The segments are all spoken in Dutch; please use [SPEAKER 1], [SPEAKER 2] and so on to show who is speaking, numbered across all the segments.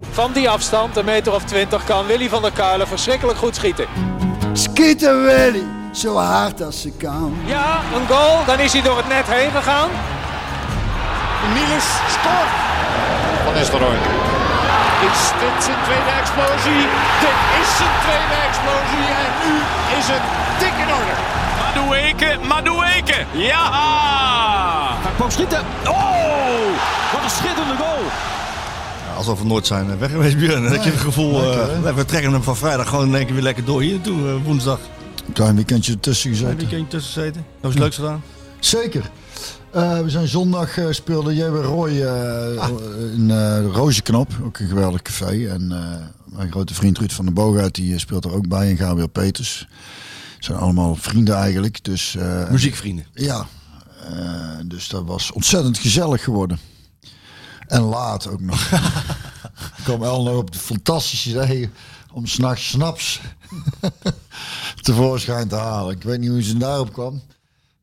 [SPEAKER 1] Van die afstand, een meter of twintig, kan Willy van der Kuilen verschrikkelijk goed schieten.
[SPEAKER 2] Schieten Willy, zo hard als ze kan.
[SPEAKER 1] Ja, een goal. Dan is hij door het net heen gegaan.
[SPEAKER 3] Niels scoort.
[SPEAKER 4] Van Nistelrooy.
[SPEAKER 3] Is dit zijn tweede explosie? Dit is zijn tweede explosie. En nu is het dik in orde.
[SPEAKER 5] Madueke, Madueke. Ja!
[SPEAKER 6] Hij kwam schieten. Oh! Wat een schitterende goal.
[SPEAKER 7] Ja, alsof we nooit zijn eh, weg geweest, Björn. Dan heb je het gevoel, eh, we trekken hem van vrijdag gewoon in één keer weer lekker door hier naartoe, eh, woensdag.
[SPEAKER 2] Een klein weekendje ertussen
[SPEAKER 7] Een
[SPEAKER 2] gezeten.
[SPEAKER 7] weekendje tussen zitten. Nog eens leuks gedaan.
[SPEAKER 2] Zeker. Eh, we zijn zondag eh, speelde J.W. Roy eh, in eh Rozenknop, ook een geweldig café. En eh, mijn grote vriend Ruud van den Boogaard die eh, speelt er ook bij en Gabriel Peters. Zijn allemaal vrienden eigenlijk. Dus, eh,
[SPEAKER 7] Muziekvrienden.
[SPEAKER 2] Ja, Eh, dus dat was ontzettend gezellig geworden. En laat ook nog. Ik kwam El nog op de fantastische idee om s'nachts snaps tevoorschijn te halen. Ik weet niet hoe ze daarop kwam.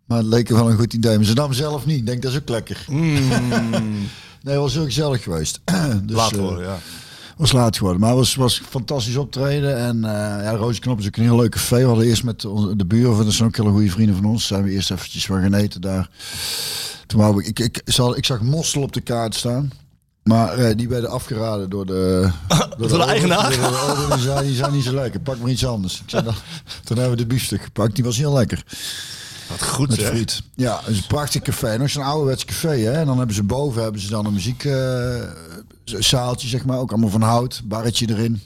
[SPEAKER 2] Maar het leek er wel een goed idee. Maar ze nam zelf niet. Ik denk, dat is ook lekker. nee, was heel gezellig geweest. dus,
[SPEAKER 7] Mm. Laat
[SPEAKER 2] eh,
[SPEAKER 7] horen, ja.
[SPEAKER 2] was laat geworden, maar het was, was fantastisch optreden. En eh ja, Rozenknop is ook een heel leuk café. We hadden eerst met on- de buren, dat zijn ook hele goede vrienden van ons, zijn we eerst eventjes wat gaan eten daar. Toen wou ik, ik, ik, ze hadden- ik zag mossel op de kaart staan. Maar eh, die werden afgeraden door de, door
[SPEAKER 7] de eigenaar?
[SPEAKER 2] door de orde. Die zei, die zijn niet zo lekker, pak maar iets anders. Ik zei, dan, toen hebben we de biefstuk gepakt, die was heel lekker.
[SPEAKER 7] Wat goed
[SPEAKER 2] Met
[SPEAKER 7] zeg.
[SPEAKER 2] friet. Ja, het is een prachtig café. Nog zo'n ouderwets café. Hè? En dan hebben ze boven hebben ze dan een muziekzaaltje, zeg maar. Ook allemaal van hout. Barretje erin.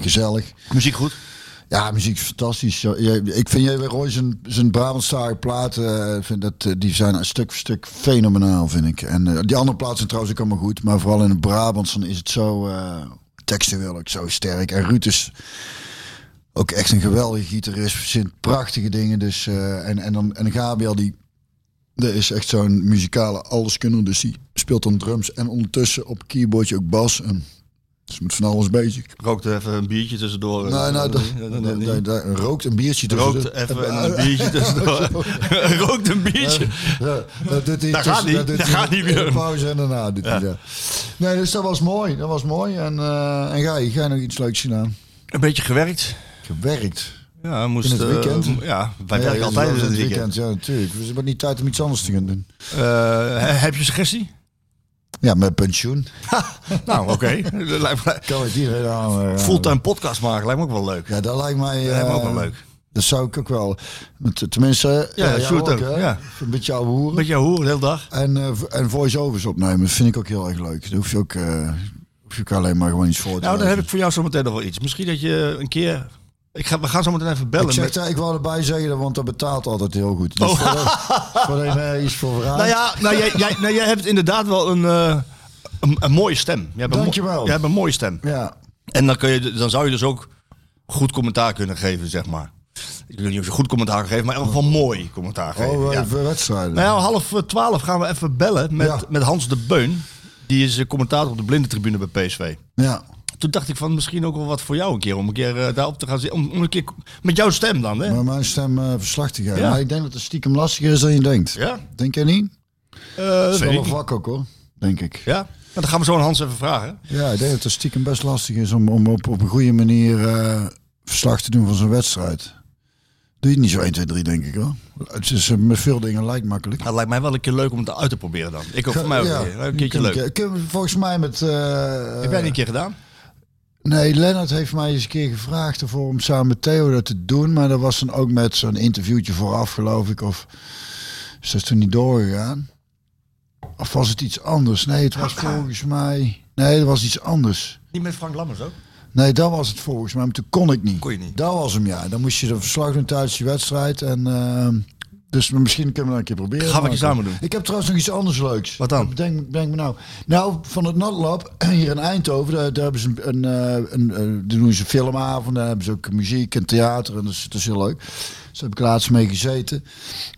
[SPEAKER 2] Gezellig.
[SPEAKER 7] Muziek goed.
[SPEAKER 2] Ja, muziek is fantastisch. Ja, je- Ik vind J.W. Roy zijn, zijn Brabantstalige platen, eh, vind dat, eh, die zijn een stuk voor stuk fenomenaal, vind ik. En eh, die andere platen zijn trouwens ook allemaal goed. Maar vooral in het Brabants dan is het zo eh textueel ook zo sterk. En Ruud is ook echt een geweldige gitarist. Verzint prachtige dingen. Dus, eh, en, en, dan, en Gabriel, die dat is echt zo'n muzikale alleskunner. Dus die speelt dan drums en ondertussen op keyboardje ook bas. En, dus met van alles bezig.
[SPEAKER 7] Rookte even een biertje tussendoor. Eh,
[SPEAKER 2] Nou, nou, da-
[SPEAKER 7] Nee, nee, nee, nee.
[SPEAKER 2] da- da- rookt een biertje dus tussen.
[SPEAKER 7] Rookt even en een biertje tussendoor. Rookt een biertje.
[SPEAKER 2] Ja, dat doet hij
[SPEAKER 7] Dat
[SPEAKER 2] tussen-
[SPEAKER 7] gaat niet,
[SPEAKER 2] doet
[SPEAKER 7] dat
[SPEAKER 2] hij
[SPEAKER 7] gaat niet
[SPEAKER 2] in de
[SPEAKER 7] meer.
[SPEAKER 2] pauze en daarna doet hij dat. Nee, dus dat was mooi. Dat was mooi. En, eh en ga je, ga je nog iets leuks gedaan?
[SPEAKER 7] Een beetje gewerkt.
[SPEAKER 2] Gewerkt.
[SPEAKER 7] Ja, hij moest,
[SPEAKER 2] In het
[SPEAKER 7] eh,
[SPEAKER 2] weekend?
[SPEAKER 7] ja, wij
[SPEAKER 2] Ja,
[SPEAKER 7] werken
[SPEAKER 2] dat is
[SPEAKER 7] altijd
[SPEAKER 2] wel
[SPEAKER 7] in het
[SPEAKER 2] het
[SPEAKER 7] weekend.
[SPEAKER 2] Ja, natuurlijk. We hebben niet tijd om iets anders te gaan doen.
[SPEAKER 7] Eh, he- heb je suggestie?
[SPEAKER 2] Ja, met pensioen.
[SPEAKER 7] Nou, oké. Lijkt me-
[SPEAKER 2] Kan het iedereen aan. eh,
[SPEAKER 7] Fulltime podcast maken lijkt me ook wel leuk.
[SPEAKER 2] Ja, dat lijkt mij...
[SPEAKER 7] lijkt me
[SPEAKER 2] eh,
[SPEAKER 7] ook wel leuk.
[SPEAKER 2] Dat zou ik ook wel... Met- Tenminste... eh,
[SPEAKER 7] Ja,
[SPEAKER 2] jou
[SPEAKER 7] Sjoerd ook,
[SPEAKER 2] hè?
[SPEAKER 7] ja.
[SPEAKER 2] Een beetje ouwe hoeren.
[SPEAKER 7] Met jou horen de hele dag.
[SPEAKER 2] En, eh, v- en voice-overs opnemen dat vind ik ook heel erg leuk. Dan hoef je ook, eh, hoef je ook alleen maar gewoon iets voor te
[SPEAKER 7] Nou, dan
[SPEAKER 2] lezen.
[SPEAKER 7] heb ik voor jou zometeen nog wel iets. Misschien dat je een keer... Ik ga, we gaan zo meteen even bellen.
[SPEAKER 2] Ik, zeg,
[SPEAKER 7] met- Oh.
[SPEAKER 2] daar- ik wou erbij zeggen, want dat betaalt altijd heel goed. Dus voor de- voor de nee, is voor verhaal.
[SPEAKER 7] Nou ja, nou, jij, jij, nou, jij hebt inderdaad wel een, eh, een, een mooie stem. Jij hebt een mo-
[SPEAKER 2] Dankjewel.
[SPEAKER 7] Jij hebt een mooie stem.
[SPEAKER 2] ja.
[SPEAKER 7] En dan, kun je, dan zou je dus ook goed commentaar kunnen geven, zeg maar. Ik weet niet of je goed commentaar kan geven, maar in ieder geval mooi commentaar geven.
[SPEAKER 2] Oh,
[SPEAKER 7] ja.
[SPEAKER 2] eh, voor wedstrijden.
[SPEAKER 7] Nou ja, half eh, twaalf gaan we even bellen met,
[SPEAKER 2] Ja.
[SPEAKER 7] met Hans de Beun. Die is eh, commentator op de blindentribune bij PSV.
[SPEAKER 2] ja.
[SPEAKER 7] Toen dacht ik van misschien ook wel wat voor jou een keer. Om een keer eh, daarop te gaan zitten. Om, om een keer met jouw stem dan, hè?
[SPEAKER 2] Maar mijn stem eh verslachtig. hè.
[SPEAKER 7] Ja.
[SPEAKER 2] Maar ik denk dat het stiekem lastiger is dan je denkt.
[SPEAKER 7] Ja.
[SPEAKER 2] Denk jij niet?
[SPEAKER 7] Eh,
[SPEAKER 2] Dat is
[SPEAKER 7] weet
[SPEAKER 2] wel
[SPEAKER 7] ik
[SPEAKER 2] een
[SPEAKER 7] niet.
[SPEAKER 2] vak ook hoor, denk ik.
[SPEAKER 7] Ja, Nou, dan gaan we zo aan Hans even vragen.
[SPEAKER 2] Ja, ik denk dat het stiekem best lastig is om, om op, op een goede manier eh, verslag te doen van zo'n wedstrijd. Doe je het niet zo 1, 2, 3 denk ik hoor. Het is, eh, met veel dingen lijkt makkelijk.
[SPEAKER 7] Nou, lijkt mij wel een keer leuk om het uit te proberen dan. Ik ook voor mij ook
[SPEAKER 2] Ja,
[SPEAKER 7] een, keer. een keertje
[SPEAKER 2] kunnen-
[SPEAKER 7] leuk.
[SPEAKER 2] kunnen we volgens mij met... eh,
[SPEAKER 7] Heb jij niet een keer gedaan?
[SPEAKER 2] Nee, Lennart heeft mij eens een keer gevraagd ervoor om samen met Theo dat te doen. Maar dat was dan ook met zo'n interviewtje vooraf, geloof ik. Of is dat toen niet doorgegaan? Of was het iets anders? Nee, het was volgens mij... Nee, dat was iets anders.
[SPEAKER 7] Niet met Frank Lammers ook?
[SPEAKER 2] Nee, dat was het volgens mij. Maar toen kon ik niet.
[SPEAKER 7] Kon je niet.
[SPEAKER 2] Dat was hem, ja. Dan moest je de verslag doen tijdens je wedstrijd. En, ehm, dus misschien kunnen we dat een keer proberen.
[SPEAKER 7] Gaan we een keer
[SPEAKER 2] Maar-
[SPEAKER 7] samen doen.
[SPEAKER 2] Ik heb trouwens nog iets anders leuks.
[SPEAKER 7] Wat dan?
[SPEAKER 2] Dat Bedenk, bedenk me nou. Nou, van het Natlab hier in Eindhoven, daar, daar hebben ze een, een, eh, een, eh, daar doen ze filmavonden, daar hebben ze ook muziek en theater en dat is, dat is heel leuk. Dus daar heb ik laatst mee gezeten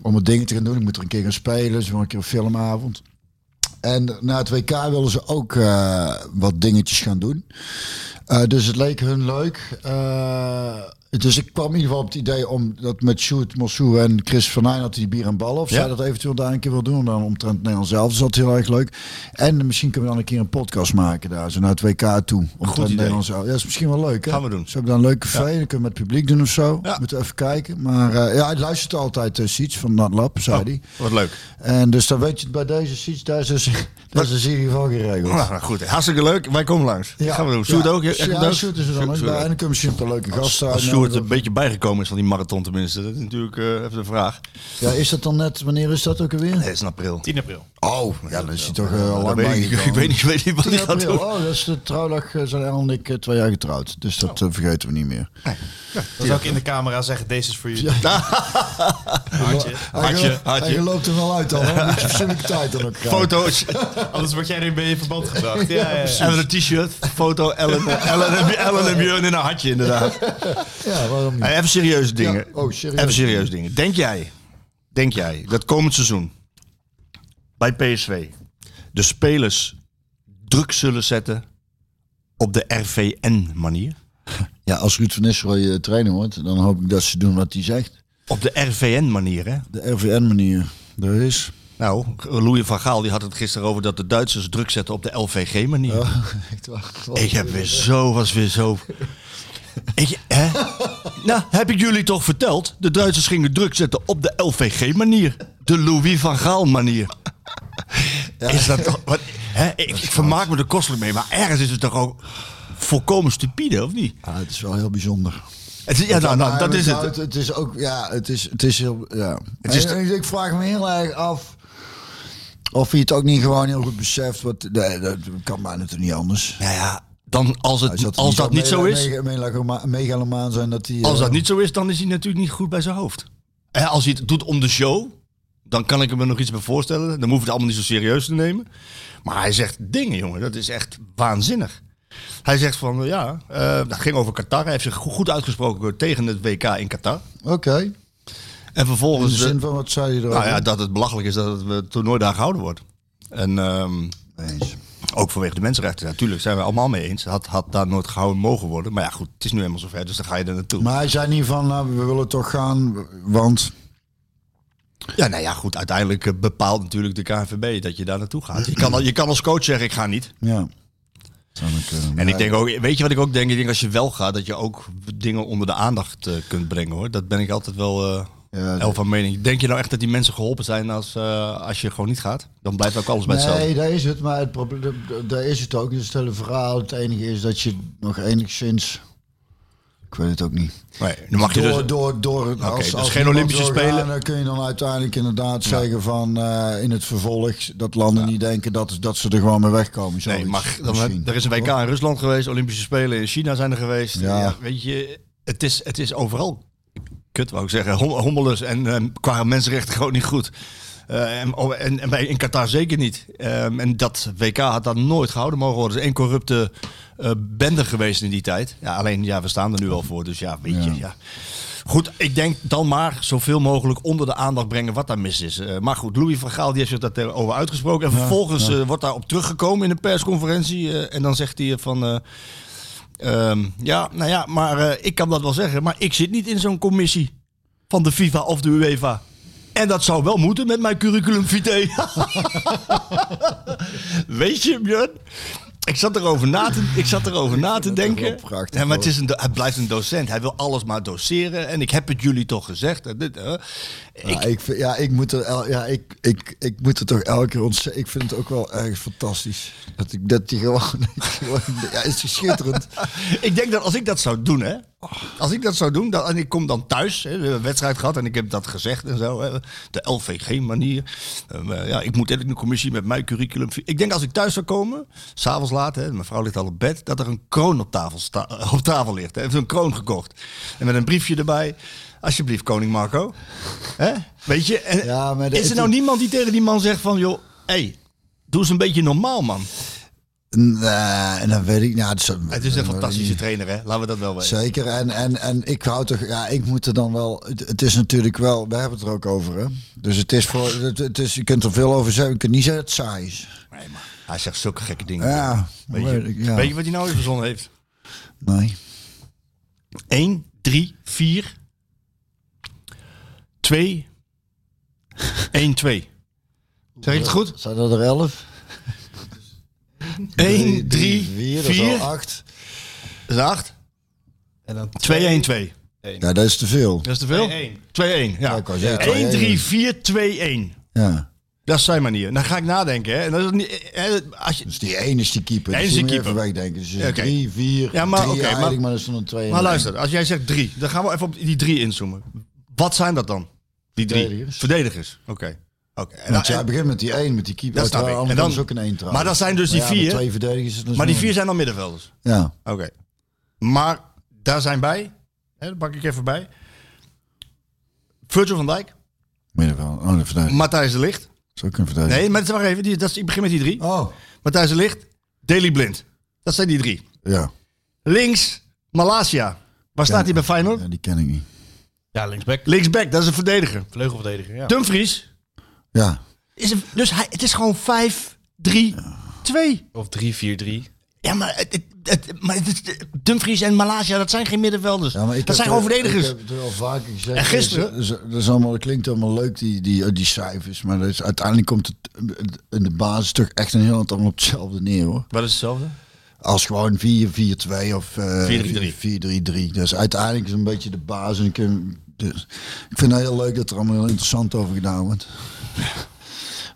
[SPEAKER 2] om wat dingen te gaan doen. Ik moet er een keer gaan spelen, ze willen een keer een filmavond. En na het WK willen ze ook eh, wat dingetjes gaan doen. Eh, dus het leek hun leuk eh, Dus ik kwam in ieder geval op het idee om dat met Sjoerd Mossou en Chris van Nijn had die bier en ballen. Of
[SPEAKER 7] Ja.
[SPEAKER 2] zij dat eventueel daar een keer wil doen. Dan omtrent Nederland zelf. Dus dat is heel erg leuk. En misschien kunnen we dan een keer een podcast maken daar. Zo naar het WK toe. Omtrent
[SPEAKER 7] idee.
[SPEAKER 2] Nederland zelf. Ja, dat is misschien wel leuk. Hè?
[SPEAKER 7] Gaan we doen.
[SPEAKER 2] Zo hebben we dan een leuk café. Dan kunnen we met het publiek doen of zo.
[SPEAKER 7] Ja.
[SPEAKER 2] Moeten we even kijken. Maar eh, ja, hij luistert altijd uh, Siets van Nat Lab, zei hij.
[SPEAKER 7] Oh, Wat leuk.
[SPEAKER 2] En dus dan weet je het bij deze Siets. Daar is dus, daar is dus in ieder geval geregeld.
[SPEAKER 7] Nou, nou, goed. Hartstikke leuk. Wij komen langs. Gaan we doen. Sjoerd ook?
[SPEAKER 2] Ja,
[SPEAKER 7] Jij komt
[SPEAKER 2] ja
[SPEAKER 7] ook?
[SPEAKER 2] Sjoerd is er dan ook bij. En dan kunnen we misschien op een leuke gast eh,
[SPEAKER 7] Als
[SPEAKER 2] uitnodigen.
[SPEAKER 7] Sjoerd een beetje bijgekomen is van die marathon tenminste. Dat is natuurlijk eh, even de vraag.
[SPEAKER 2] Ja, is dat dan net, wanneer is dat ook alweer?
[SPEAKER 7] Nee, het is in april.
[SPEAKER 4] 10 april.
[SPEAKER 2] Oh, ja, dan is hij toch eh, al
[SPEAKER 7] Dat
[SPEAKER 2] lang
[SPEAKER 7] weet
[SPEAKER 2] bij
[SPEAKER 7] ik, ik, weet niet, ik weet niet wat hij gaat doen.
[SPEAKER 2] Oh, dat is de trouwdag, eh, zijn Errol en ik eh, twee jaar getrouwd. Dus dat
[SPEAKER 7] Oh.
[SPEAKER 2] eh, vergeten we niet meer.
[SPEAKER 4] Dan zou ik in de camera zeggen, deze is voor jullie. Hartje.
[SPEAKER 7] Hartje,
[SPEAKER 2] hij,
[SPEAKER 7] hartje.
[SPEAKER 2] hij loopt er wel uit al, hè? Moet je persoonlijke tijd dan ook krijgen.
[SPEAKER 7] Foto's
[SPEAKER 4] Anders word jij nu mee in verband gebracht. Ja, ja, ja.
[SPEAKER 7] en een t-shirt. Foto Ellen, Ellen, en- Ellen en Björn in een hartje inderdaad.
[SPEAKER 2] Ja, waarom niet?
[SPEAKER 7] Hey, Eh, even serieuze dingen.
[SPEAKER 2] Ja, oh, serieus.
[SPEAKER 7] Even serieuze dingen. Denk jij, denk jij dat komend seizoen bij PSV de spelers druk zullen zetten op de RVN-manier?
[SPEAKER 2] Ja, als Ruud van Nistelrooy eh, trainer wordt, dan hoop ik dat ze doen wat hij zegt.
[SPEAKER 7] Op de RVN-manier, hè?
[SPEAKER 2] De RVN-manier, daar is.
[SPEAKER 7] Nou, Louis van Gaal die had het gisteren over dat de Duitsers druk zetten op de LVG-manier.
[SPEAKER 2] Oh. Echt waar.
[SPEAKER 7] Ik heb weer zo, was weer zo. Ik, hè? Nou, heb ik jullie toch verteld? De Duitsers gingen druk zetten op de LVG-manier. De Louis van Gaal-manier. Is dat toch... Wat, hè? Ik, ik vermaak me er kostelijk mee, maar ergens is het toch ook volkomen stupide, of niet?
[SPEAKER 2] Ja, het is wel heel bijzonder.
[SPEAKER 7] Het is- ja, nou, nou, dat is
[SPEAKER 2] het.
[SPEAKER 7] het.
[SPEAKER 2] Het is ook, ja, het is, het is heel, ja.
[SPEAKER 7] Het is-
[SPEAKER 2] En ik, ik vraag me heel erg af of hij het ook niet gewoon heel goed beseft. Wat, nee, dat kan bijna toch niet anders.
[SPEAKER 7] Nou ja, dan als,
[SPEAKER 2] Hij zat
[SPEAKER 7] het,
[SPEAKER 2] er
[SPEAKER 7] als dat niet zo
[SPEAKER 2] mega-
[SPEAKER 7] is...
[SPEAKER 2] mega- megaloma- Megalomaan zijn dat hij...
[SPEAKER 7] Als
[SPEAKER 2] eh,
[SPEAKER 7] dat niet zo is, dan is hij natuurlijk niet goed bij zijn hoofd. Hè, als hij het doet om de show, dan kan ik hem er nog iets bij voorstellen. Dan hoeven we het allemaal niet zo serieus te nemen. Maar hij zegt dingen, jongen. Dat is echt waanzinnig. Hij zegt van, ja, eh, dat ging over Qatar. Hij heeft zich go- goed uitgesproken tegen het WK in Qatar.
[SPEAKER 2] Oké,
[SPEAKER 7] En
[SPEAKER 2] in de
[SPEAKER 7] vervolgens... eh,
[SPEAKER 2] zin van wat zei je erover?
[SPEAKER 7] nou ja, dat het belachelijk is dat het eh, toernooi daar gehouden wordt. En ehm,
[SPEAKER 2] Eens.
[SPEAKER 7] ook vanwege de mensenrechten. Natuurlijk zijn we allemaal mee eens. Had, had daar nooit gehouden mogen worden. Maar ja, goed, het is nu helemaal zover. Dus dan ga je er naartoe.
[SPEAKER 2] Maar hij zei niet van, nou, we willen toch gaan, want...
[SPEAKER 7] Ja, nou ja, goed. Uiteindelijk eh, bepaalt natuurlijk de KNVB dat je daar naartoe gaat. Je kan, al, je kan als coach zeggen, ik ga niet.
[SPEAKER 2] Ja. Zou dan kunnen.
[SPEAKER 7] En ik denk ook, weet je wat ik ook denk? Ik denk als je wel gaat, dat je ook dingen onder de aandacht eh, kunt brengen hoor. Dat ben ik altijd wel eh
[SPEAKER 2] Ja,
[SPEAKER 7] el van mening. Denk je nou echt dat die mensen geholpen zijn als, eh, als je gewoon niet gaat? Dan blijft ook alles bij hetzelfde.
[SPEAKER 2] Nee, daar is het, maar het probleem, daar is het ook. Het is het hele verhaal. Het enige is dat je nog enigszins, ik weet het ook niet.
[SPEAKER 7] Nee, dan mag je
[SPEAKER 2] door,
[SPEAKER 7] dus...
[SPEAKER 2] door, door, als,
[SPEAKER 7] dus
[SPEAKER 2] als
[SPEAKER 7] geen
[SPEAKER 2] niemand
[SPEAKER 7] Olympische
[SPEAKER 2] wil gaan,
[SPEAKER 7] Spelen.
[SPEAKER 2] Dan kun je dan uiteindelijk inderdaad zeggen van eh, in het vervolg dat landen niet denken dat, dat ze er gewoon mee wegkomen.
[SPEAKER 7] Nee,
[SPEAKER 2] zoiets
[SPEAKER 7] maar dan,
[SPEAKER 2] misschien.
[SPEAKER 7] er is een WK in Rusland geweest, Olympische Spelen in China zijn er geweest.
[SPEAKER 2] Ja.
[SPEAKER 7] Ja. weet je, het is, het is overal kut, wou ik zeggen. Hom hommeles en eh, qua mensenrechten gewoon niet goed. Eh, en, oh, en, en bij, in Qatar zeker niet. Ehm, en dat WK had dat nooit gehouden mogen worden. Er is één corrupte eh bende geweest in die tijd. Ja, alleen, ja, we staan er nu al voor, dus ja, weet je, ja. Goed, ik denk dan maar zoveel mogelijk onder de aandacht brengen wat daar mis is. Eh, maar goed, Louis van Gaal die heeft zich daarover uitgesproken. En vervolgens eh, wordt daarop teruggekomen in een persconferentie. eh, en dan zegt hij van... eh, ehm, ja, nou ja, maar eh, ik kan dat wel zeggen. Maar ik zit niet in zo'n commissie van de FIFA of de UEFA. En dat zou wel moeten met mijn curriculum vitae. Weet je, Björn? Ik zat erover na te, ik zat erover na te denken.
[SPEAKER 2] wel prachtig,
[SPEAKER 7] Ja, maar het is een, do- hij blijft een docent. Hij wil alles maar doseren. En ik heb het jullie toch gezegd. En dit, eh.
[SPEAKER 2] Ja, ik, vind- ja, ik moet er, el- ja, ik, ik, ik moet er toch elke keer ontzettend... Ik vind het ook wel erg fantastisch. Dat, ik, dat die gewoon... dat die gewoon- ja, is schitterend.
[SPEAKER 7] ik denk dat als ik dat zou doen, hè. Als ik dat zou doen, dan, en ik kom dan thuis. Hè, we hebben een wedstrijd gehad en ik heb dat gezegd en zo. Hè, de LVG-manier. Ehm, eh, ja, ik moet eigenlijk een commissie met mijn curriculum. Ik denk als ik thuis zou komen, s'avonds laat, hè, mijn vrouw ligt al op bed, dat er een kroon op tafel, sta- op tafel ligt. Hè. Heeft een kroon gekocht. En met een briefje erbij. Alsjeblieft, koning Marco. Hè? Weet je, en,
[SPEAKER 2] Ja, maar de-
[SPEAKER 7] is er nou niemand die tegen die man zegt van, joh, hé, hey, doe eens een beetje normaal, man.
[SPEAKER 2] Nee, en dan weet ik... Nou, dat
[SPEAKER 7] Het is een fantastische trainer, hè. Laten we dat wel weten.
[SPEAKER 2] Zeker. En, en, en ik hou toch, ja, ik moet er dan wel. Het, het is natuurlijk wel, we hebben het er ook over. Hè? Dus het is voor. Het, het is, je kunt er veel over zeggen. Je kunt niet zeggen dat het saai is.
[SPEAKER 7] Nee, maar hij zegt zulke gekke dingen.
[SPEAKER 2] Ja,
[SPEAKER 7] weet,
[SPEAKER 2] weet
[SPEAKER 7] je,
[SPEAKER 2] ik, ja.
[SPEAKER 7] weet je wat hij nou weer verzonnen heeft?
[SPEAKER 2] Nee.
[SPEAKER 7] 1, 3, 4 2 1 2. Zeg ik het goed?
[SPEAKER 2] Zijn dat er elf?
[SPEAKER 7] 1 3
[SPEAKER 2] vier,
[SPEAKER 7] 4
[SPEAKER 2] dat is al acht.
[SPEAKER 7] is 8
[SPEAKER 4] En dan
[SPEAKER 7] 2 1 2.
[SPEAKER 2] Ja, dat is te veel.
[SPEAKER 7] Dat is te veel? 2 1.
[SPEAKER 2] Ja,
[SPEAKER 7] Ja.
[SPEAKER 2] ik wou zeggen,
[SPEAKER 7] 1
[SPEAKER 2] 2-1.
[SPEAKER 7] 3 4 2 1.
[SPEAKER 2] Ja.
[SPEAKER 7] Dat is zijn manier. En Dan ga ik nadenken. Hè. En dat is niet, hè, als je,
[SPEAKER 2] Dus die één is die keeper.
[SPEAKER 7] Eén
[SPEAKER 2] Die
[SPEAKER 7] is die
[SPEAKER 2] moet je
[SPEAKER 7] keeper.
[SPEAKER 2] Even wegdenken. Dus
[SPEAKER 7] Ja, oké.
[SPEAKER 2] 3, 4,
[SPEAKER 7] Ja, maar oké, maar-
[SPEAKER 2] maar, maar dat is dan een 2.
[SPEAKER 7] maar luister, als jij zegt 3, dan gaan we even op die 3 inzoomen. Wat zijn dat dan? Die 3
[SPEAKER 2] Verdedigers.
[SPEAKER 7] Verdedigers. Oké. Oké. Nou, En dan-
[SPEAKER 2] Want jij begint met die 1, met die keeper. Oh,
[SPEAKER 7] Dat snap
[SPEAKER 2] Uiteraard,
[SPEAKER 7] ik. En
[SPEAKER 2] anders
[SPEAKER 7] dan-
[SPEAKER 2] is ook een 1 trouwens.
[SPEAKER 7] maar dat zijn dus die
[SPEAKER 2] ja,
[SPEAKER 7] vier.
[SPEAKER 2] met twee verdedigers. is het dus
[SPEAKER 7] Maar die
[SPEAKER 2] een-
[SPEAKER 7] 4 zijn dan middenvelders.
[SPEAKER 2] Ja.
[SPEAKER 7] Oké. Maar daar zijn bij, hè, dat pak ik even bij. Virgil van Dijk,
[SPEAKER 2] Middenveld. Oh, een verdediger.
[SPEAKER 7] Matthijs de Licht.
[SPEAKER 2] Dat is ook een verdediger.
[SPEAKER 7] Nee, maar wacht even, die, dat is, ik begin met die drie.
[SPEAKER 2] Oh.
[SPEAKER 7] Matthijs de Licht, Daily Blind. Dat zijn die drie.
[SPEAKER 2] Ja.
[SPEAKER 7] Links, Malasia. Waar staat hij bij Feyenoord?
[SPEAKER 2] Ja, die ken ik niet.
[SPEAKER 4] Ja, linksback.
[SPEAKER 7] Linksback, dat is een verdediger.
[SPEAKER 4] Vleugelverdediger, ja.
[SPEAKER 7] Dumfries.
[SPEAKER 2] Ja.
[SPEAKER 7] Is een, dus hij, het is gewoon 5, 3, 2.
[SPEAKER 4] Of 3-4-3.
[SPEAKER 7] Ja, maar, het, het, het- maar het is- Dumfries en Malasia, dat zijn geen middenvelders.
[SPEAKER 2] Ja, maar ik
[SPEAKER 7] dat
[SPEAKER 2] heb
[SPEAKER 7] zijn gewoon
[SPEAKER 2] er-
[SPEAKER 7] verdedigers.
[SPEAKER 2] Ik heb het er al vaker gezegd.
[SPEAKER 7] En gisteren-
[SPEAKER 2] Dat, is, dat is allemaal, dat klinkt allemaal leuk, die, die, die cijfers. Maar dat is, uiteindelijk komt het eh, in de basis toch echt een heel aantal allemaal op hetzelfde neer, hoor.
[SPEAKER 7] Wat is hetzelfde?
[SPEAKER 2] Als gewoon 4-4-2 of eh,
[SPEAKER 7] 4-3-3.
[SPEAKER 2] 4-3-3. Dus uiteindelijk is een beetje de basis. En ik, dus, ik vind het heel leuk dat er allemaal heel interessant over gedaan wordt.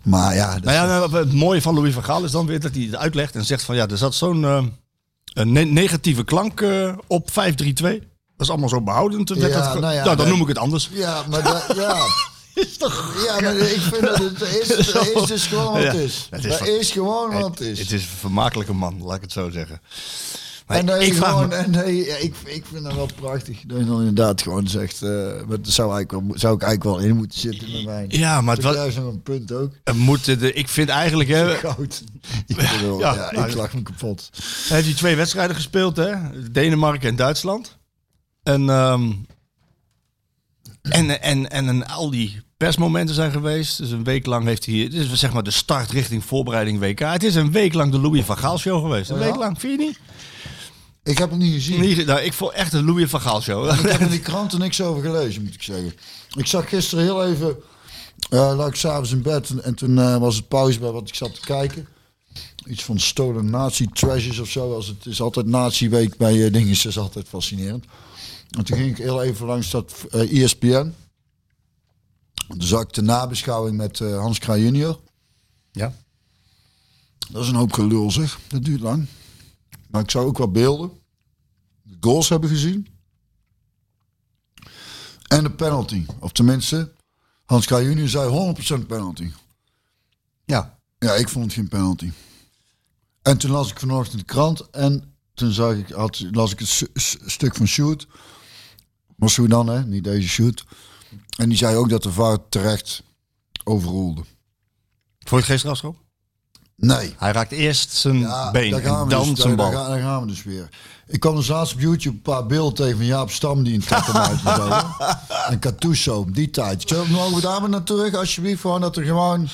[SPEAKER 2] maar ja, dat-
[SPEAKER 7] Nou ja, nou, het mooie van Louis van Gaal is dan weer dat hij het uitlegt en zegt van ja, er zat zo'n eh, een ne- negatieve klank eh, op 5-3-2. Dat is allemaal zo behoudend. werd
[SPEAKER 2] Ja,
[SPEAKER 7] dat ge-
[SPEAKER 2] nou ja,
[SPEAKER 7] dan
[SPEAKER 2] dat-
[SPEAKER 7] noem ik het anders.
[SPEAKER 2] ja maar dat, ja. Ja, maar ik vind dat het is, het is dus gewoon wat het
[SPEAKER 7] Ja,
[SPEAKER 2] is.
[SPEAKER 7] het
[SPEAKER 2] Het
[SPEAKER 7] is
[SPEAKER 2] is,
[SPEAKER 7] van-
[SPEAKER 2] gewoon wat
[SPEAKER 7] het,
[SPEAKER 2] het is.
[SPEAKER 7] het is een vermakelijke man, laat ik het zo zeggen. Maar
[SPEAKER 2] En dat je
[SPEAKER 7] ik vraag
[SPEAKER 2] gewoon,
[SPEAKER 7] me,
[SPEAKER 2] en dat je- ja, ik, ik vind dat wel prachtig. Dat je dan inderdaad gewoon zegt, eh maar dat zou, eigenlijk wel, mo- zou ik eigenlijk wel in moeten zitten met mij.
[SPEAKER 7] ja, maar het,
[SPEAKER 2] Dat
[SPEAKER 7] wa-
[SPEAKER 2] is nog een punt ook.
[SPEAKER 7] het moet, eh, de- ik vind eigenlijk, hè,
[SPEAKER 2] Goud. Ik, vind wel-
[SPEAKER 7] Ja,
[SPEAKER 2] ja,
[SPEAKER 7] nou,
[SPEAKER 2] ik lag me kapot.
[SPEAKER 7] Hij heeft die twee wedstrijden gespeeld, hè? Denemarken en Duitsland. En, ehm, en, en, en, en al die persmomenten zijn geweest. Dus een week lang heeft hij... Dit is zeg maar de start richting voorbereiding WK. Het is een week lang de Louis van Gaal show geweest. Een
[SPEAKER 2] Ja.
[SPEAKER 7] week lang, vind je niet?
[SPEAKER 2] Ik heb het niet gezien.
[SPEAKER 7] Niet- nou, ik vond echt een Louis van Gaal show.
[SPEAKER 2] Ik heb in de kranten niks over gelezen, moet ik zeggen. Ik zag gisteren heel even... eh lag ik s'avonds in bed en, en toen eh, was het pauze bij wat ik zat te kijken. Iets van Stolen Nazi Treasures of zo. Als het is altijd Nazi-week bij eh, dingen, dat is altijd fascinerend. En toen ging ik heel even langs dat eh ESPN. Toen zag ik de nabeschouwing met eh, Hans Kraaij junior.
[SPEAKER 7] Ja.
[SPEAKER 2] Dat is een hoop gelul zeg. Dat duurt lang. Maar ik zou ook wat beelden. De goals hebben gezien. En de penalty. Of tenminste, Hans K. Junior zei 100% penalty.
[SPEAKER 7] Ja.
[SPEAKER 2] Ja, ik vond het geen penalty. En toen las ik vanochtend de krant en toen zag ik, had, las ik het s- s- stuk van Shoot. Massoud dan, hè? Niet deze Shoot. En die zei ook dat de VAR terecht overroelde.
[SPEAKER 7] Voor het geen strafschop?
[SPEAKER 2] Nee.
[SPEAKER 7] Hij raakt eerst zijn
[SPEAKER 2] Ja,
[SPEAKER 7] been
[SPEAKER 2] daar gaan
[SPEAKER 7] en
[SPEAKER 2] we
[SPEAKER 7] dan
[SPEAKER 2] dus,
[SPEAKER 7] zijn
[SPEAKER 2] daar-
[SPEAKER 7] bal.
[SPEAKER 2] Daar, gaan we dus weer. Ik kwam dus laatst op YouTube een paar beelden tegen van Jaap Stam die in het kattenbuit was. En Catuso, die tijd. Zullen we mogen we daar maar naar terug, alsjeblieft? Gewoon dat er gewoon...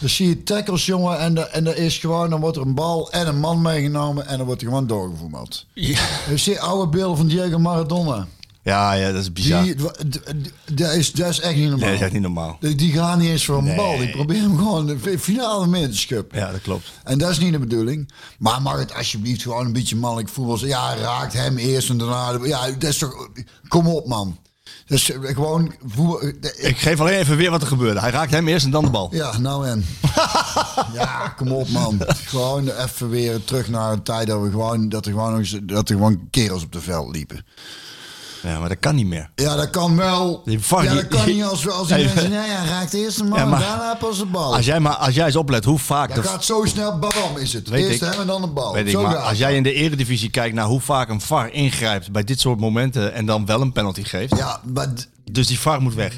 [SPEAKER 2] Dan zie je tackles, jongen, en, er- en er is gewoon, dan wordt er een bal en een man meegenomen en dan wordt er gewoon doorgevoerd.
[SPEAKER 7] Ja.
[SPEAKER 2] Je ziet oude beelden van Diego Maradona.
[SPEAKER 7] Ja, ja, dat
[SPEAKER 2] Die,
[SPEAKER 7] is bizar.
[SPEAKER 2] d- d- dat, is, dat is echt niet normaal.
[SPEAKER 7] Nee, dat is echt niet normaal.
[SPEAKER 2] Die, die gaan niet eens voor een
[SPEAKER 7] Nee.
[SPEAKER 2] bal. Die proberen hem gewoon de finale mee te schuppen.
[SPEAKER 7] Ja, dat klopt.
[SPEAKER 2] En dat is niet de bedoeling. Maar mag het alsjeblieft gewoon een beetje mannelijk voetbal zijn? Ja, raakt hem eerst en daarna... de- Ja, dat is toch... Kom op, man. Dat is eh, gewoon... voetbal- eh,
[SPEAKER 7] Ik geef alleen even weer wat er gebeurde. Hij raakt hem eerst en dan de bal.
[SPEAKER 2] Ja, nou en. ja, kom op, man. Gewoon even weer terug naar een tijd dat, we gewoon, dat, er gewoon, nog eens- dat er gewoon kerels op de veld liepen.
[SPEAKER 7] Ja, maar dat kan niet meer.
[SPEAKER 2] Ja, dat kan wel.
[SPEAKER 7] Die var-
[SPEAKER 2] Ja, dat kan niet als, als die
[SPEAKER 7] Ja,
[SPEAKER 2] mensen... Nee, hij raakt eerst een man
[SPEAKER 7] Ja, maar-
[SPEAKER 2] en daarna pas de bal.
[SPEAKER 7] Als jij, maar, als jij eens oplet hoe vaak...
[SPEAKER 2] Dat
[SPEAKER 7] de-
[SPEAKER 2] Oh. gaat zo snel, babam is het.
[SPEAKER 7] Weet
[SPEAKER 2] Eerst
[SPEAKER 7] ik.
[SPEAKER 2] hem en dan de bal.
[SPEAKER 7] Weet ik,
[SPEAKER 2] zo
[SPEAKER 7] maar
[SPEAKER 2] gaat
[SPEAKER 7] als jij in de eredivisie kijkt naar hoe vaak een VAR ingrijpt bij dit soort momenten en dan wel een penalty geeft.
[SPEAKER 2] Ja, maar d-
[SPEAKER 7] Dus die VAR moet weg.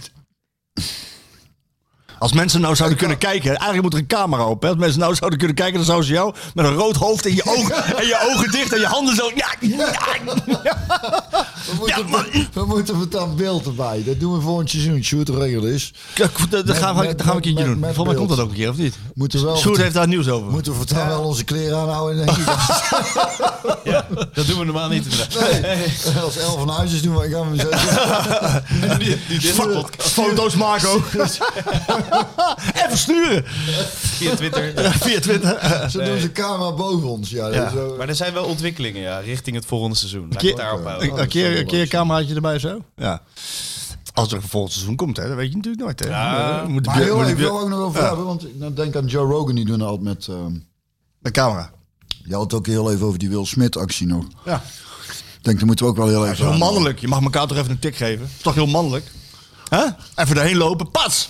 [SPEAKER 7] Als mensen nou zouden kunnen kijken, eigenlijk moet er een camera op. Hè? Als mensen nou zouden kunnen kijken, dan zouden ze jou met een rood hoofd en je ogen, en je ogen dicht en je handen zo. Ja,
[SPEAKER 2] We
[SPEAKER 7] ja,
[SPEAKER 2] moeten,
[SPEAKER 7] Ja, maar-
[SPEAKER 2] we moeten met dat beeld erbij. Dat doen we volgend seizoen. Shoot regel is.
[SPEAKER 7] Ja, goed, dat dat gaan we, dat gaan we een keertje
[SPEAKER 2] Met-
[SPEAKER 7] doen.
[SPEAKER 2] met- met
[SPEAKER 7] Volgens mij komt dat
[SPEAKER 2] beeld.
[SPEAKER 7] ook een keer, of niet?
[SPEAKER 2] Moeten we wel-
[SPEAKER 7] Sjoerd heeft daar nieuws over.
[SPEAKER 2] Moeten we voortaan wel onze kleren aanhouden? Denk ik.
[SPEAKER 4] Dat doen we normaal niet. inderdaad.
[SPEAKER 2] Nee, als elf van huis is doen we gaan we zo.
[SPEAKER 4] Die- die-
[SPEAKER 7] Fuck, Foto's maken ook. en versturen.
[SPEAKER 4] Via Twitter.
[SPEAKER 7] Via Twitter.
[SPEAKER 2] Ze doen ze camera boven ons. Ja, eh,
[SPEAKER 7] Ja,
[SPEAKER 2] zo.
[SPEAKER 4] Maar er zijn wel ontwikkelingen ja, richting het volgende seizoen. Laat ik
[SPEAKER 7] Keer-
[SPEAKER 4] het daarop houden.
[SPEAKER 7] Een, een keer een keer een cameraatje erbij zo. Ja. Als er een volgend seizoen komt, hè, dat weet je natuurlijk nooit. Hè.
[SPEAKER 4] Ja.
[SPEAKER 7] Moet de
[SPEAKER 2] Maar
[SPEAKER 7] beer-
[SPEAKER 2] heel
[SPEAKER 7] moet de
[SPEAKER 2] even
[SPEAKER 7] beer-
[SPEAKER 2] wil ik ook nog over
[SPEAKER 7] Ja.
[SPEAKER 2] hebben. Want ik nou denk aan Joe Rogan. Die doen altijd met... ehm,
[SPEAKER 7] De camera.
[SPEAKER 2] je had het ook heel even over die Will Smith actie nog.
[SPEAKER 7] Ja.
[SPEAKER 2] Ik denk, daar moeten we ook wel heel
[SPEAKER 7] Dat is
[SPEAKER 2] even
[SPEAKER 7] heel
[SPEAKER 2] aan-
[SPEAKER 7] mannelijk. Je mag elkaar toch even een tik geven. Dat is toch heel mannelijk. Hè? Even daarheen lopen. Pats!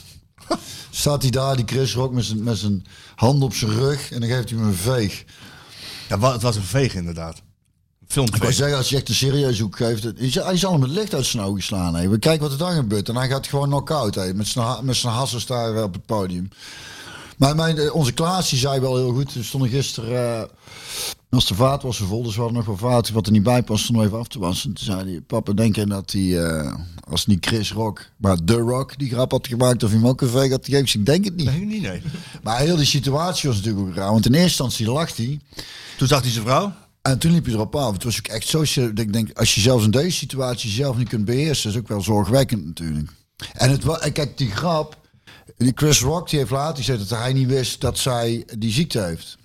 [SPEAKER 2] Staat hij daar, die Chris Rock, met zijn- met zijn hand op zijn rug. En dan geeft hij hem een veeg.
[SPEAKER 7] Ja, wa- het was een veeg inderdaad.
[SPEAKER 2] Ik wou
[SPEAKER 7] Filmveeg.
[SPEAKER 2] zeggen, als je echt een serieus hoek geeft, hij zal- hij zal hem het licht uit zijn ogen slaan. Hè. We kijken wat er dan gebeurt. En hij gaat gewoon knock-out hè, met zijn ha- met zijn hassels daar op het podium. Maar mijn, eh, onze Klaas die zei wel heel goed, we stonden gisteren, eh als de vaat was vervol, dus we hadden nog wel vaat wat er niet bij past, stonden we even af te wassen. En toen zei hij, papa, denk je dat hij, eh, als niet Chris Rock, maar The Rock die grap had gemaakt of hij hem ook een veeg had gegeven? Dus Ik zeg, Ik denk het niet.
[SPEAKER 7] Nee, niet nee.
[SPEAKER 2] Maar heel die situatie was natuurlijk ook raar, want in eerste instantie lacht hij.
[SPEAKER 7] Toen zag hij zijn vrouw.
[SPEAKER 2] En toen liep je erop aan. Het was ook echt zo. ser- dat Ik denk, als je zelfs in deze situatie zelf niet kunt beheersen, is ook wel zorgwekkend natuurlijk. En het wa- en kijk, die grap. Die Chris Rock die heeft later gezegd dat hij niet wist dat zij die ziekte heeft.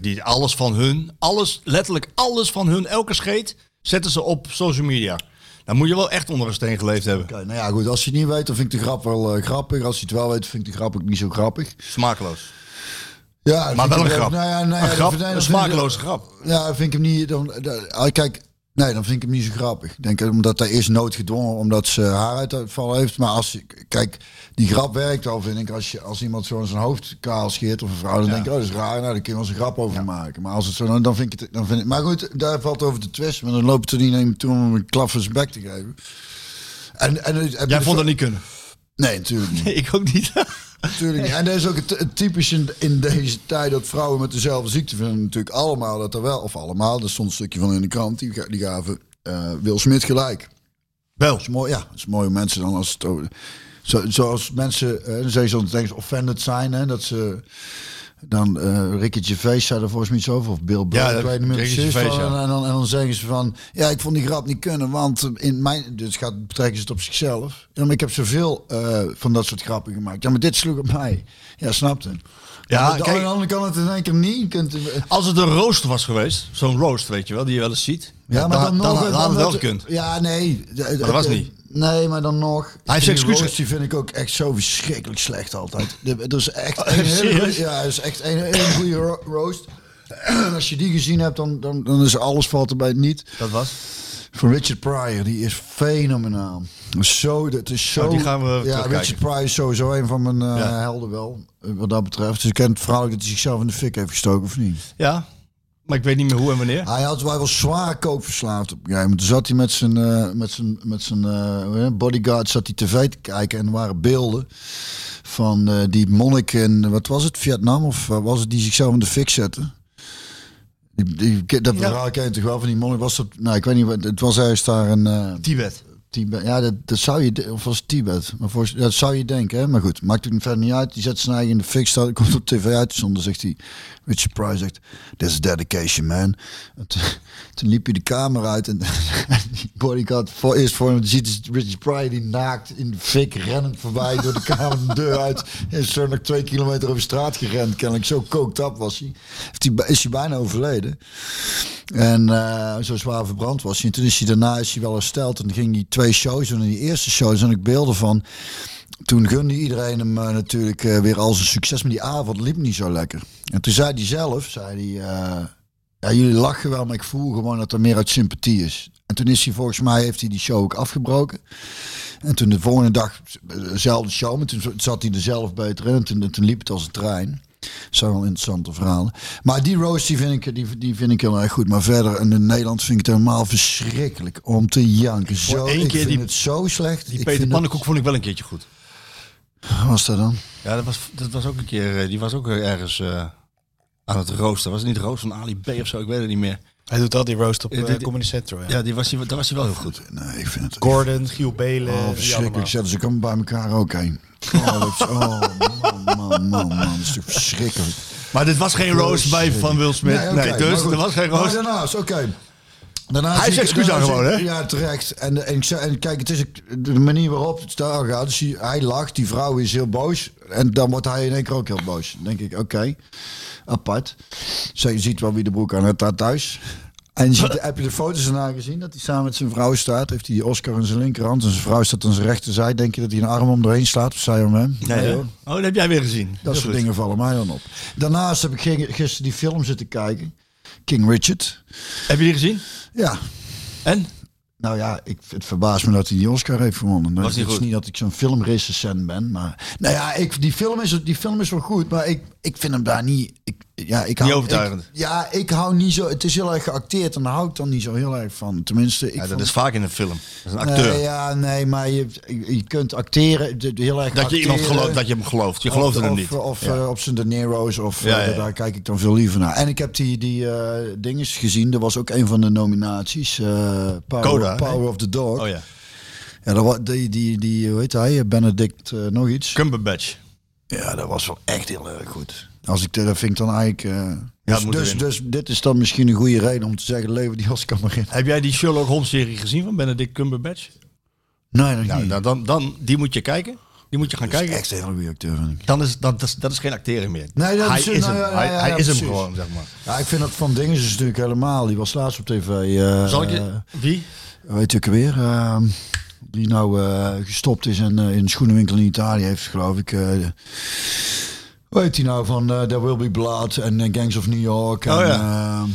[SPEAKER 7] Die, alles van hun, alles, letterlijk alles van hun, elke scheet, zetten ze op social media. Dan moet je wel echt onder een steen geleefd hebben.
[SPEAKER 2] Oké, nou ja, goed. Als je het niet weet, dan vind ik de grap wel eh, grappig. Als je het wel weet, vind ik de grap ook niet zo grappig.
[SPEAKER 7] Smakeloos.
[SPEAKER 2] Ja, dan
[SPEAKER 7] Maar
[SPEAKER 2] vind ik
[SPEAKER 7] wel een
[SPEAKER 2] hem-
[SPEAKER 7] grap.
[SPEAKER 2] Nou ja, nou ja,
[SPEAKER 7] een
[SPEAKER 2] dan
[SPEAKER 7] grap,
[SPEAKER 2] vind- nee,
[SPEAKER 7] een
[SPEAKER 2] dan vind ik-
[SPEAKER 7] smakeloze grap.
[SPEAKER 2] Ja, dan vind ik hem niet. Dan, dan- ah, kijk, nee, dan vind ik hem niet zo grappig. Ik Denk omdat hij is noodgedwongen omdat ze haaruitval heeft. Maar als je- kijk, die grap werkt al, vind ik. Als, je, als iemand zo in zijn hoofd kaal scheert of een vrouw, dan denk ik, oh, dat is raar. Nou, daar kun je wel eens een grap over maken. Maar als het zo, dan, dan vind ik het. Dan vind ik, maar goed, daar valt over te twisten. Maar dan loopt het er niet naar iemand toe om hem een klap voor zijn bek te geven. En, en, heb je
[SPEAKER 7] Jij
[SPEAKER 2] de
[SPEAKER 7] vond dat
[SPEAKER 2] fo-
[SPEAKER 7] niet kunnen.
[SPEAKER 2] Nee, natuurlijk niet.
[SPEAKER 7] Ik ook niet.
[SPEAKER 2] Tuurlijk niet. En dat is ook het, het typisch in, in deze tijd dat vrouwen met dezelfde ziekte vinden natuurlijk allemaal dat er wel, of allemaal, er stond een stukje van in de krant, die, ga- die gaven eh Will Smith gelijk.
[SPEAKER 7] wel.
[SPEAKER 2] Dat is mooi, ja, dat is mooi om mensen dan als het over- zo, zoals mensen, eh, dan zeggen ze altijd eens offended zijn, hè, dat ze dan eh Ricky Gervais zei er volgens mij iets over, of Bill Burr,
[SPEAKER 7] Ja,
[SPEAKER 2] ik weet niet meer
[SPEAKER 7] Ricky
[SPEAKER 2] precies.
[SPEAKER 7] Gervais,
[SPEAKER 2] van,
[SPEAKER 7] ja.
[SPEAKER 2] en, dan, en dan zeggen ze van, ja, ik vond die grap niet kunnen, want in mijn, dus gaat, betrekken ze het op zichzelf. Ja, maar ik heb zoveel eh, van dat soort grappen gemaakt. Ja, maar dit sloeg op mij. Ja, snapte.
[SPEAKER 7] Ja,
[SPEAKER 2] Ja, de,
[SPEAKER 7] kijk-
[SPEAKER 2] aan de andere kant het in één keer niet. Je Kunt,
[SPEAKER 7] Als het een roost was geweest, zo'n roost, weet je wel, die je wel eens ziet. dan, had het wel gekund.
[SPEAKER 2] Ja, nee. Maar
[SPEAKER 7] dat was niet.
[SPEAKER 2] Nee, maar dan nog. Hij
[SPEAKER 7] heeft excuses.
[SPEAKER 2] Die vind ik ook echt zo verschrikkelijk slecht altijd. De- Er is echt
[SPEAKER 7] Oh,
[SPEAKER 2] een hele
[SPEAKER 7] serieus?
[SPEAKER 2] goeie- ja, er is echt een hele goede ro- roast. En Als je die gezien hebt, dan, dan, dan is alles valt erbij niet.
[SPEAKER 7] Dat was.
[SPEAKER 2] Van Richard Pryor, die is fenomenaal. Zo, dat is zo.
[SPEAKER 7] Oh, die gaan we
[SPEAKER 2] ja,
[SPEAKER 7] terugkijken.
[SPEAKER 2] Richard Pryor is sowieso een van mijn eh,
[SPEAKER 7] Ja.
[SPEAKER 2] helden wel, eh, wat dat betreft. Dus ik ken het verhaal ook dat hij zichzelf in de fik heeft gestoken of niet.
[SPEAKER 7] Ja, maar ik weet niet meer hoe en wanneer.
[SPEAKER 2] Hij, had, hij was zwaar kookverslaafd op een gegeven moment. Toen zat hij met zijn, eh, met zijn, met zijn eh, hoe heet het, bodyguard zat hij tv te kijken. En er waren beelden van eh, die monnik in, wat was het, Vietnam? Of eh, was het die zichzelf in de fik zetten? Die, die, dat verhaal ken je toch wel van die monnik? Was dat, nou, ik weet niet, wat- het was ergens daar een... eh,
[SPEAKER 7] Tibet.
[SPEAKER 2] Tibet. Ja, dat, dat zou je, de- of was het Tibet, maar voor, dat zou je denken, hè? maar goed, maakt het verder niet uit. Die zet zijn eigen in de fik, staat, komt op tv uit, zonder zegt hij, Richard Pryor zegt, this is dedication man. En toen, toen liep hij de kamer uit en, en die bodyguard voor, eerst voor hem, ziet is Richard Pryor die naakt in de fik rennend voorbij door de kamer de deur uit. En is zo nog twee kilometer over straat gerend, kennelijk zo kookt up was hij. Heeft hij. Is hij bijna overleden. En eh, zo zwaar verbrand was hij. En toen is hij daarna is hij wel hersteld. En toen ging hij twee shows doen. En die eerste show, daar zijn ik beelden van. Toen gunde iedereen hem eh, natuurlijk eh, weer al zijn succes. Maar die avond liep niet zo lekker. En toen zei hij zelf, zei hij... eh, ja, jullie lachen wel, maar ik voel gewoon dat er meer uit sympathie is. En toen is hij volgens mij, heeft hij die show ook afgebroken. En toen de volgende dag, eh, dezelfde show, maar toen zat hij er zelf beter in. En toen, toen liep het als een trein. Dat zijn wel interessante verhalen. Maar die roast, die vind, ik, die, die vind ik heel erg goed. Maar verder, en in Nederland vind ik het helemaal verschrikkelijk om te janken. Zo,
[SPEAKER 7] één
[SPEAKER 2] ik
[SPEAKER 7] keer
[SPEAKER 2] vind
[SPEAKER 7] die-
[SPEAKER 2] het zo slecht. Ik
[SPEAKER 7] Die Peter
[SPEAKER 2] vind het-
[SPEAKER 7] Pannenkoek vond ik wel een keertje goed.
[SPEAKER 2] Wat was dat dan?
[SPEAKER 7] Ja, dat was, dat was ook een keer. eh, Die was ook ergens eh, aan het roosten. Was het niet roost van Ali B of zo? Ik weet het niet meer.
[SPEAKER 4] Hij doet al die roast op
[SPEAKER 7] Ja,
[SPEAKER 4] eh,
[SPEAKER 7] dit-
[SPEAKER 4] Comedy Central. Ja.
[SPEAKER 7] Ja, die was, die, daar was hij wel heel goed.
[SPEAKER 2] Nee, ik vind het
[SPEAKER 4] Gordon, Giel Belen.
[SPEAKER 2] Oh,
[SPEAKER 4] die allemaal.
[SPEAKER 2] verschrikkelijk. Zetten ze komen bij elkaar ook heen. Oh, dat is- oh, man, man, man, man. Dat is toch verschrikkelijk.
[SPEAKER 7] Maar dit was geen roast bij Van Will Smith. Nee,
[SPEAKER 2] oké, maar
[SPEAKER 7] dus
[SPEAKER 2] goed.
[SPEAKER 7] er was geen
[SPEAKER 2] Maar
[SPEAKER 7] roast.
[SPEAKER 2] daarnaast, oké. Daarnaast
[SPEAKER 7] Hij
[SPEAKER 2] zie
[SPEAKER 7] is
[SPEAKER 2] ik-
[SPEAKER 7] excuus
[SPEAKER 2] daarnaast
[SPEAKER 7] aan gewoon,
[SPEAKER 2] zie ik- Ja, terecht. En, en, ik zei- en kijk, het is de manier waarop het daar gaat. Dus hij- hij lacht, die vrouw is heel boos. En dan wordt hij in één keer ook heel boos. Dan denk ik, oké, apart. Zo, je ziet wel wie de broek aan het had thuis. En je ziet, heb je de foto's daarna gezien dat hij samen met zijn vrouw staat? Heeft hij die Oscar in zijn linkerhand en zijn vrouw staat aan zijn rechterzij? Denk je dat hij een arm om doorheen slaat of zij om hem?
[SPEAKER 7] Nee,
[SPEAKER 2] hoor.
[SPEAKER 7] hoor. Oh, dat heb jij weer gezien. Heel
[SPEAKER 2] Dat soort
[SPEAKER 7] goed.
[SPEAKER 2] dingen vallen mij dan op. Daarnaast heb ik ge- gisteren die film zitten kijken. King Richard.
[SPEAKER 7] Heb je die gezien?
[SPEAKER 2] Ja.
[SPEAKER 7] En?
[SPEAKER 2] Nou ja, ik, het verbaast me dat hij die Oscar heeft gewonnen.
[SPEAKER 7] Was niet
[SPEAKER 2] het is
[SPEAKER 7] goed.
[SPEAKER 2] niet dat ik zo'n filmrecensent ben, maar... Nou ja, ik, die, film is, die film is wel goed, maar ik, ik vind hem daar niet... Ik, ja, ik hou,
[SPEAKER 7] overtuigend.
[SPEAKER 2] ik- ja, ik hou niet zo... Het is heel erg geacteerd en daar hou ik dan niet zo heel erg van. Tenminste, ik
[SPEAKER 7] Ja, dat
[SPEAKER 2] vond-
[SPEAKER 7] is vaak in een film. Dat is een acteur.
[SPEAKER 2] Nee, ja, nee, maar je, je kunt acteren, de- de- heel erg
[SPEAKER 7] Dat je iemand
[SPEAKER 2] acteren.
[SPEAKER 7] gelooft, dat je hem gelooft. Je gelooft
[SPEAKER 2] of,
[SPEAKER 7] in hem
[SPEAKER 2] of-
[SPEAKER 7] niet.
[SPEAKER 2] Of
[SPEAKER 7] Ja.
[SPEAKER 2] eh, op zijn De Nero's. Of,
[SPEAKER 7] Ja,
[SPEAKER 2] eh,
[SPEAKER 7] ja, ja.
[SPEAKER 2] Daar kijk ik dan veel liever naar. En ik heb die, die eh dinges gezien. Dat was ook een van de nominaties. eh, Power,
[SPEAKER 7] Coda,
[SPEAKER 2] Power
[SPEAKER 7] nee?
[SPEAKER 2] of the Dog.
[SPEAKER 7] Oh ja.
[SPEAKER 2] Ja, dat wa- die, die, die, hoe heet hij? Benedict eh, nog iets.
[SPEAKER 7] Cumberbatch.
[SPEAKER 2] Ja, dat was wel echt heel erg goed. Als ik, dat vind ik dan eigenlijk... eh, dus,
[SPEAKER 7] moet
[SPEAKER 2] dus,
[SPEAKER 7] erin.
[SPEAKER 2] dus dit is dan misschien een goede reden om te zeggen... Lever die Oscar maar in.
[SPEAKER 7] Heb jij die Sherlock Holmes serie gezien van Benedict Cumberbatch?
[SPEAKER 2] Nee, dat
[SPEAKER 7] Nou,
[SPEAKER 2] niet.
[SPEAKER 7] dan, dan, dan, die moet je kijken. Die moet je gaan
[SPEAKER 2] dat is
[SPEAKER 7] kijken.
[SPEAKER 2] echt een hele goede acteur, vind ik.
[SPEAKER 7] Dan is, dan, dat, is, dat is geen acteren meer.
[SPEAKER 2] Nee, dat
[SPEAKER 7] hij
[SPEAKER 2] is-
[SPEAKER 7] is
[SPEAKER 2] nou,
[SPEAKER 7] hem.
[SPEAKER 2] ja, ja,
[SPEAKER 7] hij
[SPEAKER 2] ja,
[SPEAKER 7] hij
[SPEAKER 2] ja,
[SPEAKER 7] is hem
[SPEAKER 2] precies.
[SPEAKER 7] gewoon, zeg maar.
[SPEAKER 2] Ja, ik vind dat Van Dinges is natuurlijk helemaal... Die was laatst op tv. eh,
[SPEAKER 7] Zal ik je... Wie?
[SPEAKER 2] weet je ook weer, ehm, die nou eh, gestopt is en eh, in een schoenenwinkel in Italië heeft, geloof ik. eh, hoe heet die nou van eh, There Will Be Blood en eh, Gangs of New York? En,
[SPEAKER 7] Oh ja.
[SPEAKER 2] ehm,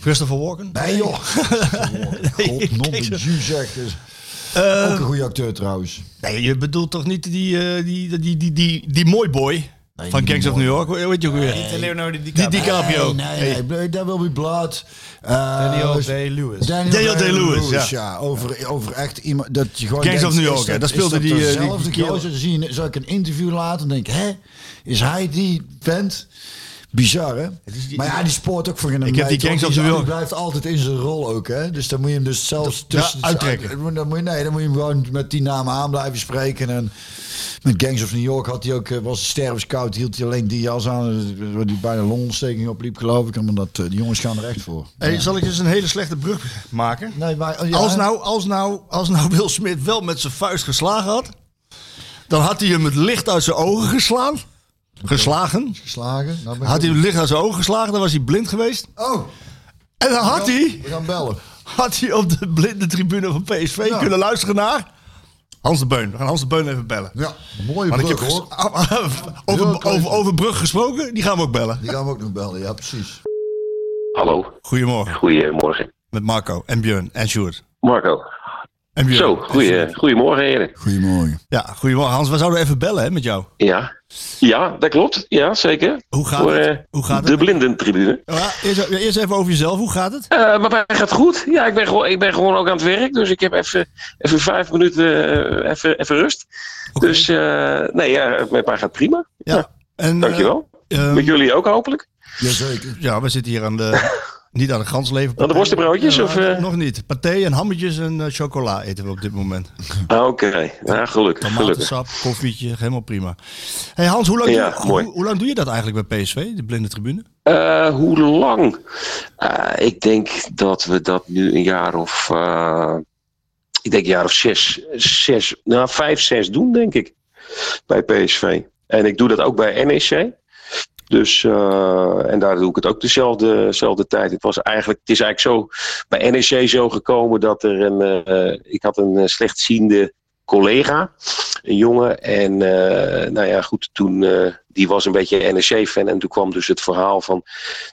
[SPEAKER 7] Christopher Walken?
[SPEAKER 2] nee joh, God, non de Jew zeg. Dus.
[SPEAKER 7] Eh,
[SPEAKER 2] Ook een goede acteur trouwens.
[SPEAKER 7] nee, je bedoelt toch niet die, eh, die, die, die, die, die, die mooi boy van
[SPEAKER 2] die
[SPEAKER 7] Gangs of
[SPEAKER 2] mooi
[SPEAKER 7] New York? Hoe Weet je ook weer?
[SPEAKER 4] Niet de Leonardo
[SPEAKER 7] Die
[SPEAKER 4] DiCaprio.
[SPEAKER 7] DiCaprio.
[SPEAKER 2] Nee, nee, nee, There Will Be Blood. eh,
[SPEAKER 4] Daniel Day-Lewis.
[SPEAKER 2] Daniel,
[SPEAKER 7] Daniel Day-Lewis,
[SPEAKER 2] ja. Over, over echt iemand dat je gewoon
[SPEAKER 7] Gangs
[SPEAKER 2] denkt,
[SPEAKER 7] of New
[SPEAKER 2] is dat-
[SPEAKER 7] York, hè, daar
[SPEAKER 2] is
[SPEAKER 7] speelde
[SPEAKER 2] dat
[SPEAKER 7] die, eh, die-
[SPEAKER 2] dezelfde
[SPEAKER 7] die
[SPEAKER 2] gozer. Dan zie je- Zou ik een interview laten en denk ik, hè, is hij die vent? Bizar, hè? maar ja, die spoort ook voor geen
[SPEAKER 7] heb
[SPEAKER 2] meid,
[SPEAKER 7] die Gangs
[SPEAKER 2] want
[SPEAKER 7] of
[SPEAKER 2] die-
[SPEAKER 7] New York.
[SPEAKER 2] Die blijft altijd in zijn rol ook, hè? Dus dan moet je hem dus zelfs
[SPEAKER 7] Ja,
[SPEAKER 2] tussen...
[SPEAKER 7] uittrekken.
[SPEAKER 2] Dan moet je, nee, dan moet je hem gewoon met die namen aan blijven spreken. En met Gangs of New York had hij ook, eh, was hij stervenskoud, hield hij alleen die jas aan. eh, Waar die bijna longontsteking opliep, geloof ik. Omdat dat eh, die jongens gaan er echt voor.
[SPEAKER 7] Hey, zal ik eens een hele slechte brug maken?
[SPEAKER 2] Nee, maar, oh, ja,
[SPEAKER 7] Als, nou, als, nou, als nou Will Smith wel met zijn vuist geslagen had, dan had hij hem het licht uit zijn ogen geslaan. Geslagen.
[SPEAKER 2] Slagen. Nou ben ik
[SPEAKER 7] Had hij
[SPEAKER 2] ook-
[SPEAKER 7] hem het licht uit zijn ogen geslagen, dan was hij blind geweest.
[SPEAKER 2] Oh,
[SPEAKER 7] En dan had hij,
[SPEAKER 2] we gaan bellen.
[SPEAKER 7] had hij op de blinde tribune van PSV
[SPEAKER 2] Ja.
[SPEAKER 7] kunnen luisteren naar Hans de Beun. We gaan Hans de Beun even bellen.
[SPEAKER 2] Ja, mooie
[SPEAKER 7] Maar dat je
[SPEAKER 2] brug
[SPEAKER 7] ook
[SPEAKER 2] hoor.
[SPEAKER 7] ges-
[SPEAKER 2] Heel
[SPEAKER 7] over,
[SPEAKER 2] klein.
[SPEAKER 7] over, over brug gesproken, die gaan we ook bellen.
[SPEAKER 2] Die gaan we ook nog bellen, ja precies.
[SPEAKER 8] Hallo,
[SPEAKER 7] Goedemorgen,
[SPEAKER 8] goedemorgen.
[SPEAKER 7] met Marco en Björn en Sjoerd.
[SPEAKER 8] Marco.
[SPEAKER 7] En Björn.
[SPEAKER 8] Zo, goeie, goedemorgen heren.
[SPEAKER 2] Goedemorgen.
[SPEAKER 7] Ja, goedemorgen. Hans, we zouden even bellen hè, met jou.
[SPEAKER 8] Ja. ja, dat klopt. Ja, zeker.
[SPEAKER 7] Hoe gaat
[SPEAKER 8] Voor,
[SPEAKER 7] het?
[SPEAKER 8] eh,
[SPEAKER 7] Hoe gaat
[SPEAKER 8] de
[SPEAKER 7] het?
[SPEAKER 8] blindentribune.
[SPEAKER 7] Ja, eerst, eerst even over jezelf, hoe gaat het?
[SPEAKER 8] Eh, maar mij gaat goed. Ja, ik ben, gewoon, ik ben gewoon ook aan het werk. Dus ik heb even, even vijf minuten eh, even, even rust. Dus eh, nee, ja, met mij gaat prima.
[SPEAKER 7] Ja. En,
[SPEAKER 8] Dankjewel.
[SPEAKER 7] eh, ehm,
[SPEAKER 8] Met jullie ook hopelijk.
[SPEAKER 2] Jazeker.
[SPEAKER 7] ja, we zitten hier aan de, niet aan de gansleven.
[SPEAKER 8] Aan de worstenbroodjes, of, eh?
[SPEAKER 7] Nog niet. Paté en hammetjes en eh, chocola eten we op dit moment.
[SPEAKER 8] Ah, Oké, nou gelukkig. gelukkig.
[SPEAKER 7] Tomatensap, koffietje, helemaal prima. Hey Hans, hoe lang,
[SPEAKER 8] Ja,
[SPEAKER 7] doe,
[SPEAKER 8] mooi.
[SPEAKER 7] hoe, hoe lang doe je dat eigenlijk bij PSV, de blinde tribune?
[SPEAKER 8] Eh, hoe lang? Eh, ik denk dat we dat nu een jaar of. eh, ik denk een jaar of zes, zes. Nou, vijf, zes doen, denk ik. Bij PSV. En ik doe dat ook bij NEC. Dus, eh, en daar doe ik het ook dezelfde, dezelfde tijd. Het, was eigenlijk, het is eigenlijk zo bij NEC zo gekomen dat er een. eh, ik had een eh, slechtziende collega, een jongen. En eh, nou ja, goed, toen. eh, die was een beetje NEC-fan. En toen kwam dus het verhaal van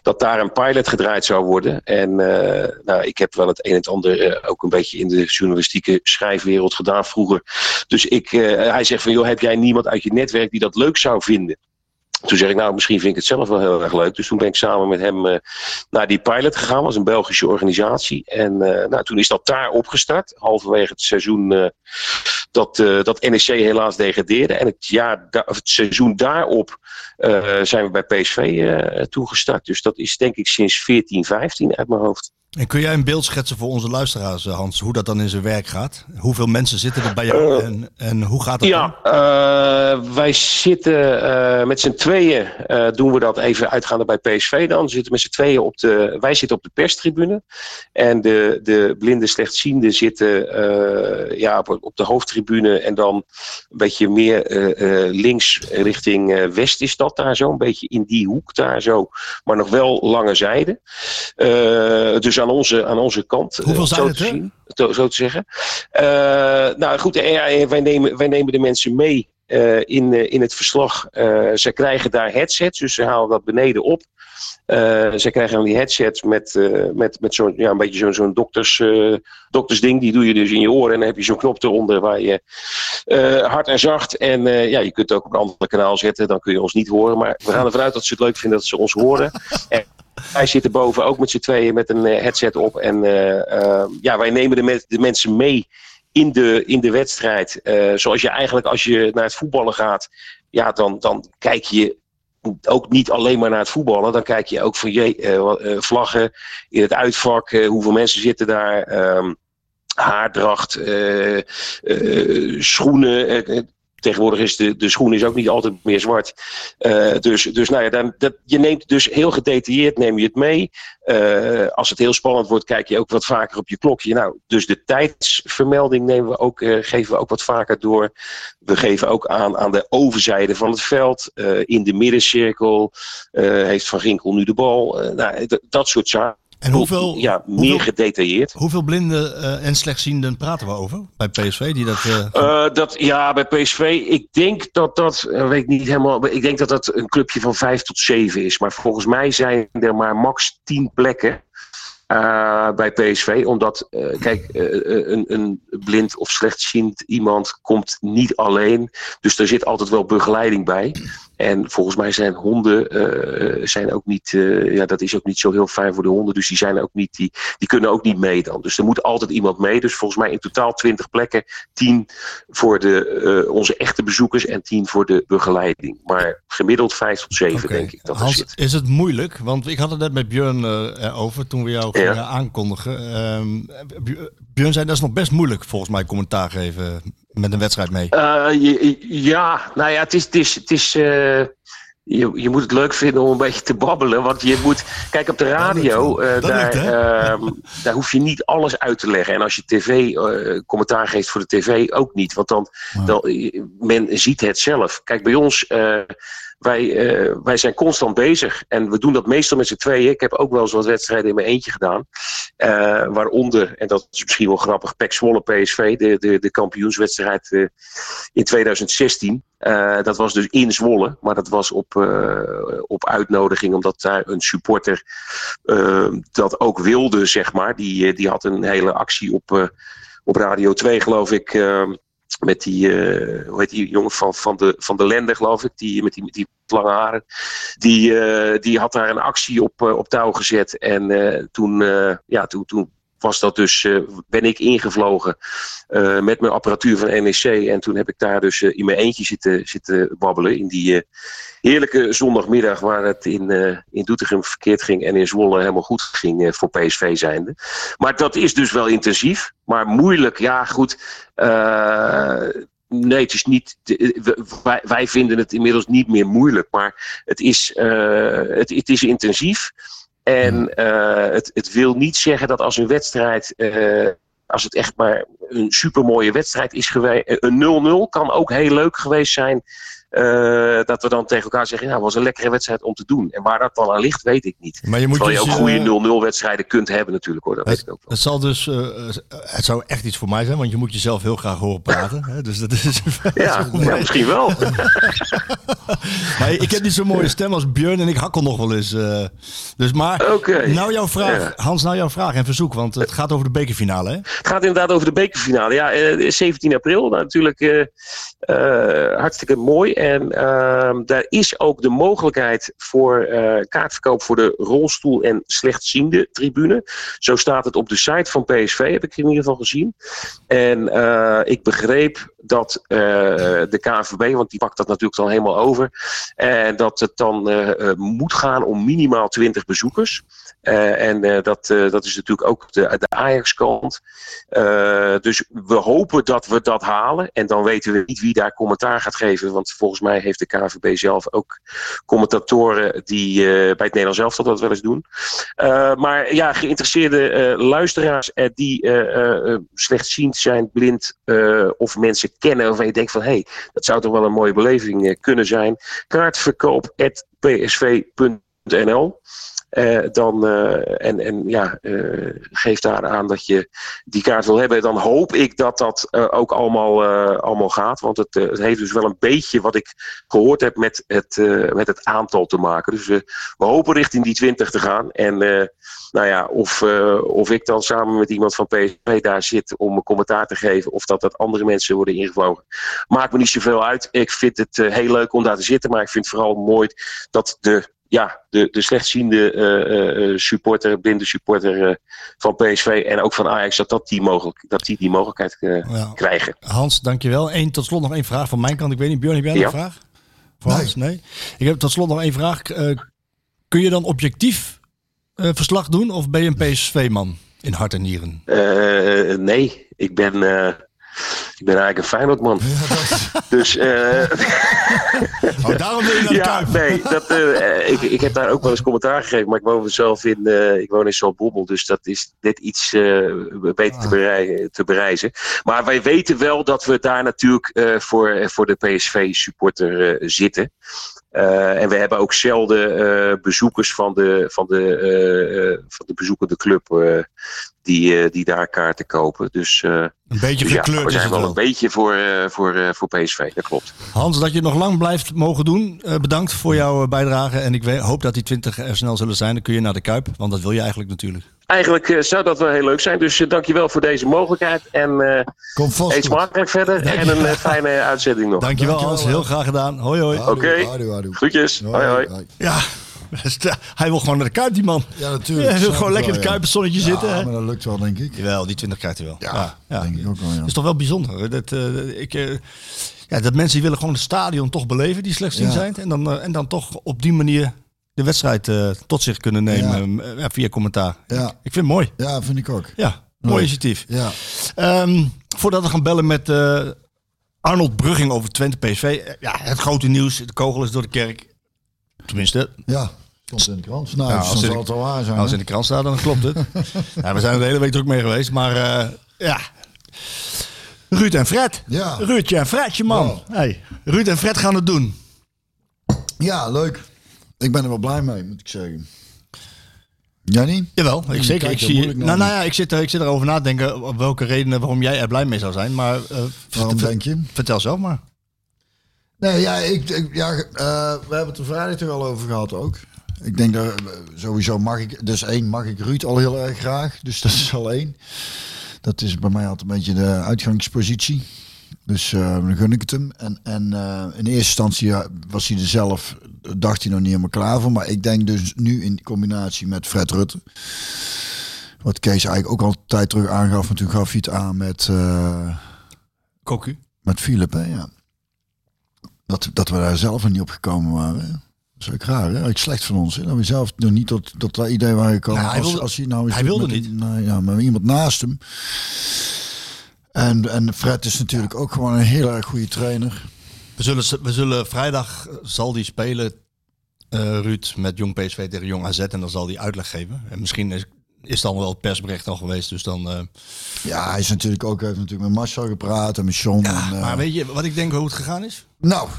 [SPEAKER 8] dat daar een pilot gedraaid zou worden. En eh, nou, ik heb wel het een en het ander eh, ook een beetje in de journalistieke schrijfwereld gedaan vroeger. Dus ik, eh, hij zegt van, joh, heb jij niemand uit je netwerk die dat leuk zou vinden? Toen zeg ik, nou, misschien vind ik het zelf wel heel erg leuk. Dus toen ben ik samen met hem eh, naar die pilot gegaan. was een Belgische organisatie. En eh, nou, toen is dat daar opgestart. Halverwege het seizoen eh, dat, eh dat NEC helaas degradeerde. En het, jaar da- of het seizoen daarop eh, zijn we bij PSV eh, toegestart. Dus dat is denk ik sinds 14, 15 uit mijn hoofd.
[SPEAKER 7] En kun jij een beeld schetsen voor onze luisteraars, eh, Hans, hoe dat dan in zijn werk gaat? Hoeveel mensen zitten er bij jou en, en hoe gaat dat? dan?
[SPEAKER 8] Eh, Ja, eh, wij zitten eh, met z'n tweeën, eh, doen we dat even uitgaande bij PSV dan. We Zitten met z'n tweeën op de, wij zitten op de perstribune. En de, de blinde slechtzienden zitten eh, ja, op, op de hoofdtribune. En dan een beetje meer eh, eh, links richting eh, west is dat daar zo. Een beetje in die hoek daar zo. Maar nog wel lange zijde. Eh, dus aan onze, aan onze kant. eh,
[SPEAKER 7] Hoeveel
[SPEAKER 8] zo
[SPEAKER 7] zijn
[SPEAKER 8] te
[SPEAKER 7] het, hè?
[SPEAKER 8] zien, zo- zo te zeggen. Eh, nou goed, en ja, en wij, nemen, wij nemen de mensen mee eh, in, eh, in het verslag. Eh, ze krijgen daar headsets, dus ze halen dat beneden op. Eh, ze krijgen dan die headset met, eh, met, met zo'n ja, een beetje zo'n zo'n dokters, eh, doktersding. Die doe je dus in je oren en dan heb je zo'n knop eronder waar je eh, hard en zacht. En eh, ja, je kunt het ook op een ander kanaal zetten, dan kun je ons niet horen. Maar we gaan ervan uit dat ze het leuk vinden dat ze ons horen. En wij zitten boven ook met z'n tweeën met een eh, headset op. En eh, eh, ja, wij nemen de, men- de mensen mee in de, in de wedstrijd. Eh, zoals je eigenlijk als je naar het voetballen gaat, ja, dan, dan kijk je ook niet alleen maar naar het voetballen. Dan kijk je ook van je eh, vlaggen in het uitvak, eh, hoeveel mensen zitten daar. ehm, haardracht, eh, eh, schoenen. eh, eh, tegenwoordig is de, de schoen is ook niet altijd meer zwart. Eh, dus dus nou ja, dan, dat, je neemt dus heel gedetailleerd neem je het mee. Eh, als het heel spannend wordt, kijk je ook wat vaker op je klokje. Nou, dus de tijdsvermelding nemen we ook, eh, geven we ook wat vaker door. We geven ook aan aan de overzijde van het veld, eh, in de middencirkel, eh, heeft Van Ginkel nu de bal. Eh, nou, d- dat soort zaken.
[SPEAKER 7] En hoeveel,
[SPEAKER 8] ja, meer
[SPEAKER 7] hoeveel,
[SPEAKER 8] gedetailleerd.
[SPEAKER 7] hoeveel blinden eh, en slechtzienden praten we over bij PSV? Die dat, eh,
[SPEAKER 8] Eh, dat, ja, bij PSV, ik denk dat dat, eh, weet ik niet helemaal, ik denk dat dat een clubje van vijf tot zeven is. Maar volgens mij zijn er maar max tien plekken eh, bij PSV. Omdat, eh, kijk, eh, eh, een, een blind of slechtziend iemand komt niet alleen. Dus er zit altijd wel begeleiding bij. En volgens mij zijn honden eh, zijn ook niet, eh, ja, dat is ook niet zo heel fijn voor de honden. Dus die, zijn ook niet, die, die kunnen ook niet mee dan. Dus er moet altijd iemand mee. Dus volgens mij in totaal 20 plekken, 10 voor de, eh, onze echte bezoekers en 10 voor de begeleiding. Maar gemiddeld 5 tot 7
[SPEAKER 7] Oké.
[SPEAKER 8] denk ik dat er
[SPEAKER 7] Hans,
[SPEAKER 8] zit.
[SPEAKER 7] is het moeilijk? Want ik had het net met Björn eh, erover toen we jou
[SPEAKER 8] Ja.
[SPEAKER 7] gingen aankondigen. Ehm, Bj- Björn zei dat is nog best moeilijk volgens mij commentaar geven met een wedstrijd mee.
[SPEAKER 8] Eh, je- je- ja, nou ja, het is. Het is, het is eh, je, je moet het leuk vinden om een beetje te babbelen. Want je moet. Kijk, op de radio.
[SPEAKER 7] lukt wel.
[SPEAKER 8] eh,
[SPEAKER 7] Dat
[SPEAKER 8] daar,
[SPEAKER 7] lukt, hè?
[SPEAKER 8] ehm, daar hoef je niet alles uit te leggen. En als je tv. eh, commentaar geeft voor de tv ook niet. Want dan. dan eh, men ziet het zelf. Kijk, bij ons. eh, wij, eh, wij zijn constant bezig. En we doen dat meestal met z'n tweeën. Ik heb ook wel eens wat wedstrijden in mijn eentje gedaan. Eh, waaronder, en dat is misschien wel grappig, PEC Zwolle PSV. De, de, de kampioenswedstrijd eh, in 2016. Eh, dat was dus in Zwolle, maar dat was op, eh, op uitnodiging, omdat daar een supporter eh, dat ook wilde, zeg maar. Die, eh, die had een hele actie op, eh, op Radio 2, geloof ik. eh, met die, eh, hoe heet die jongen van, van, de, van de Lende, geloof ik, die, met, die, met die lange haren. Die, eh, die had daar een actie op, eh, op touw gezet. En eh, toen, eh, ja, toen, toen was dat dus, eh, ben ik ingevlogen eh, met mijn apparatuur van NEC. En toen heb ik daar dus eh, in mijn eentje zitten, zitten babbelen. In die eh, heerlijke zondagmiddag waar het in, eh, in Doetinchem verkeerd ging. En in Zwolle helemaal goed ging eh, voor PSV zijnde. Maar dat is dus wel intensief. Maar moeilijk, ja goed. eh, nee, het is niet. we- Wij, wij vinden het inmiddels niet meer moeilijk. Maar het is, eh, het, het is intensief. En eh, het, het wil niet zeggen dat als een wedstrijd eh, als het echt maar een supermooie wedstrijd is geweest. Een 0-0 kan ook heel leuk geweest zijn. eh, dat we dan tegen elkaar zeggen, nou, was een lekkere wedstrijd om te doen. En waar dat dan aan ligt, weet ik niet.
[SPEAKER 7] Maar je moet
[SPEAKER 8] Terwijl je
[SPEAKER 7] dus,
[SPEAKER 8] ook
[SPEAKER 7] eh,
[SPEAKER 8] goede 0-0 wedstrijden kunt hebben natuurlijk hoor, dat weet ik ook wel.
[SPEAKER 7] Het zal dus, eh, het zou echt iets voor mij zijn, want je moet jezelf heel graag horen praten. Hè? Dus dat is.
[SPEAKER 8] Ja, ja, misschien wel.
[SPEAKER 7] Maar ik heb niet zo'n mooie stem als Björn en ik hakkel nog wel eens. eh. dus maar,
[SPEAKER 8] Oké.
[SPEAKER 7] nou jouw vraag,
[SPEAKER 8] Ja.
[SPEAKER 7] Hans, nou jouw vraag en verzoek, want het gaat over de bekerfinale. Hè?
[SPEAKER 8] Het gaat inderdaad over de bekerfinale. Ja, eh, 17 april nou, natuurlijk eh, eh, hartstikke mooi. En ehm, daar is ook de mogelijkheid voor eh, kaartverkoop voor de rolstoel- en slechtziende tribune. Zo staat het op de site van PSV, heb ik in ieder geval gezien. En eh, ik begreep dat eh, de KNVB, want die pakt dat natuurlijk dan helemaal over, en dat het dan eh, eh, moet gaan om minimaal 20 bezoekers. Eh, en eh, dat, eh, dat is natuurlijk ook de, de Ajax-kant. Eh, dus we hopen dat we dat halen. En dan weten we niet wie daar commentaar gaat geven. Want volgens mij heeft de KNVB zelf ook commentatoren die eh, bij het Nederlands zelf dat wel eens doen. Eh, maar ja, geïnteresseerde eh, luisteraars eh, die eh, eh, slechtziend zijn, blind eh, of mensen kennen. Of je denkt van hé, hey, dat zou toch wel een mooie beleving eh, kunnen zijn. Kaartverkoop.psv.nl eh, dan, eh, en, en ja, eh, geef daar aan dat je die kaart wil hebben. Dan hoop ik dat dat eh, ook allemaal, eh, allemaal gaat. Want het, eh, het heeft dus wel een beetje wat ik gehoord heb met het, eh, met het aantal te maken. Dus eh, we hopen richting die 20 te gaan. En eh, nou ja, of, eh, of ik dan samen met iemand van PSV daar zit om een commentaar te geven. Of dat dat andere mensen worden ingevlogen. Maakt me niet zoveel uit. Ik vind het eh, heel leuk om daar te zitten. Maar ik vind het vooral mooi dat de ja, de, de slechtziende eh, eh, supporter, blinde supporter eh, van PSV en ook van Ajax, dat, dat, die, mogelijk, dat die die mogelijkheid eh,
[SPEAKER 7] Ja.
[SPEAKER 8] krijgen.
[SPEAKER 7] Hans, dankjewel. Eén, tot slot nog één vraag van mijn kant. Ik weet niet, Björn, heb jij nog
[SPEAKER 8] Ja.
[SPEAKER 7] een vraag? Voor Hans? Nee. Ik heb tot slot nog één vraag. Eh, kun je dan objectief eh, verslag doen of ben je een PSV-man in hart en nieren?
[SPEAKER 8] Eh, nee, ik ben, eh, ik ben eigenlijk een Feyenoordman. dus eh,
[SPEAKER 7] Oh, daarom wil je naar de
[SPEAKER 8] ja,
[SPEAKER 7] Kuip.
[SPEAKER 8] nee, dat, eh, eh, ik, ik heb daar ook wel eens commentaar gegeven, maar ik woon zelf in, eh, ik woon in Zaltbommel, dus dat is net iets eh, beter
[SPEAKER 7] Ah.
[SPEAKER 8] te, berei- te bereizen. Maar wij weten wel dat we daar natuurlijk eh, voor, eh, voor de PSV-supporter eh, zitten. Eh, en we hebben ook zelden eh, bezoekers van de, van de, eh, eh, van de bezoekende club eh, die, eh, die daar kaarten kopen. Dus, eh,
[SPEAKER 7] Een beetje
[SPEAKER 8] dus ja, we
[SPEAKER 7] gekleurd is
[SPEAKER 8] zijn
[SPEAKER 7] het
[SPEAKER 8] wel
[SPEAKER 7] wel.
[SPEAKER 8] een beetje voor, eh, voor, eh, voor PSV, dat klopt.
[SPEAKER 7] Hans, dat je het nog lang blijft mogen doen. eh, bedankt voor jouw eh, bijdrage. En ik we- hoop dat die 20 er snel zullen zijn. Dan kun je naar de Kuip, want dat wil je eigenlijk natuurlijk.
[SPEAKER 8] Eigenlijk eh, zou dat wel heel leuk zijn. Dus eh, dankjewel voor deze mogelijkheid. En eh
[SPEAKER 2] Kom vast.
[SPEAKER 8] eet
[SPEAKER 2] goed.
[SPEAKER 8] smakelijk verder. En een eh, fijne uitzending nog.
[SPEAKER 7] Dankjewel,
[SPEAKER 2] Dankjewel,
[SPEAKER 7] Hans,
[SPEAKER 2] hè.
[SPEAKER 7] heel graag gedaan. Hoi hoi.
[SPEAKER 2] Houdoe,
[SPEAKER 8] Oké.
[SPEAKER 2] houdoe, houdoe.
[SPEAKER 8] Groetjes. Hoi, hoi.
[SPEAKER 7] Ja, hij wil gewoon naar de Kuip die man.
[SPEAKER 2] Ja, natuurlijk.
[SPEAKER 7] Hij wil
[SPEAKER 2] Snap
[SPEAKER 7] gewoon
[SPEAKER 2] ik wel,
[SPEAKER 7] lekker in het
[SPEAKER 2] ja.
[SPEAKER 7] Kuipersonnetje zitten. hè?
[SPEAKER 2] Ja, maar dat lukt wel, denk ik.
[SPEAKER 7] Jawel, die 20 krijgt hij wel. Ja, Dus-
[SPEAKER 2] denk ik ook wel, ja.
[SPEAKER 7] Dat is toch wel bijzonder. hè? Dat, eh, ik, eh, ja, dat mensen die willen gewoon het stadion toch beleven, die slechtziend
[SPEAKER 2] Ja.
[SPEAKER 7] zijn. En dan, eh, en dan toch op die manier de wedstrijd eh, tot zich kunnen nemen eh, ja, via commentaar.
[SPEAKER 2] Ja.
[SPEAKER 7] Ik, ik vind het mooi.
[SPEAKER 2] Ja, vind ik ook.
[SPEAKER 7] Ja, mooi
[SPEAKER 2] Leuk.
[SPEAKER 7] initiatief.
[SPEAKER 2] Ja.
[SPEAKER 7] Ehm, voordat we gaan bellen met eh, Arnold Brugging over Twente PSV. eh, Ja, het grote nieuws, de kogel is door de kerk. Tenminste,
[SPEAKER 2] Ja, stond in de krant. Nou,
[SPEAKER 7] Nou,
[SPEAKER 2] dus
[SPEAKER 7] als
[SPEAKER 2] dan
[SPEAKER 7] in-
[SPEAKER 2] zal het wel waar zijn.
[SPEAKER 7] Nou, als
[SPEAKER 2] hè?
[SPEAKER 7] het in de krant staat, dan klopt het. ja, we zijn er de hele week druk mee geweest, maar eh, ja. Ruud en Fred.
[SPEAKER 2] Ja.
[SPEAKER 7] Ruudje en Fredje, man. Hey. Ruud en Fred gaan het doen.
[SPEAKER 2] Ja, leuk. Ik ben er wel blij mee, moet ik zeggen. Jij niet?
[SPEAKER 7] Jawel, ik zeker.
[SPEAKER 2] kijk
[SPEAKER 7] Ik
[SPEAKER 2] er
[SPEAKER 7] zie,
[SPEAKER 2] moeilijk naar.
[SPEAKER 7] nou, nou ja, ik zit, er, ik zit erover na te denken op welke redenen waarom jij er blij mee zou zijn. Maar eh,
[SPEAKER 2] Waarom
[SPEAKER 7] ver-
[SPEAKER 2] denk je?
[SPEAKER 7] vertel zelf maar.
[SPEAKER 2] Nee, ja, ik, ik- ja eh, we hebben het er vrijdag toch al over gehad ook. Ik denk dat eh, sowieso mag ik, dus één, mag ik Ruud al heel erg graag. Dus dat is al één. Dat is bij mij altijd een beetje de uitgangspositie. Dus eh, dan gun ik het hem. En, en eh, in eerste instantie ja, was hij er zelf, dacht hij nog niet helemaal klaar voor. Maar ik denk dus nu in combinatie met Fred Rutte. Wat Kees eigenlijk ook al een tijd terug aangaf. En toen gaf hij het aan met... eh,
[SPEAKER 7] Koku.
[SPEAKER 2] met Philip, hè, ja. Dat, dat we daar zelf nog niet op gekomen waren. hè. Dat is ook raar, hè? Eigenlijk slecht van ons. Hè? Dat we zelf nog niet tot, tot dat idee waren gekomen.
[SPEAKER 7] Nou, hij
[SPEAKER 2] als,
[SPEAKER 7] wilde-
[SPEAKER 2] als hij nou eens
[SPEAKER 7] hij
[SPEAKER 2] doet
[SPEAKER 7] wilde
[SPEAKER 2] met-
[SPEAKER 7] niet.
[SPEAKER 2] nou ja, maar iemand naast hem. En, en Fred is natuurlijk ook gewoon een heel erg goede trainer.
[SPEAKER 7] We zullen, we zullen vrijdag eh, zal die spelen, eh, Ruud, met Jong PSV tegen Jong AZ. En dan zal die uitleg geven. En misschien is, is dan wel het persbericht al geweest, dus dan... eh,
[SPEAKER 2] Ja, hij is natuurlijk ook, heeft natuurlijk met Marcel gepraat en met Sean. en, eh,
[SPEAKER 7] Maar weet je wat ik denk hoe het gegaan is?
[SPEAKER 2] Nou,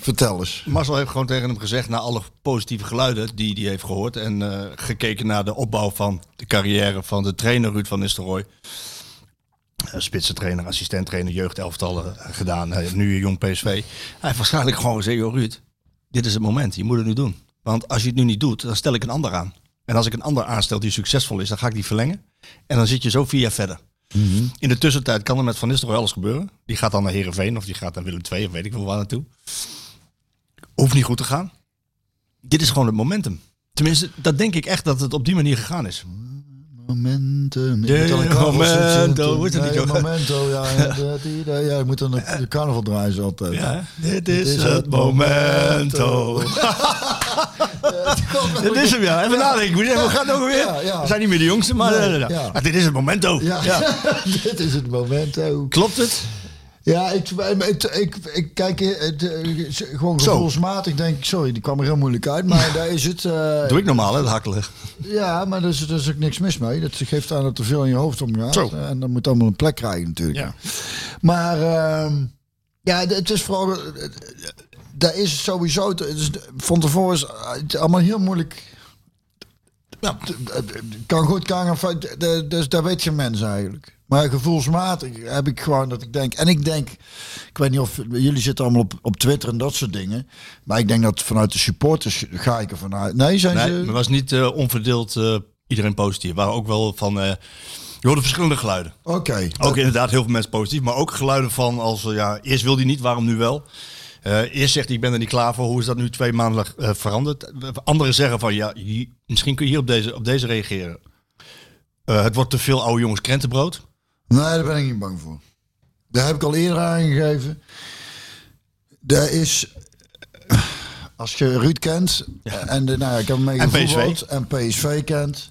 [SPEAKER 2] vertel eens.
[SPEAKER 7] Marcel heeft gewoon tegen hem gezegd, na alle positieve geluiden die hij heeft gehoord en eh, gekeken naar de opbouw van de carrière van de trainer Ruud van Nistelrooy. Eh, Spitsentrainer, assistenttrainer, jeugdelftallen eh, gedaan, eh, nu een jong PSV. Hij heeft waarschijnlijk gewoon gezegd, joh Ruud, dit is het moment, je moet het nu doen. Want als je het nu niet doet, dan stel ik een ander aan. En als ik een ander aanstel die succesvol is, dan ga ik die verlengen. En dan zit je zo vier jaar verder. In de tussentijd kan er met Van Nistelrooy alles gebeuren. Die gaat dan naar Herenveen of die gaat naar Willem II of weet ik veel waar naartoe. Hoeft niet goed te gaan. Dit is gewoon het momentum. Tenminste, dat denk ik echt dat het op die manier gegaan is.
[SPEAKER 2] Momentum. Ik
[SPEAKER 7] Ja,
[SPEAKER 2] moet aan
[SPEAKER 7] ja,
[SPEAKER 2] carnaval
[SPEAKER 7] momento,
[SPEAKER 2] zitten.
[SPEAKER 7] wordt het
[SPEAKER 2] Nee,
[SPEAKER 7] niet, joh.
[SPEAKER 2] Momento, ja. ja, dat- die- dat- ja, ik moet aan de, de carnaval draaien zo altijd.
[SPEAKER 7] dit
[SPEAKER 2] Dit
[SPEAKER 7] is het momento. Dit is hem, ja. Even nadenken. Ik moet even- We gaan ook weer.
[SPEAKER 2] Ja, ja.
[SPEAKER 7] We zijn niet meer de jongste, maar
[SPEAKER 2] Nee,
[SPEAKER 7] eh,
[SPEAKER 2] ja.
[SPEAKER 7] ah, dit is het momento.
[SPEAKER 2] Ja, dit is het momento.
[SPEAKER 7] Klopt het?
[SPEAKER 2] Ja, ik, ik, ik, ik kijk het, eh, gewoon
[SPEAKER 7] Zo.
[SPEAKER 2] gevoelsmatig denk ik, sorry, die kwam er heel moeilijk uit, maar daar is het. eh,
[SPEAKER 7] Doe ik normaal, hè, dat hakkelen.
[SPEAKER 2] ja, maar daar is, daar is ook niks mis mee. Dat geeft aan dat er veel in je hoofd omgaat. Eh,
[SPEAKER 7] Zo.
[SPEAKER 2] En dat moet allemaal een plek krijgen natuurlijk.
[SPEAKER 7] Ja.
[SPEAKER 2] Maar ehm, ja, het is vooral, eh, daar is het sowieso, het is, van tevoren is het allemaal heel moeilijk
[SPEAKER 7] Ja.
[SPEAKER 2] kan goed, kan gaan fout. De- de- Dus daar weet je mensen eigenlijk. Maar gevoelsmatig heb ik gewoon dat ik denk. En ik denk, ik weet niet of jullie zitten allemaal op, op Twitter en dat soort dingen. Maar ik denk dat vanuit de supporters ga ik er vanuit. Nee, zijn
[SPEAKER 7] Nee,
[SPEAKER 2] ze.
[SPEAKER 7] maar was niet eh, onverdeeld eh, iedereen positief. Er waren ook wel van... eh, je hoorde verschillende geluiden.
[SPEAKER 2] Oké.
[SPEAKER 7] Ook inderdaad heel veel mensen positief. Maar ook geluiden van als, eh, ja, eerst wil hij niet, waarom nu wel? Eh, eerst zegt hij, ik ben er niet klaar voor. Hoe is dat nu twee maanden eh, veranderd? Anderen zeggen van, ja, hier- misschien kun je hier op deze, op deze reageren. Eh, het wordt te veel oude jongens krentenbrood.
[SPEAKER 2] Nee, daar ben ik niet bang voor. Daar heb ik al eerder aangegeven. Daar is. Als je Ruud kent. En de, nou, ja, ik heb hem mee
[SPEAKER 7] En PSV.
[SPEAKER 2] gevoetbald, En PSV kent.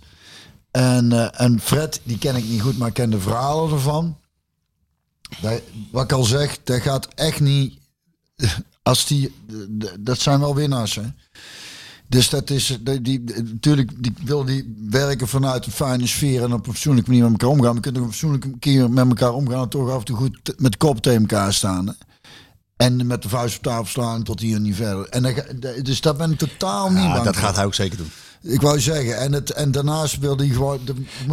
[SPEAKER 2] En, eh, en Fred, die ken ik niet goed, maar ik ken de verhalen ervan. Daar- wat ik al zeg, dat gaat echt niet. Als die, d- d- dat zijn wel winnaars, hè? Dus dat is, die, die- natuurlijk die, wil die werken vanuit een fijne sfeer en op een fatsoenlijke manier met elkaar omgaan. Maar je kunt op een fatsoenlijke keer met elkaar omgaan en toch af en toe goed t- met de kop tegen elkaar staan. hè. En met de vuist op tafel slaan tot hier en niet verder. En dan ga- d- dus dat ben ik totaal niet
[SPEAKER 7] Ja,
[SPEAKER 2] bang
[SPEAKER 7] Ah, dat
[SPEAKER 2] voor.
[SPEAKER 7] gaat hij ook zeker doen.
[SPEAKER 2] Ik wou zeggen, en, het, en daarnaast wil die gewoon,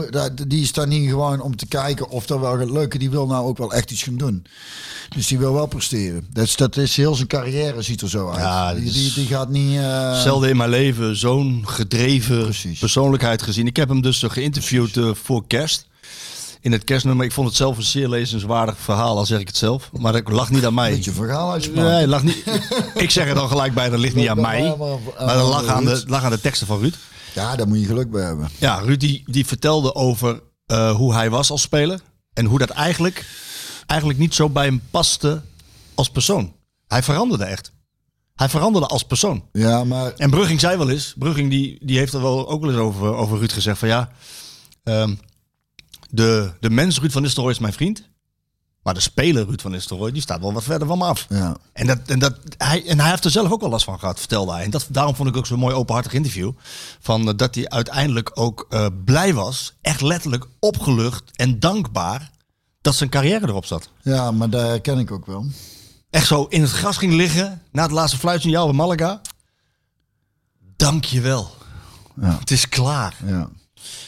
[SPEAKER 2] de- die is daar niet gewoon om te kijken of dat wel gaat lukken. Die wil nou ook wel echt iets gaan doen. Dus die wil wel presteren. Dat is, dat is heel zijn carrière ziet er zo uit.
[SPEAKER 7] Ja,
[SPEAKER 2] die,
[SPEAKER 7] dat
[SPEAKER 2] die,
[SPEAKER 7] is-
[SPEAKER 2] die gaat niet... eh,
[SPEAKER 7] Zelden in mijn leven zo'n gedreven
[SPEAKER 2] Precies.
[SPEAKER 7] persoonlijkheid gezien. Ik heb hem dus eh, geïnterviewd eh, voor kerst. In het kerstnummer. Ik vond het zelf een zeer lezenswaardig verhaal, al zeg ik het zelf. Maar dat lag niet aan mij.
[SPEAKER 2] Beetje verhaal uitspraak.
[SPEAKER 7] Nee, lag niet. ik zeg het dan gelijk bij, dat ligt niet aan mij. Maar dat lag aan de, lag aan de teksten van Ruud.
[SPEAKER 2] Ja, daar moet je geluk bij hebben.
[SPEAKER 7] Ja, Ruud die, die vertelde over eh, hoe hij was als speler. En hoe dat eigenlijk, eigenlijk niet zo bij hem paste als persoon. Hij veranderde echt. Hij veranderde als persoon.
[SPEAKER 2] Ja, maar
[SPEAKER 7] En Brugging zei wel eens, Brugging die, die heeft er wel ook wel eens over, over Ruud gezegd van ja, ehm, de, de mens Ruud van Nistelrooy is mijn vriend, maar de speler Ruud van Nistelrooy die staat wel wat verder van me af.
[SPEAKER 2] Ja.
[SPEAKER 7] En, dat, en, dat, hij, en hij heeft er zelf ook wel last van gehad, vertelde hij. En dat, daarom vond ik ook zo'n mooi openhartig interview, van, eh, dat hij uiteindelijk ook eh, blij was, echt letterlijk opgelucht en dankbaar dat zijn carrière erop zat.
[SPEAKER 2] ja, maar daar herken ik ook wel.
[SPEAKER 7] Echt zo in het gras ging liggen na het laatste fluitsignaal van Malaga. Dank je wel. Het is klaar.
[SPEAKER 2] Ja.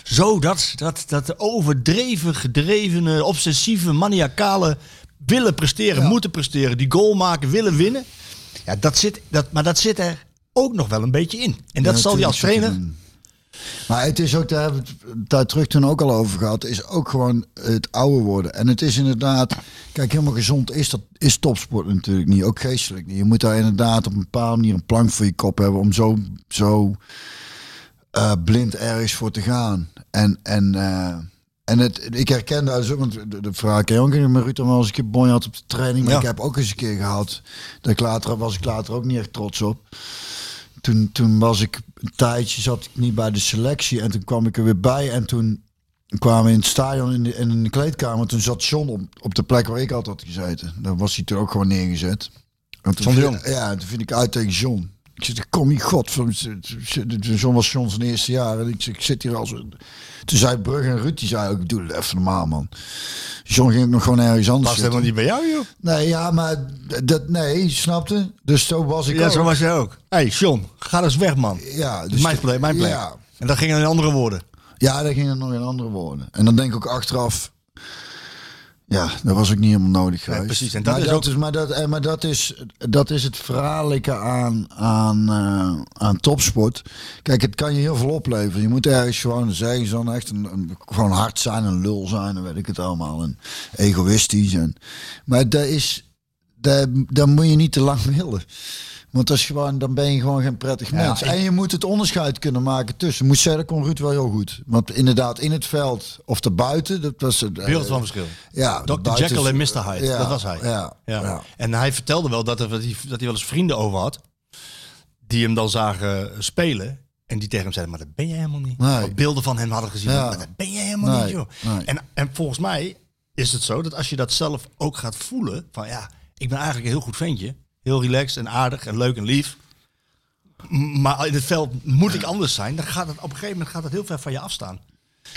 [SPEAKER 7] Zo dat, dat, dat overdreven, gedrevene, obsessieve, maniacale willen presteren, moeten presteren, die goal maken, willen winnen. Ja, dat zit, dat, maar dat zit er ook nog wel een beetje in. En dat
[SPEAKER 2] Ja,
[SPEAKER 7] zal hij
[SPEAKER 2] natuurlijk
[SPEAKER 7] als
[SPEAKER 2] zit hij
[SPEAKER 7] trainer.
[SPEAKER 2] erin. Maar het is ook, daar hebben we het een tijd terug toen ook al over gehad, is ook gewoon het ouder worden. En het is inderdaad, kijk, helemaal gezond is dat is topsport natuurlijk niet, ook geestelijk niet. Je moet daar inderdaad op een bepaalde manier een plank voor je kop hebben om zo, zo eh, blind ergens voor te gaan. En, en, eh, en het, ik herken daar zo, want de, de vraag, ik ook met Ruud dan wel eens een keer bonje had op de training, maar
[SPEAKER 7] Ja.
[SPEAKER 2] ik heb ook eens een keer gehad, dat ik later, was ik later ook niet echt trots op toen, toen was ik een tijdje, zat ik niet bij de selectie. En toen kwam ik er weer bij. En toen kwamen we in het stadion in de, en in de kleedkamer. Toen zat John op, op de plek waar ik altijd had gezeten. Daar was hij toen ook gewoon neergezet. En toen
[SPEAKER 7] John de
[SPEAKER 2] viel-
[SPEAKER 7] Jong.
[SPEAKER 2] Ja, en toen vind ik uit tegen John. Ik zeg, kom hier, god. van- z- z- John was John zijn eerste jaar. En ik, zeg, ik zit hier als... Toen zei Brugge en Ruud, die zei ook, doe het even normaal, man. John ging ook nog gewoon ergens anders
[SPEAKER 7] Was helemaal
[SPEAKER 2] zitten.
[SPEAKER 7] niet bij jou, joh.
[SPEAKER 2] Nee, ja, maar dat... Nee, snapte? Dus zo was ik
[SPEAKER 7] Ja,
[SPEAKER 2] ook.
[SPEAKER 7] zo was jij ook. Hé, hey, John, ga eens weg, man.
[SPEAKER 2] Ja,
[SPEAKER 7] Dus mijn plek, mijn plek.
[SPEAKER 2] Ja,
[SPEAKER 7] En dat ging in andere woorden.
[SPEAKER 2] Ja, daar ging het nog in andere woorden. En dan denk ik ook achteraf. Ja, dat was ook niet helemaal nodig geweest.
[SPEAKER 7] precies. En dat
[SPEAKER 2] maar
[SPEAKER 7] is
[SPEAKER 2] dat
[SPEAKER 7] ook-
[SPEAKER 2] is, maar dat, eh, maar dat is, dat is het verhaallijke aan, aan, eh, aan topsport. Kijk, het kan je heel veel opleveren. Je moet ergens gewoon zeggen, zo'n echt een, een- gewoon hard zijn, een lul zijn, en weet ik het allemaal. En egoïstisch. En, maar dat is, daar, daar moet je niet te lang willen. Want dat is gewoon, dan ben je gewoon geen prettig mens. En je moet het onderscheid kunnen maken tussen. Moet zeggen, dat kon Ruud wel heel goed. Want inderdaad, in het veld of daarbuiten, dat was het. eh,
[SPEAKER 7] Wereld van verschil.
[SPEAKER 2] ja,
[SPEAKER 7] Dr.
[SPEAKER 2] buiten-
[SPEAKER 7] Jekyll en Mr. Hyde,
[SPEAKER 2] Ja,
[SPEAKER 7] dat was hij.
[SPEAKER 2] Ja,
[SPEAKER 7] Ja.
[SPEAKER 2] ja.
[SPEAKER 7] En hij vertelde wel dat, er, dat, hij, dat hij wel eens vrienden over had. Die hem dan zagen spelen. En die tegen hem zeiden, maar dat ben je helemaal niet.
[SPEAKER 2] Nee.
[SPEAKER 7] Wat beelden van hem hadden gezien.
[SPEAKER 2] Ja.
[SPEAKER 7] Maar dat ben je helemaal
[SPEAKER 2] Nee,
[SPEAKER 7] niet, joh.
[SPEAKER 2] nee.
[SPEAKER 7] En, en volgens mij is het zo dat als je dat zelf ook gaat voelen. Van ja, ik ben eigenlijk een heel goed ventje. Heel relaxed en aardig en leuk en lief. M- Maar in het veld moet ik anders zijn. Dan gaat het op een gegeven moment gaat het heel ver van je afstaan.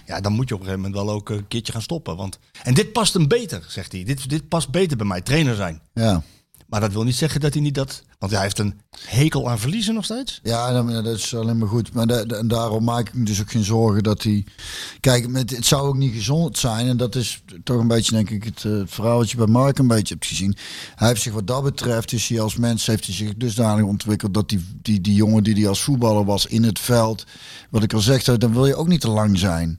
[SPEAKER 7] Ja, dan moet je op een gegeven moment wel ook een keertje gaan stoppen. Want... En dit past hem beter, zegt hij. Dit, dit past beter bij mij, trainer zijn.
[SPEAKER 2] Ja,
[SPEAKER 7] Maar dat wil niet zeggen dat hij niet dat... Want hij heeft een hekel aan verliezen nog steeds.
[SPEAKER 2] ja dan- dat is alleen maar goed. Maar da- da- en daarom maak ik me dus ook geen zorgen dat hij... Kijk, met, het zou ook niet gezond zijn. En dat is toch een beetje, denk ik, het, eh, het verhaal wat je bij Mark een beetje hebt gezien. Hij heeft zich wat dat betreft, is hij als mens, heeft hij zich dusdanig ontwikkeld... dat die, die, die jongen die hij als voetballer was in het veld... Wat ik al zeg, dan wil je ook niet te lang zijn.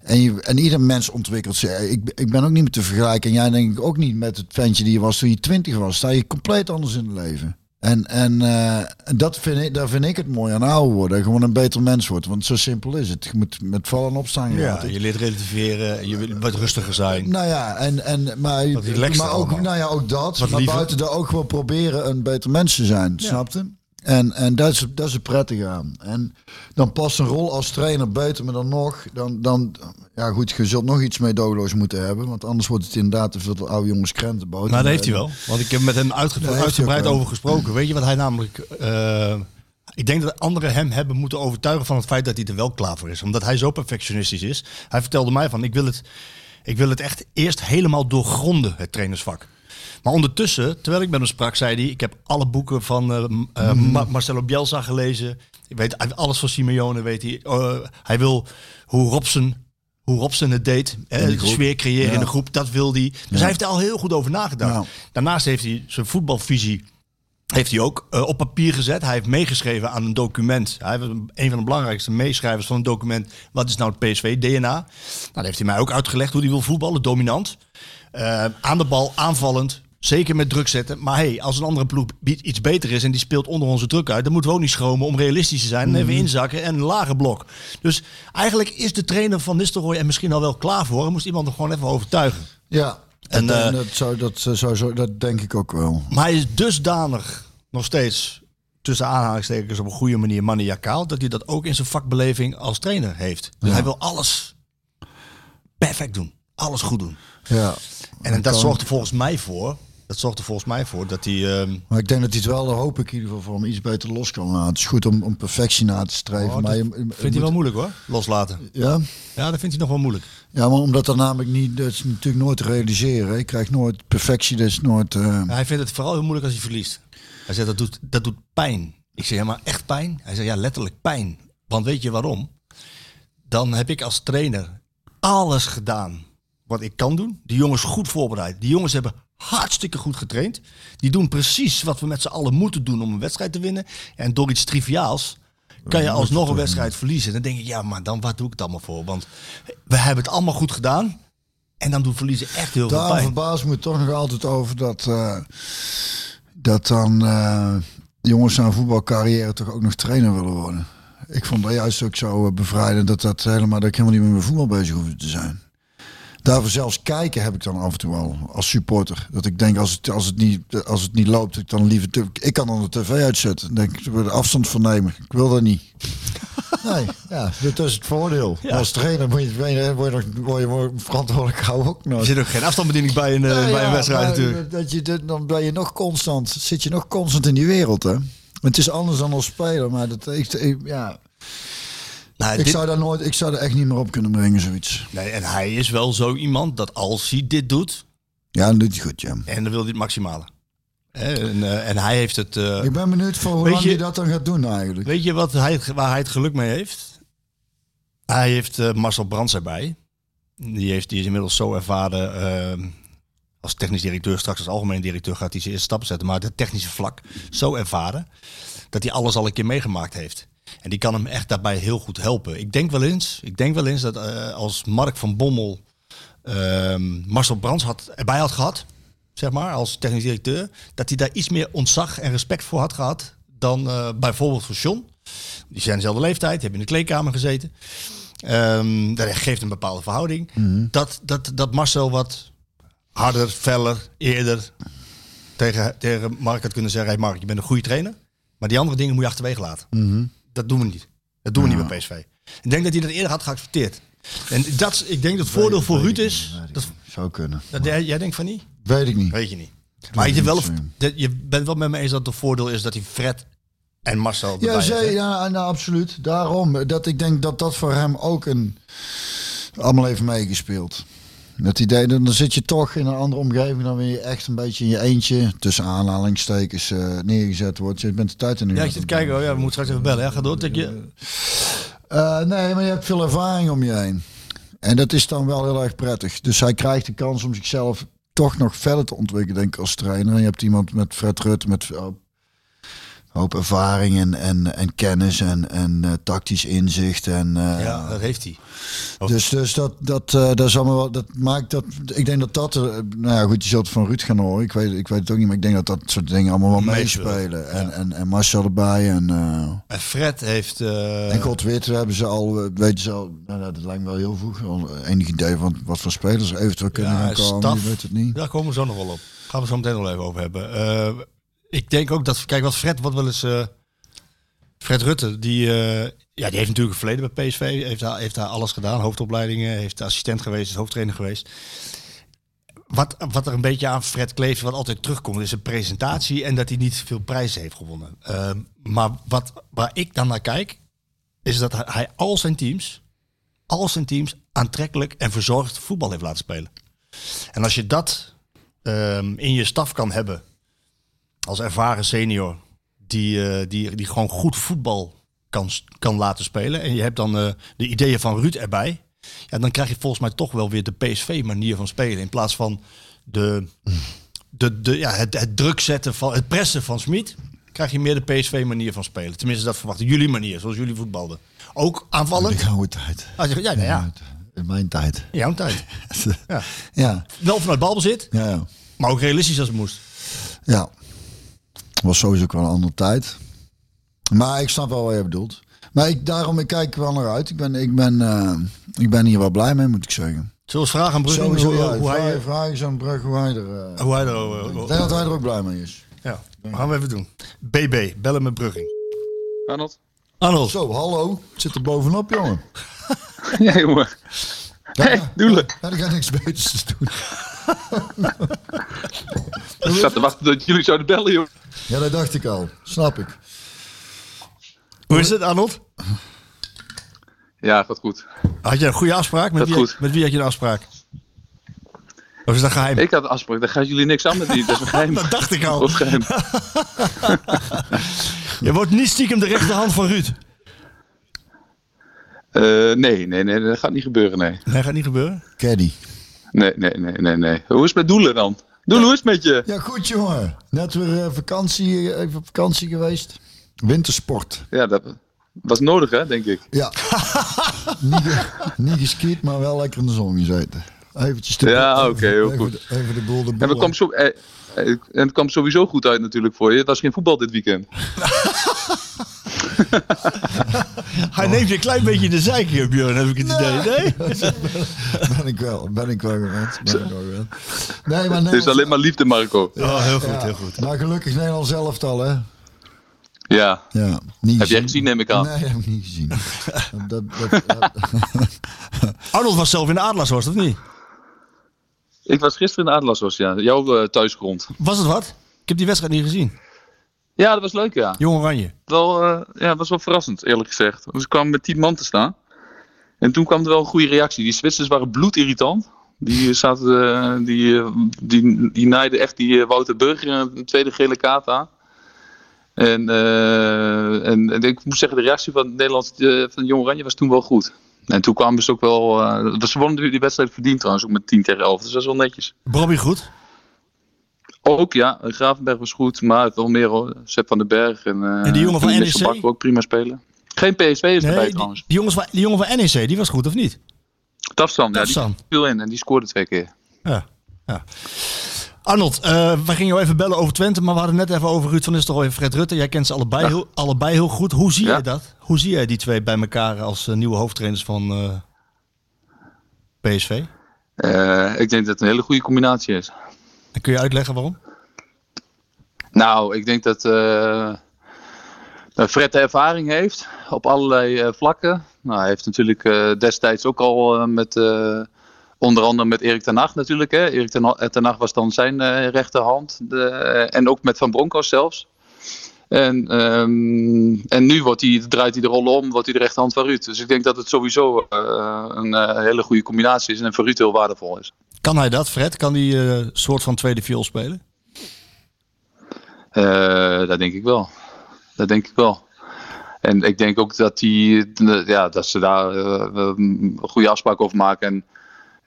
[SPEAKER 2] En, je, en ieder mens ontwikkelt zich. Ik, ik ben ook niet meer te vergelijken. En jij denk ik ook niet met het ventje die je was toen je twintig was. Sta je compleet anders in het leven. En, en, eh, en dat vind ik, daar vind ik het mooi aan ouder worden. Gewoon een beter mens worden. Want zo simpel is het. Je moet met vallen en opstaan. gaan.
[SPEAKER 7] Ja, je leert relativeren, je wil wat rustiger zijn.
[SPEAKER 2] Nou ja, en, en, maar,
[SPEAKER 7] relaxter
[SPEAKER 2] maar ook,
[SPEAKER 7] allemaal.
[SPEAKER 2] nou ja, ook dat. maar
[SPEAKER 7] liever.
[SPEAKER 2] buiten daar ook gewoon proberen een beter mens te zijn. Snapte? En, en dat, is, dat is het prettige aan. En dan past een rol als trainer beter, maar dan nog. Dan, dan, ja goed, je zult nog iets meedogenloos moeten hebben. Want anders wordt het inderdaad te veel oude jongens krentenboot.
[SPEAKER 7] Nou, dat heeft hij wel. Want ik heb met hem uitge-
[SPEAKER 2] eh, heeft hij
[SPEAKER 7] uitgebreid
[SPEAKER 2] ook wel.
[SPEAKER 7] over gesproken. Weet je wat hij namelijk... eh, ik denk dat anderen hem hebben moeten overtuigen van het feit dat hij er wel klaar voor is. Omdat hij zo perfectionistisch is. Hij vertelde mij van, ik wil het, ik wil het echt eerst helemaal doorgronden, het trainersvak. Maar ondertussen, terwijl ik met hem sprak, zei hij... Ik heb alle boeken van eh, m- eh,
[SPEAKER 2] Mm-hmm.
[SPEAKER 7] Ma- Marcelo Bielsa gelezen. Ik weet hij- alles van Simeone, weet hij. Eh, hij wil hoe Robson, hoe Robson het deed. Hè, de sfeer creëren in de groep, dat wil hij. Dus hij heeft er al heel goed over nagedacht.
[SPEAKER 2] Ja.
[SPEAKER 7] Daarnaast heeft hij zijn voetbalvisie heeft hij ook eh, op papier gezet. Hij heeft meegeschreven aan een document. Hij was een een van de belangrijkste meeschrijvers van een document. Wat is nou het PSV-DNA? Nou, dat heeft hij mij ook uitgelegd hoe hij wil voetballen. Dominant. Eh, aan de bal, aanvallend. Zeker met druk zetten. Maar hey, als een andere ploeg bi- iets beter is en die speelt onder onze druk uit, dan moeten we ook niet schromen om realistisch te zijn. En Even inzakken en een lage blok. Dus eigenlijk is de trainer van Nistelrooy er misschien al wel klaar voor. Hij moest iemand hem gewoon even overtuigen.
[SPEAKER 2] Ja,
[SPEAKER 7] En,
[SPEAKER 2] en,
[SPEAKER 7] eh,
[SPEAKER 2] dat, zou, dat, zou, zou- dat denk ik ook wel.
[SPEAKER 7] Maar hij is dusdanig nog steeds tussen aanhalingstekens op een goede manier maniacaal dat hij dat ook in zijn vakbeleving als trainer heeft. Dus hij wil alles perfect doen, alles goed doen.
[SPEAKER 2] Ja.
[SPEAKER 7] En dat
[SPEAKER 2] kan.
[SPEAKER 7] zorgt er volgens mij voor. Dat zorgt er volgens mij voor dat hij. ehm,
[SPEAKER 2] Maar ik denk dat hij het wel, daar hoop ik in ieder geval, voor hem iets beter los kan laten. Het is goed om, om perfectie na te streven.
[SPEAKER 7] oh,
[SPEAKER 2] maar
[SPEAKER 7] dat
[SPEAKER 2] je- je
[SPEAKER 7] vindt
[SPEAKER 2] moet-
[SPEAKER 7] hij wel moeilijk hoor. Loslaten.
[SPEAKER 2] Ja?
[SPEAKER 7] Ja, dat vindt hij nog wel moeilijk.
[SPEAKER 2] Ja, maar omdat dat namelijk niet, dat is natuurlijk nooit te realiseren. Ik krijg nooit perfectie, dat is nooit. eh,
[SPEAKER 7] Ja, hij vindt het vooral heel moeilijk als hij verliest. Hij zegt dat doet, dat doet pijn. Ik zeg ja, maar echt pijn? Hij zegt ja, letterlijk pijn. Want weet je waarom? Dan heb ik als trainer alles gedaan wat ik kan doen. Die jongens goed voorbereid. Die jongens hebben hartstikke goed getraind. Die doen precies wat we met z'n allen moeten doen om een wedstrijd te winnen. En door iets triviaals kan je alsnog een wedstrijd verliezen. Dan denk ik ja, maar dan wat doe ik het allemaal voor? Want we hebben het allemaal goed gedaan. En dan doet verliezen echt heel veel
[SPEAKER 2] Daarom
[SPEAKER 7] pijn.
[SPEAKER 2] verbaas ik me toch nog altijd over dat. eh, dat dan eh, jongens na een voetbalcarrière toch ook nog trainer willen worden. Ik vond dat juist ook zo eh, bevrijdend dat, dat, helemaal, dat ik helemaal niet meer met voetbal bezig hoefde te zijn. Daarvoor zelfs kijken heb ik dan af en toe al als supporter. Dat ik denk als het, als het, niet, als het niet loopt, ik dan liever. te- Ik kan dan de tv uitzetten. Dan denk ik, ik wil er afstand van nemen. Ik wil dat niet. Nee, ja, dat is het voordeel. Als trainer moet je, word je, word je, nog- word je, word je verantwoordelijk gehouden ook
[SPEAKER 7] Er
[SPEAKER 2] nooit.
[SPEAKER 7] zit ook geen afstandsbediening bij een, eh,
[SPEAKER 2] Nou
[SPEAKER 7] bij een
[SPEAKER 2] ja,
[SPEAKER 7] wedstrijd
[SPEAKER 2] maar
[SPEAKER 7] natuurlijk.
[SPEAKER 2] Dat je, dit- dan ben je nog constant, zit je nog constant in die wereld, hè? Het is anders dan als speler, maar dat, ik, ik- ja,
[SPEAKER 7] Nou,
[SPEAKER 2] ik,
[SPEAKER 7] dit-
[SPEAKER 2] zou daar nooit, ik zou daar echt niet meer op kunnen brengen, zoiets.
[SPEAKER 7] nee, en hij is wel zo iemand dat als hij dit doet,
[SPEAKER 2] Ja, dat doet hij goed, ja.
[SPEAKER 7] en dan wil hij het maximale. Hè, En, eh, en hij heeft het. eh,
[SPEAKER 2] Ik ben benieuwd voor hoe
[SPEAKER 7] Weet
[SPEAKER 2] lang
[SPEAKER 7] je-
[SPEAKER 2] hij dat dan gaat doen eigenlijk.
[SPEAKER 7] weet je wat hij, waar hij het geluk mee heeft? Hij heeft eh, Marcel Brands erbij. Die, heeft, die is inmiddels zo ervaren eh, als technisch directeur, straks als algemeen directeur gaat hij zijn eerste stappen zetten. Maar het technische vlak zo ervaren dat hij alles al een keer meegemaakt heeft. En die kan hem echt daarbij heel goed helpen. Ik denk wel eens, ik denk wel eens dat eh, als Mark van Bommel ehm, Marcel Brands had, erbij had gehad, zeg maar, als technisch directeur, dat hij daar iets meer ontzag en respect voor had gehad dan eh, bijvoorbeeld voor John. Die zijn dezelfde leeftijd, die hebben in de kleedkamer gezeten. Ehm, dat geeft een bepaalde verhouding. Dat, dat, dat Marcel wat harder, feller, eerder tegen, tegen Mark had kunnen zeggen... Hey Mark, je bent een goede trainer, maar die andere dingen moet je achterwege laten. Dat doen we niet. Dat doen we niet bij PSV. Ik denk dat hij dat eerder had geaccepteerd. En dat, is- ik denk dat het voordeel voor Ruud is... Dat,
[SPEAKER 2] Zou kunnen.
[SPEAKER 7] dat jij, jij denkt van niet?
[SPEAKER 2] Weet ik niet.
[SPEAKER 7] Weet je niet. Maar
[SPEAKER 2] ik
[SPEAKER 7] je, wel,
[SPEAKER 2] niet, Sam.
[SPEAKER 7] dat, je bent wel met me eens dat het een voordeel is dat hij Fred en Marcel erbij
[SPEAKER 2] Ja,
[SPEAKER 7] heeft,
[SPEAKER 2] zei,
[SPEAKER 7] hè?
[SPEAKER 2] ja nou, absoluut. Daarom. eh, Dat ik denk dat dat voor hem ook een... Allemaal even meegespeeld. Dat idee, dan dan zit je toch in een andere omgeving dan wanneer je echt een beetje in je eentje, tussen aanhalingstekens, eh, neergezet wordt. Je bent de tijd in nu.
[SPEAKER 7] Ja, ik zit te kijken. Oh ja, we moeten straks even bellen. Ja, ga door. Tik je.
[SPEAKER 2] Eh, nee, maar je hebt veel ervaring om je heen. En dat is dan wel heel erg prettig. Dus hij krijgt de kans om zichzelf toch nog verder te ontwikkelen, denk ik, als trainer. En je hebt iemand met Fred Rutte, met een hoop, hoop ervaring en, en, en kennis en, en eh, tactisch inzicht. En, eh,
[SPEAKER 7] Ja, dat heeft hij.
[SPEAKER 2] dus, dus dat, dat, eh, dat, is allemaal wel, dat maakt dat. Ik denk dat dat. eh, nou ja, goed, je zult het van Ruud gaan horen. Ik weet, ik weet het ook niet, maar ik denk dat dat soort dingen allemaal wel
[SPEAKER 7] Meespelen,
[SPEAKER 2] meespelen. En, en, en Marcel erbij en. eh,
[SPEAKER 7] En Fred heeft... eh,
[SPEAKER 2] en God weet, hebben ze al, eh, weten ze al, nou, nou, dat lijkt me wel heel vroeg, al enig idee van wat voor spelers er eventueel kunnen
[SPEAKER 7] Ja,
[SPEAKER 2] gaan komen,
[SPEAKER 7] staf.
[SPEAKER 2] je weet het niet.
[SPEAKER 7] Daar komen we zo nog wel op. Gaan we zo meteen nog even over hebben. Eh, ik denk ook dat, kijk, wat Fred wat wel eens. eh, Fred Rutte, die, eh, ja, die heeft natuurlijk een verleden bij PSV. Heeft daar, heeft daar alles gedaan. Hoofdopleidingen, heeft assistent geweest, is hoofdtrainer geweest. Wat, wat er een beetje aan Fred kleeft, wat altijd terugkomt, is een presentatie en dat hij niet veel prijzen heeft gewonnen. Eh, maar wat, waar ik dan naar kijk, is dat hij- hij al zijn teams, al zijn teams aantrekkelijk en verzorgd voetbal heeft laten spelen. En als je dat ehm, in je staf kan hebben, als ervaren senior, die, eh, die, die gewoon goed voetbal kan, s- kan laten spelen. En je hebt dan eh, de ideeën van Ruud erbij. Ja, dan krijg je volgens mij toch wel weer de PSV-manier van spelen. In plaats van de, de, de, ja, het, het druk zetten van het pressen van Smit. Krijg je meer de PSV-manier van spelen. Tenminste, dat verwachten jullie manier, zoals jullie voetbalden. Ook
[SPEAKER 2] De
[SPEAKER 7] aanvallend.
[SPEAKER 2] gouden tijd.
[SPEAKER 7] Als je, ja, nou ja,
[SPEAKER 2] In mijn tijd.
[SPEAKER 7] in jouw tijd.
[SPEAKER 2] ja.
[SPEAKER 7] Ja.
[SPEAKER 2] Ja,
[SPEAKER 7] Wel vanuit balbezit,
[SPEAKER 2] ja, ja.
[SPEAKER 7] maar ook realistisch als het moest.
[SPEAKER 2] Was sowieso ook wel een andere tijd. Maar ik snap wel wat je bedoelt. Maar ik, daarom, ik kijk er wel naar uit. Ik ben, ik, ben, eh, ik ben hier wel blij mee, moet ik zeggen.
[SPEAKER 7] Zullen we eens vragen aan Brugging
[SPEAKER 2] Sowieso,
[SPEAKER 7] hoe,
[SPEAKER 2] ja.
[SPEAKER 7] hoe hij, Oh.
[SPEAKER 2] Vraag- Vraag eens aan Brugge hoe hij er... eh,
[SPEAKER 7] hoe hij er...
[SPEAKER 2] ik denk dat hij er ook blij mee is.
[SPEAKER 7] ja, gaan we even doen. BB, bellen met Brugging.
[SPEAKER 9] Arnold?
[SPEAKER 7] Arnold,
[SPEAKER 2] Zo, hallo. Ik zit er bovenop, jongen.
[SPEAKER 9] Ja, jongen. hey, doelen.
[SPEAKER 2] Ja, ik ga niks beters te doen.
[SPEAKER 9] Ik zat te wachten dat jullie zouden bellen, joh.
[SPEAKER 2] Ja, dat dacht ik al. Snap ik.
[SPEAKER 7] hoe is het Arnold?
[SPEAKER 9] Ja, gaat goed.
[SPEAKER 7] Had je een goede afspraak? Met
[SPEAKER 9] Gaat
[SPEAKER 7] wie,
[SPEAKER 9] goed.
[SPEAKER 7] met wie had je een afspraak? Of is dat geheim?
[SPEAKER 9] Ik had een afspraak, daar gaan jullie niks aan met die. Dat is een geheim.
[SPEAKER 7] Dat dacht ik al.
[SPEAKER 9] Dat is geheim.
[SPEAKER 7] Je wordt niet stiekem de rechterhand van Ruud.
[SPEAKER 9] Eh, nee, nee, nee, dat gaat niet gebeuren, nee.
[SPEAKER 7] Nee, gaat niet gebeuren.
[SPEAKER 2] Caddy.
[SPEAKER 9] Nee, nee, nee, nee, nee. Hoe is het met doelen dan? Doelen, hoe is het met je?
[SPEAKER 2] Ja, goed jongen. Net weer eh, vakantie, eh, even op vakantie geweest. Wintersport.
[SPEAKER 9] Ja, dat was nodig, hè, denk ik.
[SPEAKER 2] Ja. niet, ge- niet geskiet, maar wel lekker in de zon gezeten. Eventjes de-
[SPEAKER 9] Ja,
[SPEAKER 2] even-
[SPEAKER 9] oké, heel
[SPEAKER 2] even
[SPEAKER 9] goed.
[SPEAKER 2] de- Even de boel de
[SPEAKER 9] En,
[SPEAKER 2] boel
[SPEAKER 9] we kwam zo, eh, eh, en het kwam sowieso goed uit natuurlijk voor je. Het was geen voetbal dit weekend.
[SPEAKER 7] Hij neemt je een klein beetje in de zeik hier, Björn, heb ik het idee. Oh. Nee?
[SPEAKER 2] uit. Ben ik wel, ben ik wel gewend. Ben ik wel gewend. Nee, maar
[SPEAKER 9] Het is
[SPEAKER 2] Nederland-
[SPEAKER 9] alleen maar liefde, Marco.
[SPEAKER 7] Oh, heel goed,
[SPEAKER 2] ja,
[SPEAKER 7] heel goed.
[SPEAKER 2] Maar gelukkig Nederland zelf al, hè.
[SPEAKER 9] Ja,
[SPEAKER 2] Ja, niet
[SPEAKER 9] heb jij gezien, neem ik aan.
[SPEAKER 2] Nee, dat heb ik niet gezien. dat, dat, dat,
[SPEAKER 7] Arnold was zelf in de Adelaars, was dat niet?
[SPEAKER 9] Ik was gisteren in de Atlas, was ja. Jouw eh, thuisgrond.
[SPEAKER 7] Was het wat? Ik heb die wedstrijd niet gezien.
[SPEAKER 9] Ja, dat was leuk, ja.
[SPEAKER 7] Jong Oranje.
[SPEAKER 9] wel, eh, ja, was wel verrassend, eerlijk gezegd. Dus ik kwam met 10 man te staan. En toen kwam er wel een goede reactie. Die Zwitsers waren bloedirritant. Die, eh, zaten, eh, die, eh, die, die naaiden echt die eh, Wouter Burger een tweede gele kaart aan. En, eh, en, en ik moet zeggen, de reactie van, het Nederlands, eh, van Jong Oranje was toen wel goed. En toen kwamen ze ook wel... eh, ze wonnen die wedstrijd verdiend trouwens, ook met 10 tegen 11. Dus dat is wel netjes.
[SPEAKER 7] Bobby goed?
[SPEAKER 9] Ook ja, Gravenberg was goed, maar wel meer hoor. Sepp van den Berg en, eh
[SPEAKER 7] En die jongen van
[SPEAKER 9] Dennis
[SPEAKER 7] NEC?
[SPEAKER 9] Bak ook prima spelen. Geen PSV is erbij
[SPEAKER 7] Nee, die,
[SPEAKER 9] trouwens.
[SPEAKER 7] die jongens van, die jongen van NEC, die was goed of niet?
[SPEAKER 9] Tafsan, ja, die
[SPEAKER 7] Tafsan.
[SPEAKER 9] viel in en die scoorde twee keer.
[SPEAKER 7] Ja. ja. Arnold, eh we gingen jou even bellen over Twente, maar we hadden net even over Ruud van Nistelrooy en Fred Rutte. Jij kent ze allebei,
[SPEAKER 9] Ja.
[SPEAKER 7] heel, allebei heel goed. Hoe zie
[SPEAKER 9] Ja.
[SPEAKER 7] jij dat? Hoe zie jij die twee bij elkaar als eh, nieuwe hoofdtrainers van eh, PSV?
[SPEAKER 9] Eh, ik denk dat het een hele goede combinatie is.
[SPEAKER 7] En kun je uitleggen waarom?
[SPEAKER 9] Nou, ik denk dat eh, dat Fred de ervaring heeft op allerlei eh, vlakken. Nou, hij heeft natuurlijk eh, destijds ook al eh, met eh, onder andere met Erik ten Hag natuurlijk. Hè. Erik ten, Ha- ten Hag was dan zijn eh, rechterhand de, eh, en ook met Van Bronckhorst zelfs. En, ehm, en nu wordt hij, draait hij de rollen om, wordt hij de rechterhand van Ruud. Dus ik denk dat het sowieso eh, een eh, hele goede combinatie is en voor Ruud heel waardevol is.
[SPEAKER 7] Kan hij dat, Fred? Kan die eh, soort van tweede viool spelen?
[SPEAKER 9] Eh, dat denk ik wel. Dat denk ik wel. En ik denk ook dat, die, eh, ja, dat ze daar eh, een goede afspraak over maken. En,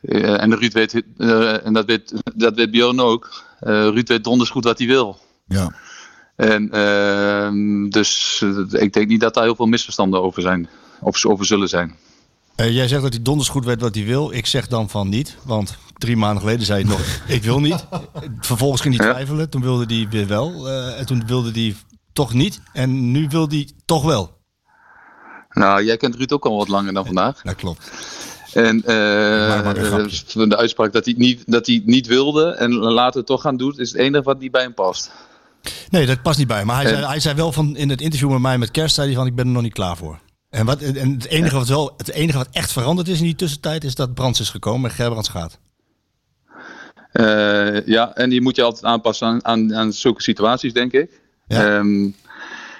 [SPEAKER 9] eh, en Ruud weet, eh, en dat weet, dat weet Bjorn ook, Eh, Ruud weet donders goed wat hij wil.
[SPEAKER 2] Ja.
[SPEAKER 9] En ehm, dus eh, ik denk niet dat daar heel veel misverstanden over zijn. Of over zullen zijn.
[SPEAKER 7] Eh, jij zegt dat hij donders goed weet wat hij wil. Ik zeg dan van niet, want drie maanden geleden zei hij nog, ik wil niet. Vervolgens ging hij
[SPEAKER 9] Ja.
[SPEAKER 7] twijfelen, toen wilde hij weer wel. eh, en toen wilde hij toch niet. En nu wil hij toch wel.
[SPEAKER 9] Nou, jij kent Ruud ook al wat langer dan vandaag.
[SPEAKER 7] Dat klopt.
[SPEAKER 9] En eh, de uitspraak dat hij, het niet, dat hij het niet wilde en later het toch gaan doen, is het enige wat niet bij hem past.
[SPEAKER 7] Nee, dat past niet bij. Maar hij,
[SPEAKER 9] En-
[SPEAKER 7] zei, hij zei wel van in het interview met mij met kerst, zei hij van ik ben er nog niet klaar voor. En, wat, en het, enige wat wel, het enige wat echt veranderd is in die tussentijd is dat Brands is gekomen en Gerbrands gaat.
[SPEAKER 9] Eh, ja, en die moet je altijd aanpassen aan, aan, aan zulke situaties, denk ik.
[SPEAKER 7] Ja.
[SPEAKER 9] Ehm,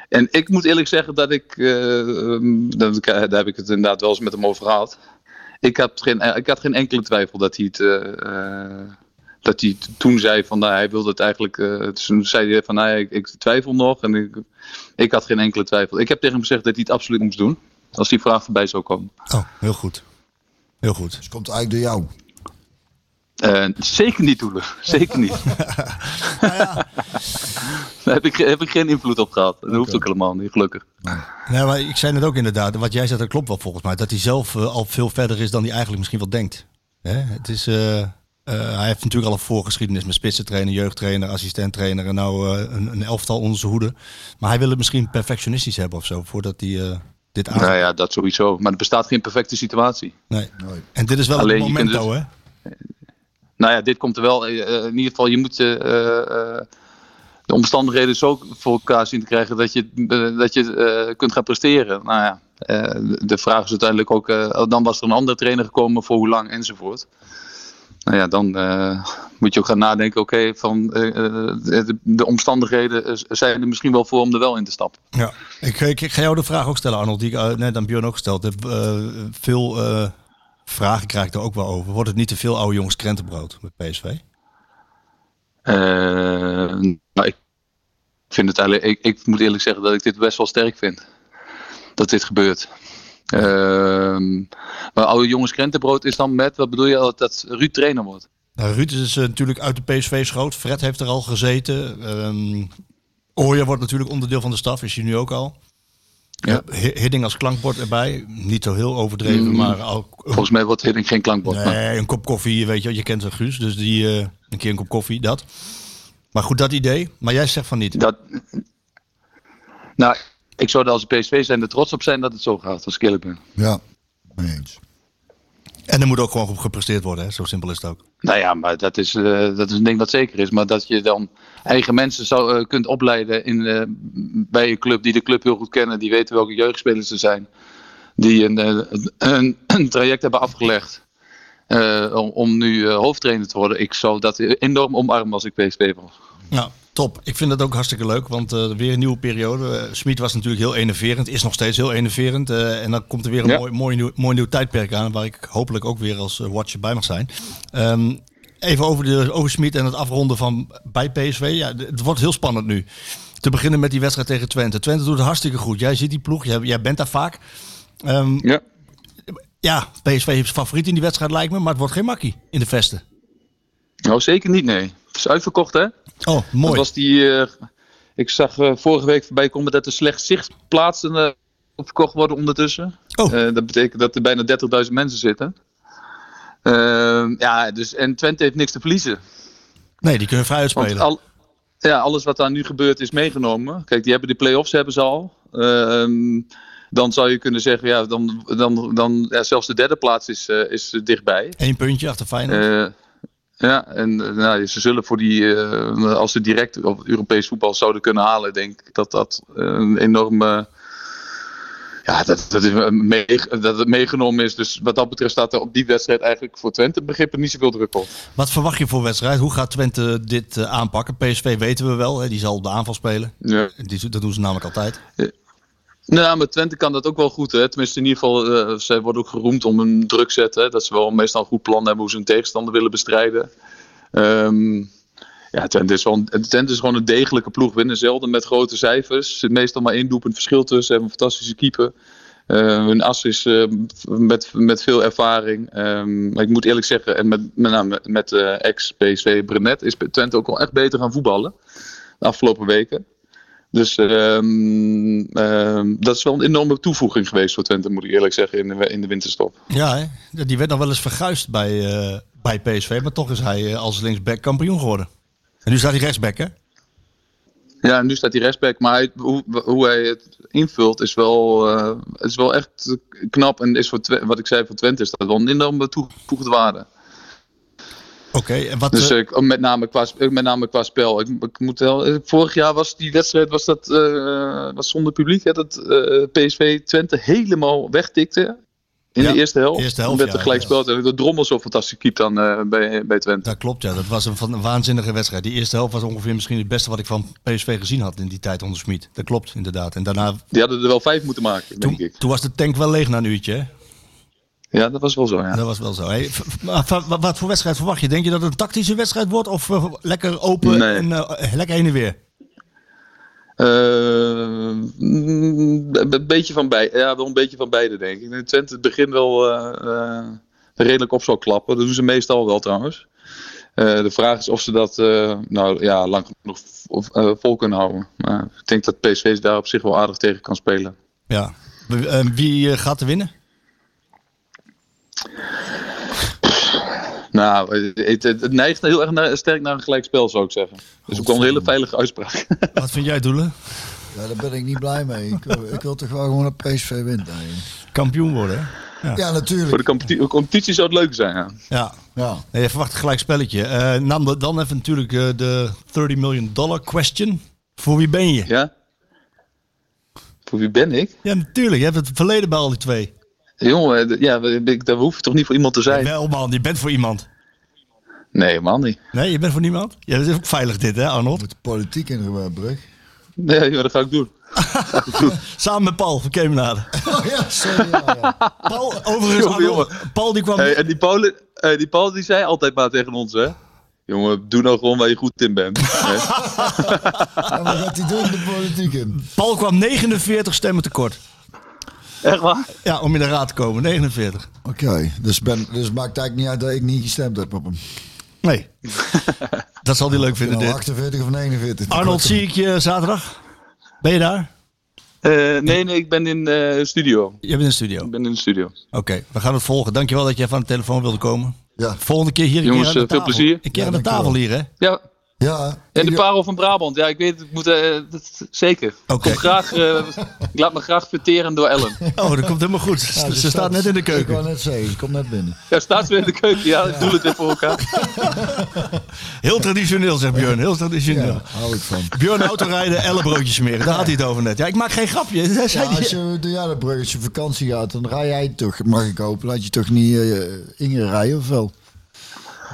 [SPEAKER 9] en ik moet eerlijk zeggen dat ik, eh, ehm, dat, daar heb ik het inderdaad wel eens met hem over gehad. Ik had geen, eh, ik had geen enkele twijfel dat hij het, eh, eh, dat hij het toen zei van, nou, hij wilde het eigenlijk, eh, toen zei hij van, nou, ik, ik twijfel nog. En ik, ik had geen enkele twijfel. Ik heb tegen hem gezegd dat hij het absoluut moest doen, als die vraag voorbij zou komen.
[SPEAKER 7] Oh, heel goed. Heel goed.
[SPEAKER 2] Het Dus komt eigenlijk door jou.
[SPEAKER 9] Eh, zeker niet, Doelen. Zeker niet. Daar heb ik, ge- heb ik geen invloed op gehad. Dat hoeft ook helemaal niet, gelukkig.
[SPEAKER 7] Nee, Nou, maar ik zei het ook inderdaad, wat jij zegt, dat klopt wel volgens mij. Dat hij zelf eh, al veel verder is dan hij eigenlijk misschien wel denkt. Hè? Het is, eh, eh, hij heeft natuurlijk al een voorgeschiedenis met spitsentrainer, jeugdtrainer, assistenttrainer en nou eh, een, een elftal onder zijn hoede. Maar hij wil het misschien perfectionistisch hebben of zo, voordat hij eh, dit aan.
[SPEAKER 9] Nou ja, dat sowieso. Maar er bestaat geen perfecte situatie.
[SPEAKER 7] Nee. En dit is wel
[SPEAKER 9] Alleen,
[SPEAKER 7] het
[SPEAKER 9] je kunt dus-
[SPEAKER 7] momento, hè?
[SPEAKER 9] Nou ja, dit komt er wel. eh, eh, in ieder geval, je moet eh, eh, eh, de omstandigheden zo voor elkaar zien te krijgen dat je, eh, dat je eh, kunt gaan presteren. Nou ja, eh, de vraag is uiteindelijk ook, eh, dan was er een andere trainer gekomen voor hoe lang enzovoort. Nou ja, dan eh, moet je ook gaan nadenken, oké, van eh, eh, de, de omstandigheden eh, zijn er misschien wel voor om er wel in te stappen.
[SPEAKER 7] Ja. Ik, ik, ik ga jou de vraag ook stellen, Arnold, die ik eh, net aan Björn ook gesteld heb. Eh, veel eh, vragen krijg ik er ook wel over. Wordt het niet te veel oude jongens krentenbrood met PSV?
[SPEAKER 9] Eh, nou, ik, vind het eigenlijk, ik, ik moet eerlijk zeggen dat ik dit best wel sterk vind. Dat dit gebeurt. Ehm, maar oude jongens krentenbrood is dan met, wat bedoel je, Oh, dat Ruud trainer wordt?
[SPEAKER 7] Nou, Ruud is eh, natuurlijk uit de PSV-schoot. Fred heeft er al gezeten. Ehm Ooyer wordt natuurlijk onderdeel van de staf, is hij nu ook al. Ja. Hidding als klankbord erbij. Niet zo heel
[SPEAKER 9] Mm.
[SPEAKER 7] overdreven, maar al,
[SPEAKER 9] Volgens mij wordt Hiddink geen klankbord. maar-
[SPEAKER 7] nee, een kop koffie, weet je, wel. je kent wel Guus, dus die, eh, een keer een kop koffie, dat. Maar goed, dat idee. Maar jij zegt van niet.
[SPEAKER 9] Dat, nou, ik zou er als PSV zijn er trots op zijn dat het zo gaat, als ik eerlijk ben.
[SPEAKER 2] Ja, mee eens.
[SPEAKER 7] En er moet ook gewoon gepresteerd worden, hè? zo simpel is het ook.
[SPEAKER 9] Nou ja, maar dat is, eh, dat is een ding dat zeker is. Maar dat je dan eigen mensen zou, eh, kunt opleiden in, eh, bij een club die de club heel goed kennen, die weten welke jeugdspelers er zijn, die een, eh, een, een traject hebben afgelegd eh, om, om nu eh, hoofdtrainer te worden. Ik zou dat enorm omarmen als ik PSV was.
[SPEAKER 7] Nou, top. Ik vind dat ook hartstikke leuk, want eh, weer een nieuwe periode. Eh, Smit was natuurlijk heel enerverend, is nog steeds heel enerverend. eh, en dan komt er weer een
[SPEAKER 9] Ja.
[SPEAKER 7] mooi, mooi, nieuw, mooi nieuw tijdperk aan, waar ik hopelijk ook weer als eh, watcher bij mag zijn. Ehm, even over, de- over Smit en het afronden van bij PSV. Ja, d- het wordt heel spannend nu. Te beginnen met die wedstrijd tegen Twente. Twente doet het hartstikke goed. Jij ziet die ploeg, jij, jij bent daar vaak. Ehm,
[SPEAKER 9] Ja.
[SPEAKER 7] ja, PSV is favoriet in die wedstrijd lijkt me, maar het wordt geen makkie in de vesten.
[SPEAKER 9] Nou, zeker niet, nee. Het is uitverkocht, hè?
[SPEAKER 7] Oh, mooi.
[SPEAKER 9] Dat was die, eh, ik zag eh, vorige week voorbij komen dat er slechts zicht plaatsen eh, opverkocht worden ondertussen.
[SPEAKER 7] Oh.
[SPEAKER 9] Eh, dat betekent dat er bijna 30.000 mensen zitten. Ehm, ja, dus, en Twente heeft niks te verliezen.
[SPEAKER 7] Nee, die kunnen vrij
[SPEAKER 9] Want
[SPEAKER 7] uitspelen.
[SPEAKER 9] al, ja, alles wat daar nu gebeurt is meegenomen. Kijk, die hebben de play-offs hebben ze al. Ehm, dan zou je kunnen zeggen, ja, dan, dan, dan, ja, zelfs de derde plaats is, eh, is eh, dichtbij.
[SPEAKER 7] Eén puntje achter Feyenoord.
[SPEAKER 9] Eh, ja, en eh, nou, ze zullen voor die, eh, als ze direct op Europees voetbal zouden kunnen halen, denk ik dat dat eh, een enorme. Ja, dat, dat, is een mee- dat het meegenomen is. Dus wat dat betreft staat er op die wedstrijd eigenlijk voor Twente begrippen niet zoveel druk op.
[SPEAKER 7] Wat verwacht je voor wedstrijd? Hoe gaat Twente dit eh, aanpakken? PSV weten we wel, hè, die zal op de aanval spelen.
[SPEAKER 9] Ja.
[SPEAKER 7] Die, dat doen ze namelijk altijd.
[SPEAKER 9] Nou, maar Twente kan dat ook wel goed. Hè? Tenminste, in ieder geval, eh, zij worden ook geroemd om hun druk zetten. Hè? Dat ze wel meestal een goed plan hebben hoe ze hun tegenstander willen bestrijden. Ehm, ja, Twente is, wel een- Twente is gewoon een degelijke ploeg. Winnen zelden met grote cijfers. Er zit meestal maar één doelpunt verschil tussen. Ze hebben een fantastische keeper. Eh, hun as is eh, met, met veel ervaring. Ehm, maar ik moet eerlijk zeggen, en met, met, name met, met eh, ex-PSV Brenet is Twente ook wel echt beter gaan voetballen. De afgelopen weken. Dus ehm, ehm, dat is wel een enorme toevoeging geweest voor Twente, moet ik eerlijk zeggen, in de, in de winterstop.
[SPEAKER 7] Ja, hè? die werd nog wel eens verguisd bij, eh, bij PSV, maar toch is hij eh, als linksback kampioen geworden. En nu staat hij rechtsback, hè?
[SPEAKER 9] Ja, en nu staat hij rechtsback, maar hij- hoe, hoe hij het invult is wel, eh, is wel echt knap. En is voor Twe- wat ik zei voor Twente is dat wel een enorme toegevoegde waarde.
[SPEAKER 7] Oké, en wat...
[SPEAKER 9] Dus
[SPEAKER 7] eh,
[SPEAKER 9] ik, met, name qua, sp- met name qua spel. Ik, ik moet wel, eh, vorig jaar was die wedstrijd was dat, eh, was zonder publiek. Hè, dat eh, PSV Twente helemaal wegtikte. In
[SPEAKER 7] Ja,
[SPEAKER 9] de eerste helft.
[SPEAKER 7] eerste helft,
[SPEAKER 9] werd
[SPEAKER 7] ja,
[SPEAKER 9] er gelijk
[SPEAKER 7] ja.
[SPEAKER 9] gespeeld. En de drommel zo fantastisch keept dan eh, bij, bij Twente.
[SPEAKER 7] dat klopt, ja. Dat was een, van, een waanzinnige wedstrijd. Die eerste helft was ongeveer misschien het beste wat ik van PSV gezien had in die tijd onder Smit. Dat klopt, inderdaad. En daarna,
[SPEAKER 9] Die hadden er wel vijf moeten maken, denk
[SPEAKER 7] toen,
[SPEAKER 9] ik.
[SPEAKER 7] toen was de tank wel leeg na een uurtje, hè?
[SPEAKER 9] Ja, dat was wel zo, ja.
[SPEAKER 7] Dat was wel zo. Hey, v- v- maar v- wa- wat voor wedstrijd verwacht je? Denk je dat het een tactische wedstrijd wordt of eh, lekker open
[SPEAKER 9] Nee.
[SPEAKER 7] en eh, lekker heen en weer?
[SPEAKER 9] Eh, mm, Een beetje van beide. Ja, wel een beetje van beide, denk ik. Twente het begin wel eh, eh, redelijk op zal klappen. Dat doen ze meestal wel, trouwens. Eh, de vraag is of ze dat eh, nou, ja, lang genoeg v- of, eh, vol kunnen houden. Maar ik denk dat PSV daar op zich wel aardig tegen kan spelen.
[SPEAKER 7] Ja. W- eh, Wie eh, gaat er winnen?
[SPEAKER 9] Nou, het, het, het neigt heel erg naar- sterk naar een gelijkspel, zou ik zeggen. Dus ook wel een hele veilige uitspraak.
[SPEAKER 7] Wat vind jij, Doelen?
[SPEAKER 2] Ja, daar ben ik niet blij mee. Ik wil, ik wil toch wel gewoon dat PSV wint. eigenlijk.
[SPEAKER 7] Kampioen worden, hè?
[SPEAKER 2] Ja,
[SPEAKER 9] Voor
[SPEAKER 2] natuurlijk.
[SPEAKER 9] de competi- competitie zou het leuk zijn, ja.
[SPEAKER 7] Ja.
[SPEAKER 2] Ja.
[SPEAKER 7] Nee, je verwacht een gelijk spelletje. Eh, nam dat dan even natuurlijk eh, de 30 miljoen dollar question. Voor wie ben je? Ja,
[SPEAKER 9] Ja? Voor wie ben ik?
[SPEAKER 7] natuurlijk. Je hebt het verleden bij al die twee.
[SPEAKER 9] Jongen, eh, d- ja, we- ik- daar hoef je toch niet voor iemand te zijn?
[SPEAKER 7] Wel man, je bent voor iemand.
[SPEAKER 9] Nee, man niet.
[SPEAKER 7] Nee, je bent voor niemand? Ja, dat is ook veilig dit, hè Arnold?
[SPEAKER 2] Met de politiek in de brug.
[SPEAKER 9] Nee, joh, dat ga ik doen.
[SPEAKER 7] Samen met Paul van Kemenade.
[SPEAKER 2] Oh ja, sorry. Ja, ja.
[SPEAKER 7] Paul, overigens,
[SPEAKER 9] Jongen,
[SPEAKER 7] Arnold, Paul die kwam...
[SPEAKER 9] Hey, en die Paul, eh, die Paul die zei altijd maar tegen ons, hè. Jongen, doe nou gewoon waar je goed in bent. Hè?
[SPEAKER 2] En wat gaat hij doen, de politiek in?
[SPEAKER 7] Paul kwam 49 stemmen tekort.
[SPEAKER 9] Echt waar?
[SPEAKER 7] Ja, om in de raad te komen. 49.
[SPEAKER 2] Oké, dus, ben, dus maakt eigenlijk niet uit dat ik niet gestemd heb op hem.
[SPEAKER 7] Nee. dat zal hij leuk vinden,
[SPEAKER 2] Nou,
[SPEAKER 7] dit.
[SPEAKER 2] 48 of 49.
[SPEAKER 7] Arnold, zie ik je zaterdag? Ben je daar?
[SPEAKER 9] Eh, nee, nee, ik ben in eh studio.
[SPEAKER 7] Je bent in de studio.
[SPEAKER 9] Ik
[SPEAKER 7] Oké,
[SPEAKER 9] ben in de studio.
[SPEAKER 7] we gaan het volgen. Dankjewel dat jij van de telefoon wilde komen.
[SPEAKER 2] Ja.
[SPEAKER 7] Volgende keer hier een
[SPEAKER 9] Jongens,
[SPEAKER 7] keer aan de
[SPEAKER 9] eh, veel
[SPEAKER 7] tafel.
[SPEAKER 9] plezier.
[SPEAKER 7] Een keer aan de
[SPEAKER 2] Ja, dankjewel.
[SPEAKER 7] tafel hier, hè?
[SPEAKER 9] Ja,
[SPEAKER 2] Ja,
[SPEAKER 9] en de parel van Brabant. Ja, ik weet het. Ik moet, eh, dat, zeker.
[SPEAKER 7] Oké.
[SPEAKER 9] Kom graag, eh, ik laat me graag verteren door Ellen.
[SPEAKER 7] Oh, dat komt helemaal goed.
[SPEAKER 2] Ja, dus
[SPEAKER 7] ze staat, net in de
[SPEAKER 2] Ik wou
[SPEAKER 7] keuken.
[SPEAKER 2] net zeggen, ze komt net binnen.
[SPEAKER 9] Ja, staat ze weer in de keuken. Ja, ik doe het weer voor elkaar.
[SPEAKER 7] Heel traditioneel, zegt Björn. Heel
[SPEAKER 2] Ja,
[SPEAKER 7] traditioneel.
[SPEAKER 2] hou ik van.
[SPEAKER 7] Björn autorijden, ellebroodjes smeren. Daar had hij het over net. Ja, ik maak geen grapje. Hij
[SPEAKER 2] Ja,
[SPEAKER 7] zei die-
[SPEAKER 2] als je door ja, dat bruggetje vakantie gaat, dan rij jij toch, mag ik hopen, laat je toch niet eh, Inge rijden of wel?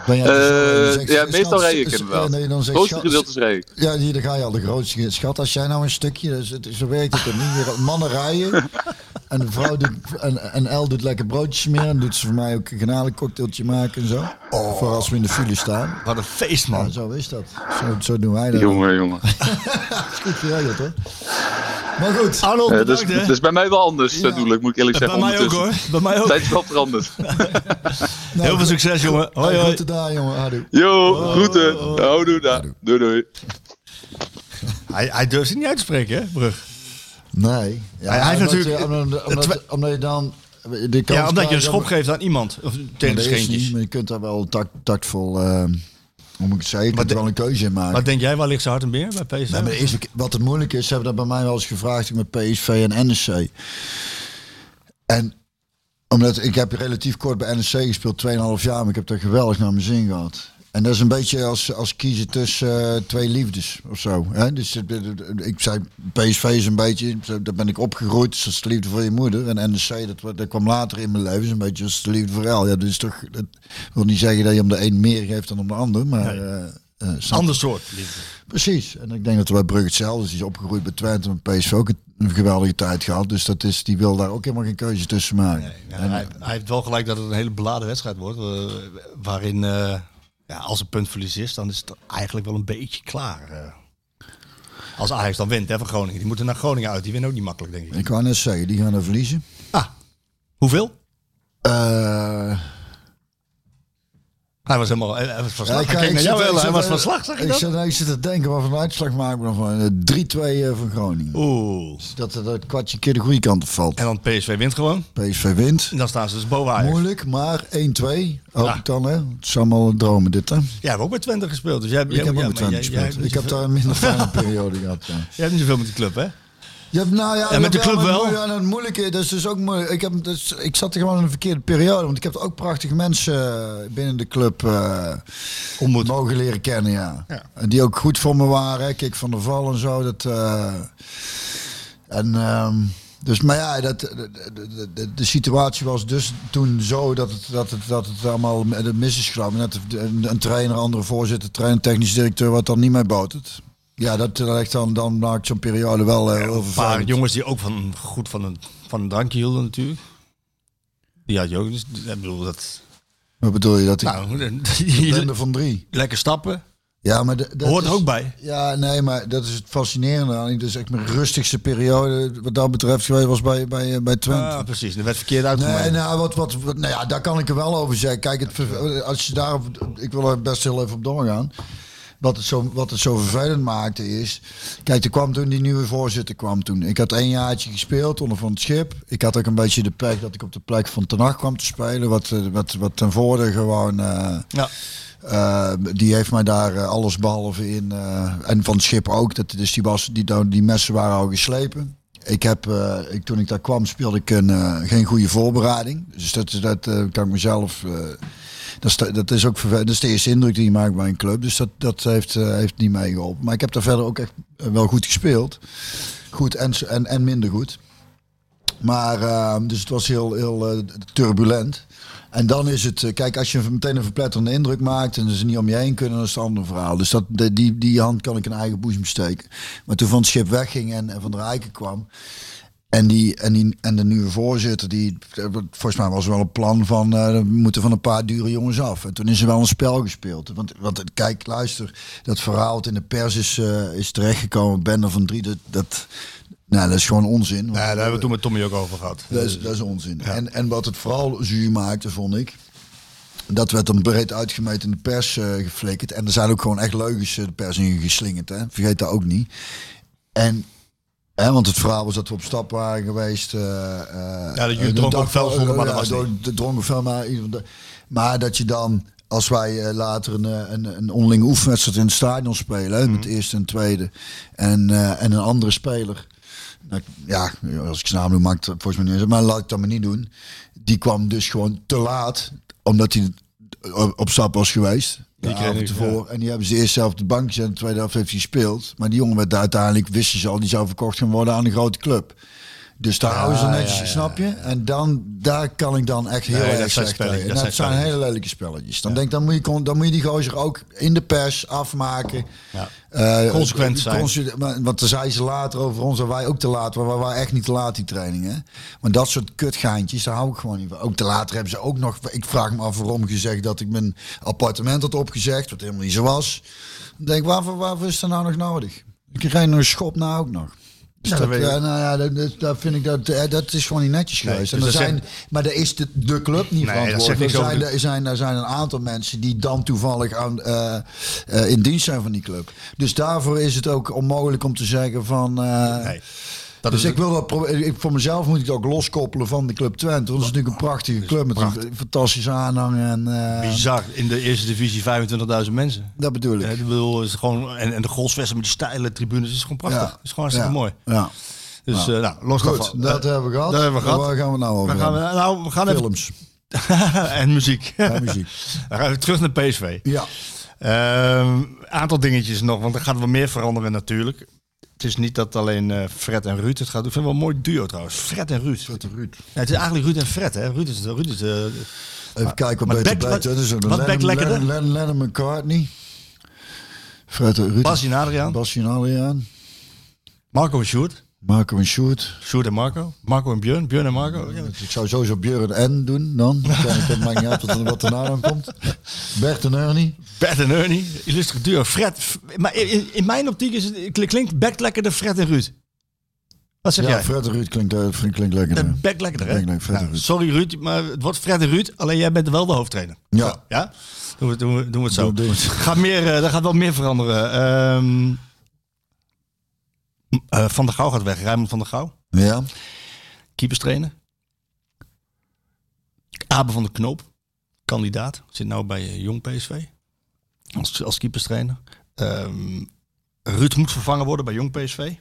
[SPEAKER 2] Ben jij
[SPEAKER 9] Eh,
[SPEAKER 2] zo- zeg-
[SPEAKER 9] ja,
[SPEAKER 2] schat-
[SPEAKER 9] meestal rij ik
[SPEAKER 2] s-
[SPEAKER 9] inderdaad.
[SPEAKER 2] nee, dan
[SPEAKER 9] Het
[SPEAKER 2] zeg,
[SPEAKER 9] grootste
[SPEAKER 2] schat-
[SPEAKER 9] gedeelte rij ik.
[SPEAKER 2] Ja, hier, dan ga je al de grootste schat. Als jij nou een stukje, dus het, zo werkt het er niet. Hier, eh, Mannen rijden en de vrouw doet, en, en El doet lekker broodjes meer en doet ze voor mij ook een garnalencocktailtje maken en zo.
[SPEAKER 9] Oh.
[SPEAKER 2] Voor als we in de file staan.
[SPEAKER 7] Wat een feest,
[SPEAKER 2] Ja,
[SPEAKER 7] man.
[SPEAKER 2] zo is dat. Zo, zo doen wij dat.
[SPEAKER 9] Eh, Jongen, jongen.
[SPEAKER 2] Goed geregeld hoor. Maar goed.
[SPEAKER 7] Arnold,
[SPEAKER 9] Eh, dus,
[SPEAKER 7] bedankt hè.
[SPEAKER 9] dus bij mij wel anders, eh, doel ik, moet ik eerlijk
[SPEAKER 7] Bij
[SPEAKER 9] zeggen.
[SPEAKER 7] mij ook hoor.
[SPEAKER 9] ondertussen.
[SPEAKER 7] Bij mij ook.
[SPEAKER 9] Tijd is wel veranderd.
[SPEAKER 2] Nou,
[SPEAKER 7] Heel veel succes jongen. Hoi hoi.
[SPEAKER 2] Groeten daar, jongen. Adu.
[SPEAKER 9] Yo, groeten.
[SPEAKER 7] Oh.
[SPEAKER 9] Houdoe daar. Doei doei.
[SPEAKER 7] Hij, hij durft het niet uit te spreken hè, Brug.
[SPEAKER 2] Nee. Ja,
[SPEAKER 7] Hij- hij
[SPEAKER 2] omdat
[SPEAKER 7] heeft
[SPEAKER 2] je-
[SPEAKER 7] natuurlijk-
[SPEAKER 2] Omdat, omdat,
[SPEAKER 7] het-
[SPEAKER 2] omdat je dan... De kans
[SPEAKER 7] Ja, omdat je een
[SPEAKER 2] krijgt
[SPEAKER 7] schop
[SPEAKER 2] om-
[SPEAKER 7] geeft aan iemand. Of tegen de
[SPEAKER 2] Nee, dat is
[SPEAKER 7] scheentjes.
[SPEAKER 2] niet, maar je kunt daar wel tact, tactvol... eh, hoe moet ik het zeggen? Je kunt
[SPEAKER 7] de-
[SPEAKER 2] er wel een keuze in maken.
[SPEAKER 7] Wat denk jij, waar ligt zijn hart en beer bij PSV?
[SPEAKER 2] Nee, maar de eerste keer- wat het moeilijk is, ze hebben dat bij mij wel eens gevraagd met PSV en NEC. En omdat ik heb relatief kort bij NEC gespeeld, 2,5 jaar, maar ik heb daar geweldig naar mijn zin gehad. En dat is een beetje als, als kiezen tussen eh, twee liefdes of zo. Hè? Dus het- het- het- ik zei, PSV is een beetje, zo, daar ben ik opgegroeid, dus dat is de liefde voor je moeder. En NEC, dat, wa- dat kwam later in mijn leven, is een beetje als de liefde voor El. Ja, dus toch, dat wil niet zeggen dat je om de een meer geeft dan om de ander, maar... eh, eh, snap je?
[SPEAKER 7] Ander soort. liefde.
[SPEAKER 2] Precies. En ik denk dat er bij Brugge hetzelfde is. Die is opgegroeid bij Twente en PSV ook een geweldige tijd gehad. Dus dat is, die wil daar ook helemaal geen keuze tussen maken.
[SPEAKER 7] Ja,
[SPEAKER 2] En,
[SPEAKER 7] hij, hij heeft wel gelijk dat het een hele beladen wedstrijd wordt. eh, waarin, eh, ja, als een puntverlies is, dan is het eigenlijk wel een beetje klaar. eh. Als Ajax dan wint hè, van Groningen. Die moeten naar Groningen uit. Die winnen ook niet makkelijk, denk ik.
[SPEAKER 2] ik wou net zeggen, die gaan er verliezen.
[SPEAKER 7] Ah, hoeveel?
[SPEAKER 2] Eh,
[SPEAKER 7] Hij was helemaal eh, hij, hij was van slag.
[SPEAKER 2] ik-
[SPEAKER 7] Hij keek
[SPEAKER 2] ik
[SPEAKER 7] naar
[SPEAKER 2] zit-
[SPEAKER 7] jou,
[SPEAKER 2] ik
[SPEAKER 7] Ellen. Hij
[SPEAKER 2] zit-
[SPEAKER 7] was van slag, zeg je
[SPEAKER 2] ik
[SPEAKER 7] dat?
[SPEAKER 2] zit, nee, ik zit te denken wat voor een uitslag maken we dan van. Eh, 3-2 eh, van Groningen.
[SPEAKER 7] Oeh.
[SPEAKER 2] Dat het dat kwartje een keer de goede kant op valt.
[SPEAKER 7] En dan PSV wint gewoon.
[SPEAKER 2] PSV wint.
[SPEAKER 7] En dan staan ze dus boven Ajax.
[SPEAKER 2] Moeilijk, maar 1-2. Hoop
[SPEAKER 7] Ja.
[SPEAKER 2] ik dan, hè. Het is allemaal dromen dit, hè.
[SPEAKER 7] Jij hebt ook bij Twente gespeeld. Dus jij,
[SPEAKER 2] Ik heb ook met Twente
[SPEAKER 7] Jij,
[SPEAKER 2] gespeeld. Ik heb daar
[SPEAKER 7] daar...
[SPEAKER 2] een minder fijne periode gehad, ja.
[SPEAKER 7] jij hebt niet zoveel met die club, hè?
[SPEAKER 2] Ja, nou ja,
[SPEAKER 7] En met de club
[SPEAKER 2] maar het
[SPEAKER 7] wel?
[SPEAKER 2] moeilijke- ja, het moeilijke, dat is dus ook moeilijk. Ik, heb, dus, ik zat er gewoon in een verkeerde periode, want ik heb ook prachtige mensen eh, binnen de club eh,
[SPEAKER 7] Ontmoet.
[SPEAKER 2] mogen leren kennen, ja.
[SPEAKER 7] Ja.
[SPEAKER 2] En Die ook goed voor me waren, hè. Kik van der Val en zo. Dat, eh, en, ehm, dus, maar ja, dat, de, de, de, de situatie was dus toen zo dat het, dat het, dat het allemaal mis is gelopen. Net een, een trainer, andere voorzitter, trainer, technisch directeur, wat dan niet mee botert. Ja, dat eh, ligt dan, dan maakt zo'n periode wel eh, heel
[SPEAKER 7] Een paar
[SPEAKER 2] vervelend.
[SPEAKER 7] jongens die ook van, goed van een, van een drankje hielden natuurlijk. Die had je ook. Dus, ik bedoel, dat...
[SPEAKER 2] Wat bedoel je dat ik
[SPEAKER 7] Nou, die-
[SPEAKER 2] blinde van drie?
[SPEAKER 7] lekker stappen.
[SPEAKER 2] Ja, maar de- dat
[SPEAKER 7] Hoort er
[SPEAKER 2] is-
[SPEAKER 7] ook bij.
[SPEAKER 2] Ja, nee, maar dat is het fascinerende aan. Het is echt mijn rustigste periode wat dat betreft geweest was bij bij eh, bij Twente.
[SPEAKER 7] Ah, precies. Dat werd verkeerd uitgemaakt.
[SPEAKER 2] Nee, nou, wat, wat, wat- nou ja, daar kan ik er wel over zeggen. Kijk, het, ver- als je daar, ik wil er best heel even op doorgaan. Wat het, zo, wat het zo vervelend maakte is. Kijk, er kwam toen die nieuwe voorzitter kwam toen. Ik had één jaartje gespeeld onder van het schip. Ik had ook een beetje de pech dat ik op de plek van Ten Hag kwam te spelen. Wat, eh, wat, wat ten voorde gewoon. eh,
[SPEAKER 7] Ja.
[SPEAKER 2] eh, die heeft mij daar eh, alles behalve in. eh, en van het schip ook. Dat, dus die, was, die, die messen waren al geslepen. Ik heb, eh, ik, toen ik daar kwam speelde ik een, eh, geen goede voorbereiding. Dus dat, dat eh, kan ik mezelf... eh, dat, is, de- dat is ook verve- dat is de eerste indruk die je maakt bij een club. Dus dat, dat heeft, eh, heeft niet meegeholpen. Maar ik heb daar verder ook echt eh, wel goed gespeeld. Goed en, s- en, en minder goed. Maar, eh, dus het was heel, heel eh, turbulent. En dan is het, eh, kijk, als je meteen een verpletterende indruk maakt en ze niet om je heen kunnen, dan is het een ander verhaal. Dus dat, de- die, die hand kan ik in eigen boezem steken. Maar toen van het schip wegging en, en van der Rijken kwam. En, die, en, die, en de nieuwe voorzitter, die, eh, volgens mij was er wel een plan van, eh, we moeten van een paar dure jongens af. En toen is er wel een spel gespeeld. Want, want eh, kijk, luister, dat verhaal dat in de pers is, eh, is terechtgekomen, Bender van Drie, dat, dat, nou, dat is gewoon onzin.
[SPEAKER 7] daar hebben we het toen met Tommy ook over gehad.
[SPEAKER 2] Dat is, dat is onzin. En, en wat het vooral zuur maakte, vond ik. Dat werd dan breed uitgemeten in de pers eh, geflikkerd. En er zijn ook gewoon echt leugens eh, de pers in geslingerd. Hè? Vergeet dat ook niet. En, hè, want het verhaal was dat we op stap waren geweest. eh, eh,
[SPEAKER 7] dat
[SPEAKER 2] de
[SPEAKER 7] jullie dronken
[SPEAKER 2] dag
[SPEAKER 7] ook fel
[SPEAKER 2] van-
[SPEAKER 7] vonden, maar
[SPEAKER 2] ja,
[SPEAKER 7] dat was
[SPEAKER 2] door-
[SPEAKER 7] niet.
[SPEAKER 2] De dronken fel, maar, ieder- de- maar dat je dan, als wij eh, later een, eh, een, een onderlinge oefenwedstrijd in het stadion spelen. hè, Met
[SPEAKER 7] Mhm.
[SPEAKER 2] de eerste en tweede. En, eh, en een andere speler. Nou, ja, als ik zijn naam noem, maakt het volgens mij niet uit. Maar laat ik dat maar niet doen. Die kwam dus gewoon te laat, omdat hij op stap was geweest. De
[SPEAKER 7] kreeg
[SPEAKER 2] avond
[SPEAKER 7] niks,
[SPEAKER 2] ervoor. En die hebben ze eerst zelf op de bank gezet. en De tweede helft heeft hij gespeeld. Maar die jongen werd daar uiteindelijk, wisten ze al, die zou verkocht gaan worden aan een grote club. Dus daar houden ze netjes, snap je? En dan, daar kan ik dan echt heel
[SPEAKER 7] Nee, dat
[SPEAKER 2] erg
[SPEAKER 7] zijn
[SPEAKER 2] slecht
[SPEAKER 7] spelletjes,
[SPEAKER 2] tegen.
[SPEAKER 7] dat
[SPEAKER 2] Dat,
[SPEAKER 7] zijn
[SPEAKER 2] zijn
[SPEAKER 7] spelletjes.
[SPEAKER 2] hele lelijke spelletjes. Dan denk ik, dan moet, je, kon- dan moet je die gozer ook in de pers afmaken.
[SPEAKER 7] Ja.
[SPEAKER 2] Eh,
[SPEAKER 7] Consequent
[SPEAKER 2] eh,
[SPEAKER 7] zijn.
[SPEAKER 2] conse- maar- want daar zei ze later over ons dat wij ook te laat waren. Maar wij waren echt niet te laat die trainingen. Maar dat soort kutgeintjes, daar hou ik gewoon niet van. Ook te laat hebben ze ook nog... Ik vraag me af waarom gezegd dat ik mijn appartement had opgezegd. Wat helemaal niet zo was. Ik denk, waarvoor, waarvoor is dat nou nog nodig? Ik krijg nog een schop na ook nog.
[SPEAKER 7] Dus
[SPEAKER 2] Ja,
[SPEAKER 7] dan
[SPEAKER 2] dat,
[SPEAKER 7] weet
[SPEAKER 2] ja,
[SPEAKER 7] ik-
[SPEAKER 2] nou ja, dat- dat, dat vind ik dat, eh, dat is gewoon niet netjes
[SPEAKER 7] Nee,
[SPEAKER 2] geweest. en
[SPEAKER 7] dus
[SPEAKER 2] er
[SPEAKER 7] dat
[SPEAKER 2] zijn, maar daar is de, de club niet
[SPEAKER 7] dat zegt
[SPEAKER 2] verantwoordelijk.
[SPEAKER 7] niks
[SPEAKER 2] Er
[SPEAKER 7] over
[SPEAKER 2] zijn,
[SPEAKER 7] de-
[SPEAKER 2] er, zijn, er zijn een aantal mensen die dan toevallig aan, eh, eh, in dienst zijn van die club. Dus daarvoor is het ook onmogelijk om te zeggen van. eh,
[SPEAKER 7] nee. Dat
[SPEAKER 2] dus
[SPEAKER 7] is
[SPEAKER 2] ik wil dat pro- ik, voor mezelf moet ik het ook loskoppelen van de club Twente. Want het is natuurlijk een prachtige club met een eh, fantastische aanhang. En, eh,
[SPEAKER 7] bizar. Eh, In de eerste divisie 25.000 mensen.
[SPEAKER 2] dat bedoel ik.
[SPEAKER 7] Ja, ik bedoel, het is gewoon, en, en de golfsvesten met die steile tribunes het is gewoon prachtig.
[SPEAKER 2] Ja.
[SPEAKER 7] Het is gewoon hartstikke
[SPEAKER 2] Ja.
[SPEAKER 7] mooi.
[SPEAKER 2] Ja.
[SPEAKER 7] Dus eh, nou, los
[SPEAKER 2] Goed,
[SPEAKER 7] daarvan.
[SPEAKER 2] dat
[SPEAKER 7] Eh,
[SPEAKER 2] hebben we gehad.
[SPEAKER 7] Dat hebben we gehad.
[SPEAKER 2] Waar gaan we nou over?
[SPEAKER 7] Dan gaan we,
[SPEAKER 2] hebben?
[SPEAKER 7] nou, we gaan even,
[SPEAKER 2] Films
[SPEAKER 7] en muziek.
[SPEAKER 2] en muziek.
[SPEAKER 7] Dan gaan we terug naar PSV.
[SPEAKER 2] Ja.
[SPEAKER 7] Ehm, aantal dingetjes nog, want er gaat wel meer veranderen natuurlijk. Het is niet dat alleen eh, Fred en Ruud het gaat doen. Ik vind het wel een mooi duo trouwens. Fred en Ruud.
[SPEAKER 2] Tot de Ruud.
[SPEAKER 7] Nee, het is eigenlijk Ruud en Fred, hè? Ruud is, Ruud is eh,
[SPEAKER 2] Even kijken wat
[SPEAKER 7] maar
[SPEAKER 2] beter
[SPEAKER 7] back-
[SPEAKER 2] blijkt. Dat is ook
[SPEAKER 7] wat
[SPEAKER 2] eh, Lennon-
[SPEAKER 7] back lekkerder?
[SPEAKER 2] Lennon- Lennon- Lennon McCartney. Fred Ruud.
[SPEAKER 7] Bas en Adriaan.
[SPEAKER 2] Basje en Adriaan.
[SPEAKER 7] Marco en Sjoerd.
[SPEAKER 2] Marco en Sjoerd.
[SPEAKER 7] Sjoerd en Marco. Marco en Björn. Björn en Marco. Ja,
[SPEAKER 2] Ik zou sowieso Björn en doen dan. Kijk, Dat maakt niet uit wat er- wat erna dan komt. Bert en Ernie.
[SPEAKER 7] Bert en Ernie. Illustre duo. Fred. F- Maar in- in, in mijn optiek is het, kl- klinkt Bek lekkerder Fred en Ruud. Wat zeg
[SPEAKER 2] Ja,
[SPEAKER 7] jij?
[SPEAKER 2] Fred en Ruud klinkt, eh, vind- klinkt lekker.
[SPEAKER 7] De
[SPEAKER 2] hè?
[SPEAKER 7] Bek lekkerder, hè?
[SPEAKER 2] Bek lekkerder, Fred en
[SPEAKER 7] Nou,
[SPEAKER 2] Ruud.
[SPEAKER 7] sorry Ruud, maar het wordt Fred en Ruud. Alleen jij bent wel de hoofdtrainer.
[SPEAKER 2] Ja.
[SPEAKER 7] Ja? Doen we, doen we, doen we het zo.
[SPEAKER 2] Doen- doen we het.
[SPEAKER 7] Gaat meer, eh, daar gaat wel meer veranderen. Ehm, m- eh, van der Gouw gaat weg. Raymond van der Gouw.
[SPEAKER 2] Ja.
[SPEAKER 7] Keepers trainer. Abe van der Knoop. Kandidaat. Zit nou bij eh, Jong PSV. Als, als keepers trainer. Ehm, Ruud moet vervangen worden bij Jong PSV.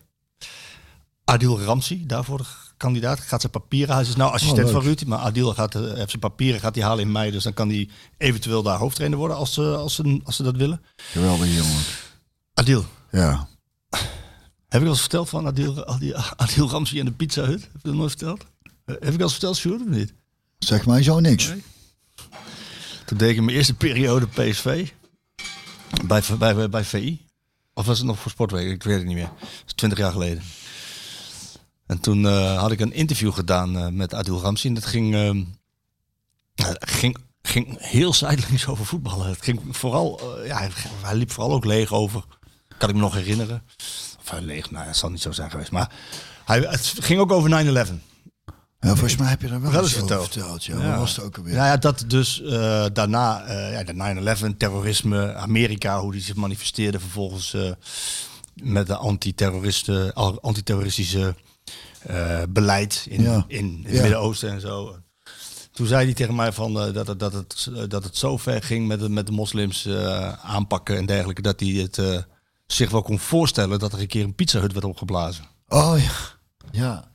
[SPEAKER 7] Adil Ramsi, daarvoor de kandidaat, gaat zijn papieren. Hij is nou assistent
[SPEAKER 2] Oh, leuk.
[SPEAKER 7] van Ruud, maar Adil gaat, eh, heeft zijn papieren gaat hij halen in mei. Dus dan kan hij eventueel daar hoofdtrainer worden als ze, als ze, als ze dat willen.
[SPEAKER 2] Geweldig jongen.
[SPEAKER 7] Adil,
[SPEAKER 2] Ja.
[SPEAKER 7] heb ik al eens verteld van Adil, Adil, Adil Ramsi en de Pizza Hut? Heb ik dat nooit verteld? Eh, Heb ik al eens verteld, Sjoerd, of niet?
[SPEAKER 2] Zeg mij zo niks.
[SPEAKER 7] Toen deed ik in mijn eerste periode PSV. Bij, bij, bij VI. Of was het nog voor Sportweek? Ik weet het niet meer. Dat is twintig jaar geleden. En toen eh, had ik een interview gedaan eh, met Adil Ramsi. En dat ging, ehm, nou, dat ging, ging heel zijdelings over voetballen. Het ging vooral, eh, ja, hij- hij liep vooral ook leeg over. Kan ik me nog herinneren. Of hij leeg, nou, dat zal niet zo zijn geweest. Maar hij, het ging ook over 9-11.
[SPEAKER 2] Ja, volgens mij heb je er wel,
[SPEAKER 7] Wel eens
[SPEAKER 2] eens over
[SPEAKER 7] verteld.
[SPEAKER 2] verteld. Ja. Wat was het ook alweer?
[SPEAKER 7] Nou ja, dat dus eh, daarna, eh, ja, de 9-11, terrorisme, Amerika, hoe die zich manifesteerde vervolgens eh, met de antiterroristen, al- antiterroristische eh, beleid in,
[SPEAKER 2] Ja.
[SPEAKER 7] in het
[SPEAKER 2] Ja.
[SPEAKER 7] Midden-Oosten en zo. Toen zei hij tegen mij van, eh, dat, het, dat, het, dat het zo ver ging met, de- met de moslims eh, aanpakken en dergelijke, dat hij het eh, zich wel kon voorstellen dat er een keer een pizza hut werd opgeblazen.
[SPEAKER 2] Oh ja. Ja.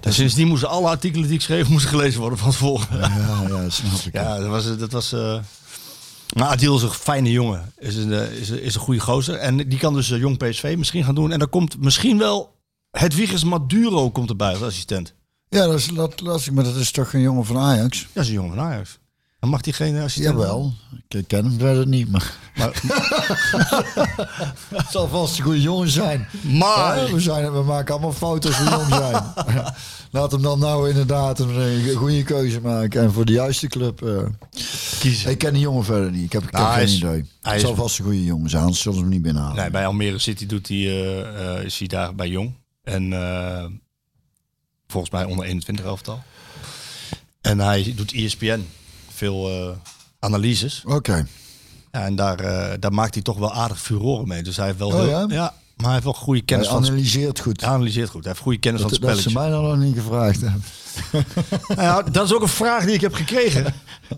[SPEAKER 7] En sindsdien moesten alle artikelen die ik schreef moesten gelezen worden van tevoren.
[SPEAKER 2] Ja, ja, snap ik.
[SPEAKER 7] Ja, dat was. Dat was eh, maar Adil is een fijne jongen. Is een, eh, is, een- is een goede gozer. En die kan dus eh, jong PSV misschien gaan doen. En dan komt misschien wel. Het Wiegers Maduro komt erbij als assistent.
[SPEAKER 2] Ja, dat is lat- lastig, maar dat is toch een jongen van Ajax?
[SPEAKER 7] Ja, dat is een jongen van Ajax. Dan mag die geen eh, assistent.
[SPEAKER 2] Jawel, ik ken hem verder niet, maar...
[SPEAKER 7] Maar-
[SPEAKER 2] het zal vast een goede jongen zijn.
[SPEAKER 7] Maar.
[SPEAKER 2] Hè, we, zijn we maken allemaal foto's van jong zijn. Laat hem dan nou inderdaad een, eh, goede keuze maken. En voor de juiste club... eh. Ah,
[SPEAKER 7] Kiezen.
[SPEAKER 2] Ik ken die jongen verder niet. Ik heb, ik heb
[SPEAKER 7] Nou, hij
[SPEAKER 2] geen
[SPEAKER 7] is-
[SPEAKER 2] idee.
[SPEAKER 7] hij
[SPEAKER 2] Het zal
[SPEAKER 7] is-
[SPEAKER 2] vast een goede jongen zijn, anders zullen ze hem niet binnenhalen.
[SPEAKER 7] Nee, bij Almere City doet hij, eh, eh, is hij daar bij jong. En eh, volgens mij onder 21 elftal. En hij doet E ESPN. Veel eh, analyses.
[SPEAKER 2] Oké.
[SPEAKER 7] Ja, en daar, eh, daar maakt hij toch wel aardig furoren mee. Dus hij heeft wel
[SPEAKER 2] Oh,
[SPEAKER 7] heel-
[SPEAKER 2] ja?
[SPEAKER 7] maar hij heeft wel goede
[SPEAKER 2] Hij
[SPEAKER 7] kennis van het
[SPEAKER 2] analyseert goed.
[SPEAKER 7] sp- hij analyseert goed. Hij heeft goede kennis
[SPEAKER 2] dat,
[SPEAKER 7] van
[SPEAKER 2] dat
[SPEAKER 7] het
[SPEAKER 2] ze
[SPEAKER 7] spelletje.
[SPEAKER 2] mij dan nog niet gevraagd hebben.
[SPEAKER 7] Nou ja, dat is ook een vraag die ik heb gekregen.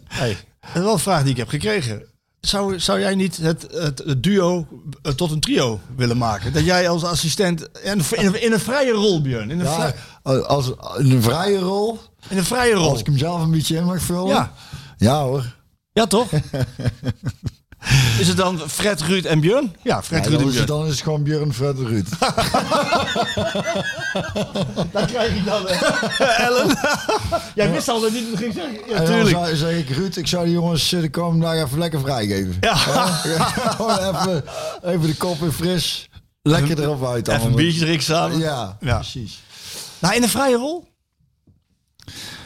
[SPEAKER 7] hey, dat is wel een vraag die ik heb gekregen. Zou, zou jij niet het, het, het duo eh, tot een trio willen maken? Dat jij als assistent en in, een- in een vrije rol, Björn. In een,
[SPEAKER 2] Ja,
[SPEAKER 7] vrij-
[SPEAKER 2] als, in een vrije rol,
[SPEAKER 7] in een vrije rol.
[SPEAKER 2] als ik hem zelf een beetje in mag vullen.
[SPEAKER 7] Ja.
[SPEAKER 2] Ja hoor.
[SPEAKER 7] Ja, toch? Is het dan Fred, Ruud en Björn? Ja, Fred,
[SPEAKER 2] Ja,
[SPEAKER 7] Ruud
[SPEAKER 2] dan,
[SPEAKER 7] en
[SPEAKER 2] is het,
[SPEAKER 7] Björn.
[SPEAKER 2] dan is het gewoon Björn Fred en Ruud.
[SPEAKER 7] Dat krijg ik dan, eh, Ellen. jij wist al dat dit ging zeggen. Ja,
[SPEAKER 2] En dan
[SPEAKER 7] tuurlijk.
[SPEAKER 2] zou- zeg ik, Ruud, ik zou die jongens eh, de komende dagen even lekker vrijgeven.
[SPEAKER 7] Ja.
[SPEAKER 2] Gewoon even, even de kop in fris. Lekker erop uit.
[SPEAKER 7] Even
[SPEAKER 2] allemaal.
[SPEAKER 7] een biertje drinken samen.
[SPEAKER 2] Ja,
[SPEAKER 7] Ja.
[SPEAKER 2] precies.
[SPEAKER 7] Nou, in een vrije rol?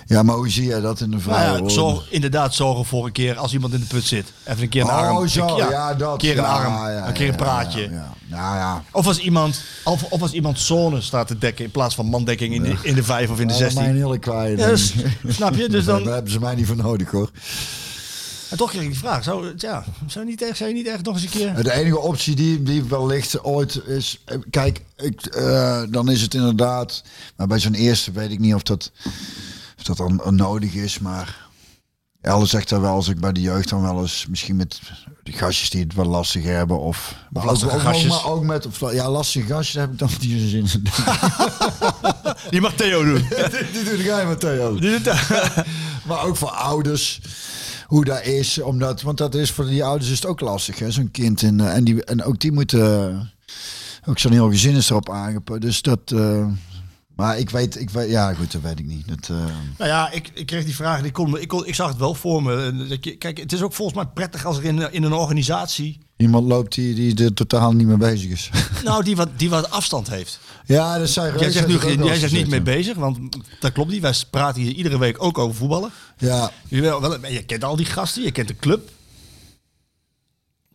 [SPEAKER 2] Ja, maar hoe zie jij dat in de
[SPEAKER 7] Nou
[SPEAKER 2] vrije
[SPEAKER 7] ja,
[SPEAKER 2] rol?
[SPEAKER 7] zorg, inderdaad zorgen voor een keer als iemand in de put zit. Even een keer een
[SPEAKER 2] oh,
[SPEAKER 7] arm.
[SPEAKER 2] zo.
[SPEAKER 7] Nou, een,
[SPEAKER 2] Ja,
[SPEAKER 7] keer-
[SPEAKER 2] dat.
[SPEAKER 7] Een keer een
[SPEAKER 2] Ja,
[SPEAKER 7] arm.
[SPEAKER 2] ja,
[SPEAKER 7] een keer
[SPEAKER 2] ja,
[SPEAKER 7] een praatje.
[SPEAKER 2] Ja, ja. Nou ja.
[SPEAKER 7] Of als iemand, of, of als iemand zone staat te dekken in plaats van mandekking in de, in de 5 of in de
[SPEAKER 2] Dat is mij een
[SPEAKER 7] 16.
[SPEAKER 2] hele kwaaie
[SPEAKER 7] Ja,
[SPEAKER 2] ding.
[SPEAKER 7] dus- snap je? Dus dan,
[SPEAKER 2] Daar hebben ze mij niet voor nodig hoor.
[SPEAKER 7] en toch kreeg ik die vraag. Zou, ja, zou, je niet echt, zou je niet echt nog eens een keer...
[SPEAKER 2] Eh, De enige optie die, die wellicht ooit is. eh, Kijk, ik, eh, dan is het inderdaad. Maar bij zo'n eerste weet ik niet of dat, of dat dan nodig is. Maar Elle zegt daar wel, als ik bij de jeugd dan wel eens. Misschien met de gastjes die het wel lastig hebben. Of, maar ook-
[SPEAKER 7] lastige
[SPEAKER 2] ook,
[SPEAKER 7] gastjes.
[SPEAKER 2] Maar ook met. Of, ja, lastige gastjes heb ik dan niet zo zin in.
[SPEAKER 7] Die mag Theo doen.
[SPEAKER 2] die doe jij maar Theo.
[SPEAKER 7] Die doet dat.
[SPEAKER 2] Maar ook voor ouders. Hoe dat is. Omdat, want dat is voor die ouders is het ook lastig. hè, Zo'n kind. En, eh, en, die, en ook die moeten. eh, Ook zo'n heel gezin is erop aangepakt. Dus dat. eh, maar ik weet, ik weet. Ja, goed, dat weet ik niet. Dat, eh,
[SPEAKER 7] Nou ja, ik, ik kreeg die vraag. en Ik, kon, me- ik, kon, ik zag het wel voor me. En dat je- Kijk, het is ook volgens mij prettig als er in, in een organisatie...
[SPEAKER 2] iemand loopt die, die er totaal niet mee bezig is.
[SPEAKER 7] Nou, die wat, die wat afstand heeft.
[SPEAKER 2] ja, dat zijn
[SPEAKER 7] Jij zegt, nu, jij zegt niet mee bezig, want dat klopt niet. Wij praten hier iedere week ook over voetballen.
[SPEAKER 2] Ja.
[SPEAKER 7] Je, wel, wel, maar je kent al die gasten, je kent de club.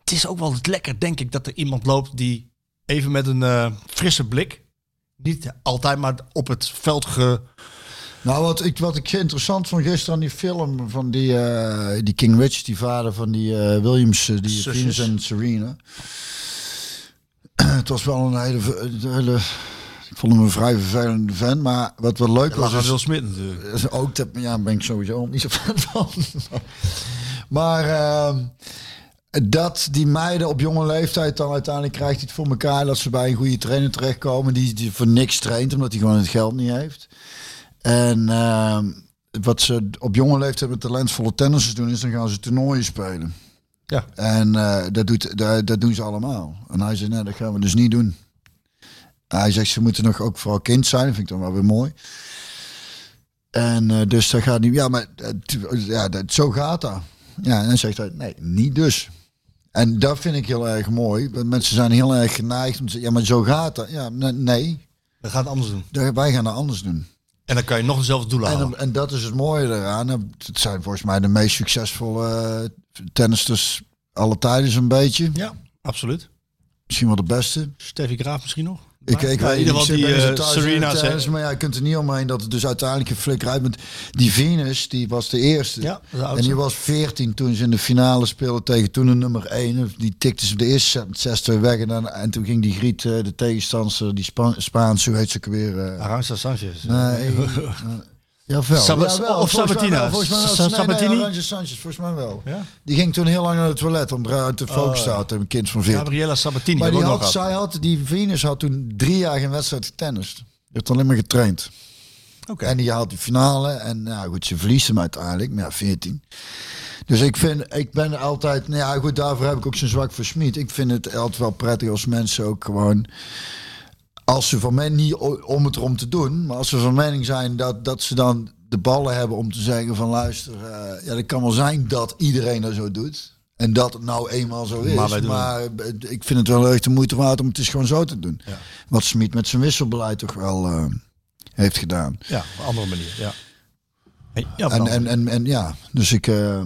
[SPEAKER 7] Het is ook wel lekker, denk ik, dat er iemand loopt die even met een eh, frisse blik, niet altijd maar op het veld ge...
[SPEAKER 2] Nou, wat ik, wat ik interessant vond gisteren aan die film van die, eh, die King Rich, die vader van die eh, Williams, eh, die
[SPEAKER 7] Zusjes.
[SPEAKER 2] Venus en Serena. Het was wel een hele, een hele. Ik vond hem een vrij vervelende fan, maar wat wel leuk was.
[SPEAKER 7] Lag
[SPEAKER 2] is-
[SPEAKER 7] Wil Smit natuurlijk.
[SPEAKER 2] dat is Dus ook dat, ja, daar ben ik sowieso niet zo fan van. Maar ehm, dat die meiden op jonge leeftijd dan uiteindelijk krijgt hij het voor elkaar dat ze bij een goede trainer terechtkomen die, die voor niks traint omdat hij gewoon het geld niet heeft. En ehm, wat ze op jonge leeftijd met talentvolle tennissers doen is dan gaan ze toernooien spelen.
[SPEAKER 7] Ja.
[SPEAKER 2] En eh, dat, doet, dat, dat doen ze allemaal. En hij zei, nee, dat gaan we dus niet doen. Hij zegt, ze moeten nog ook vooral kind zijn. Dat vind ik dan wel weer mooi. En eh, dus dat gaat niet. Ja, maar het- ja, dat, zo gaat dat. Ja, en dan zegt hij, nee, niet dus. En dat vind ik heel erg mooi. Want mensen zijn heel erg geneigd om te zeggen, ja, maar zo gaat dat. Ja, nee, nee
[SPEAKER 7] We gaan het anders doen.
[SPEAKER 2] dat- wij gaan dat anders doen.
[SPEAKER 7] En dan kan je nog dezelfde doelen
[SPEAKER 2] En,
[SPEAKER 7] halen.
[SPEAKER 2] dan- en dat is het mooie eraan. Het zijn volgens mij de meest succesvolle eh, tennisters alle tijden zo'n beetje.
[SPEAKER 7] Ja, absoluut.
[SPEAKER 2] Misschien wel de beste.
[SPEAKER 7] Steffi Graaf misschien nog?
[SPEAKER 2] Ik, ik
[SPEAKER 7] Ja,
[SPEAKER 2] weet
[SPEAKER 7] in ieder
[SPEAKER 2] niet,
[SPEAKER 7] geval
[SPEAKER 2] ik
[SPEAKER 7] die
[SPEAKER 2] ben
[SPEAKER 7] eh,
[SPEAKER 2] eens thuis in
[SPEAKER 7] Serena.
[SPEAKER 2] het tennis,
[SPEAKER 7] zei-
[SPEAKER 2] maar ja, je kunt er niet omheen dat het dus uiteindelijk een flikker uit bent. Die Venus, die was de eerste.
[SPEAKER 7] Ja, de oudste.
[SPEAKER 2] en die was 14 toen ze in de finale speelden tegen toen de nummer 1. Die tikte ze de eerste set met 6-2 weg. En, dan, en toen ging die Griet, eh, de tegenstander, die Spa Spaans, hoe heet ze ook weer? eh
[SPEAKER 7] Arantxa Sanchez.
[SPEAKER 2] nee, eh, jawel.
[SPEAKER 7] Saba-
[SPEAKER 2] jawel,
[SPEAKER 7] of
[SPEAKER 2] volgens mij
[SPEAKER 7] Sabatina.
[SPEAKER 2] wel, Volgens mij wel.
[SPEAKER 7] Sa-
[SPEAKER 2] Nee, nee,
[SPEAKER 7] Sabatini?
[SPEAKER 2] Arantxa Sanchez, volgens mij wel.
[SPEAKER 7] Ja? Oh.
[SPEAKER 2] Die ging toen heel lang naar het toilet om eh, eruit te focussen. te houden, Een kind van 14.
[SPEAKER 7] Gabriella Sabatini.
[SPEAKER 2] Maar die
[SPEAKER 7] hebben we ook
[SPEAKER 2] had,
[SPEAKER 7] nog gehad.
[SPEAKER 2] zij had, die Venus had toen drie jaar geen wedstrijd getennist. Die heeft alleen maar getraind.
[SPEAKER 7] Oké.
[SPEAKER 2] En die haalt die finale. En nou goed, ze verliest hem uiteindelijk. Maar ja, 14. Dus ik vind, ik ben altijd, nou ja goed, daarvoor heb ik ook zo'n zwak voor Smit. Ik vind het altijd wel prettig als mensen ook gewoon, als ze van mij niet o- om het erom te doen, maar als ze van mening zijn dat, dat ze dan de ballen hebben om te zeggen van luister, eh, ja dat kan wel zijn dat iedereen dat zo doet. En dat het nou eenmaal zo is.
[SPEAKER 7] Maar
[SPEAKER 2] Maar,
[SPEAKER 7] wij doen
[SPEAKER 2] eh, ik vind het wel echt de moeite waard om het eens gewoon zo te doen. Wat Smit met zijn wisselbeleid toch wel eh, heeft gedaan.
[SPEAKER 7] Ja, op een andere manier. Ja. En, ja, op een
[SPEAKER 2] En,
[SPEAKER 7] andere
[SPEAKER 2] en, en, en ja, dus ik. eh,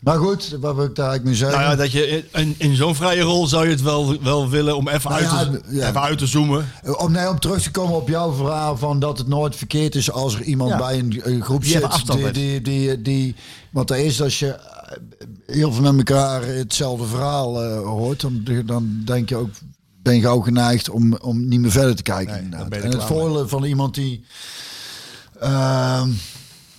[SPEAKER 2] maar goed, wat wil ik daar eigenlijk mee zeggen?
[SPEAKER 7] Nou ja, dat je in- in, in zo'n vrije rol zou je het wel, wel willen om even,
[SPEAKER 2] Nou
[SPEAKER 7] uit,
[SPEAKER 2] ja,
[SPEAKER 7] te,
[SPEAKER 2] ja.
[SPEAKER 7] even uit te zoomen.
[SPEAKER 2] om, nee, om terug te komen op jouw verhaal van dat het nooit verkeerd is als er iemand
[SPEAKER 7] Ja.
[SPEAKER 2] bij een, een groep
[SPEAKER 7] Die even
[SPEAKER 2] zit.
[SPEAKER 7] afstand
[SPEAKER 2] Die,
[SPEAKER 7] heeft.
[SPEAKER 2] die, die, die, want dat is als je eh, heel veel met elkaar hetzelfde verhaal eh, hoort, dan, dan denk je ook, ben je gauw geneigd om, om niet meer verder te kijken.
[SPEAKER 7] Nee, dan
[SPEAKER 2] inderdaad.
[SPEAKER 7] ben je
[SPEAKER 2] en
[SPEAKER 7] er
[SPEAKER 2] het
[SPEAKER 7] klaar mee.
[SPEAKER 2] voordeel van iemand die. ehm,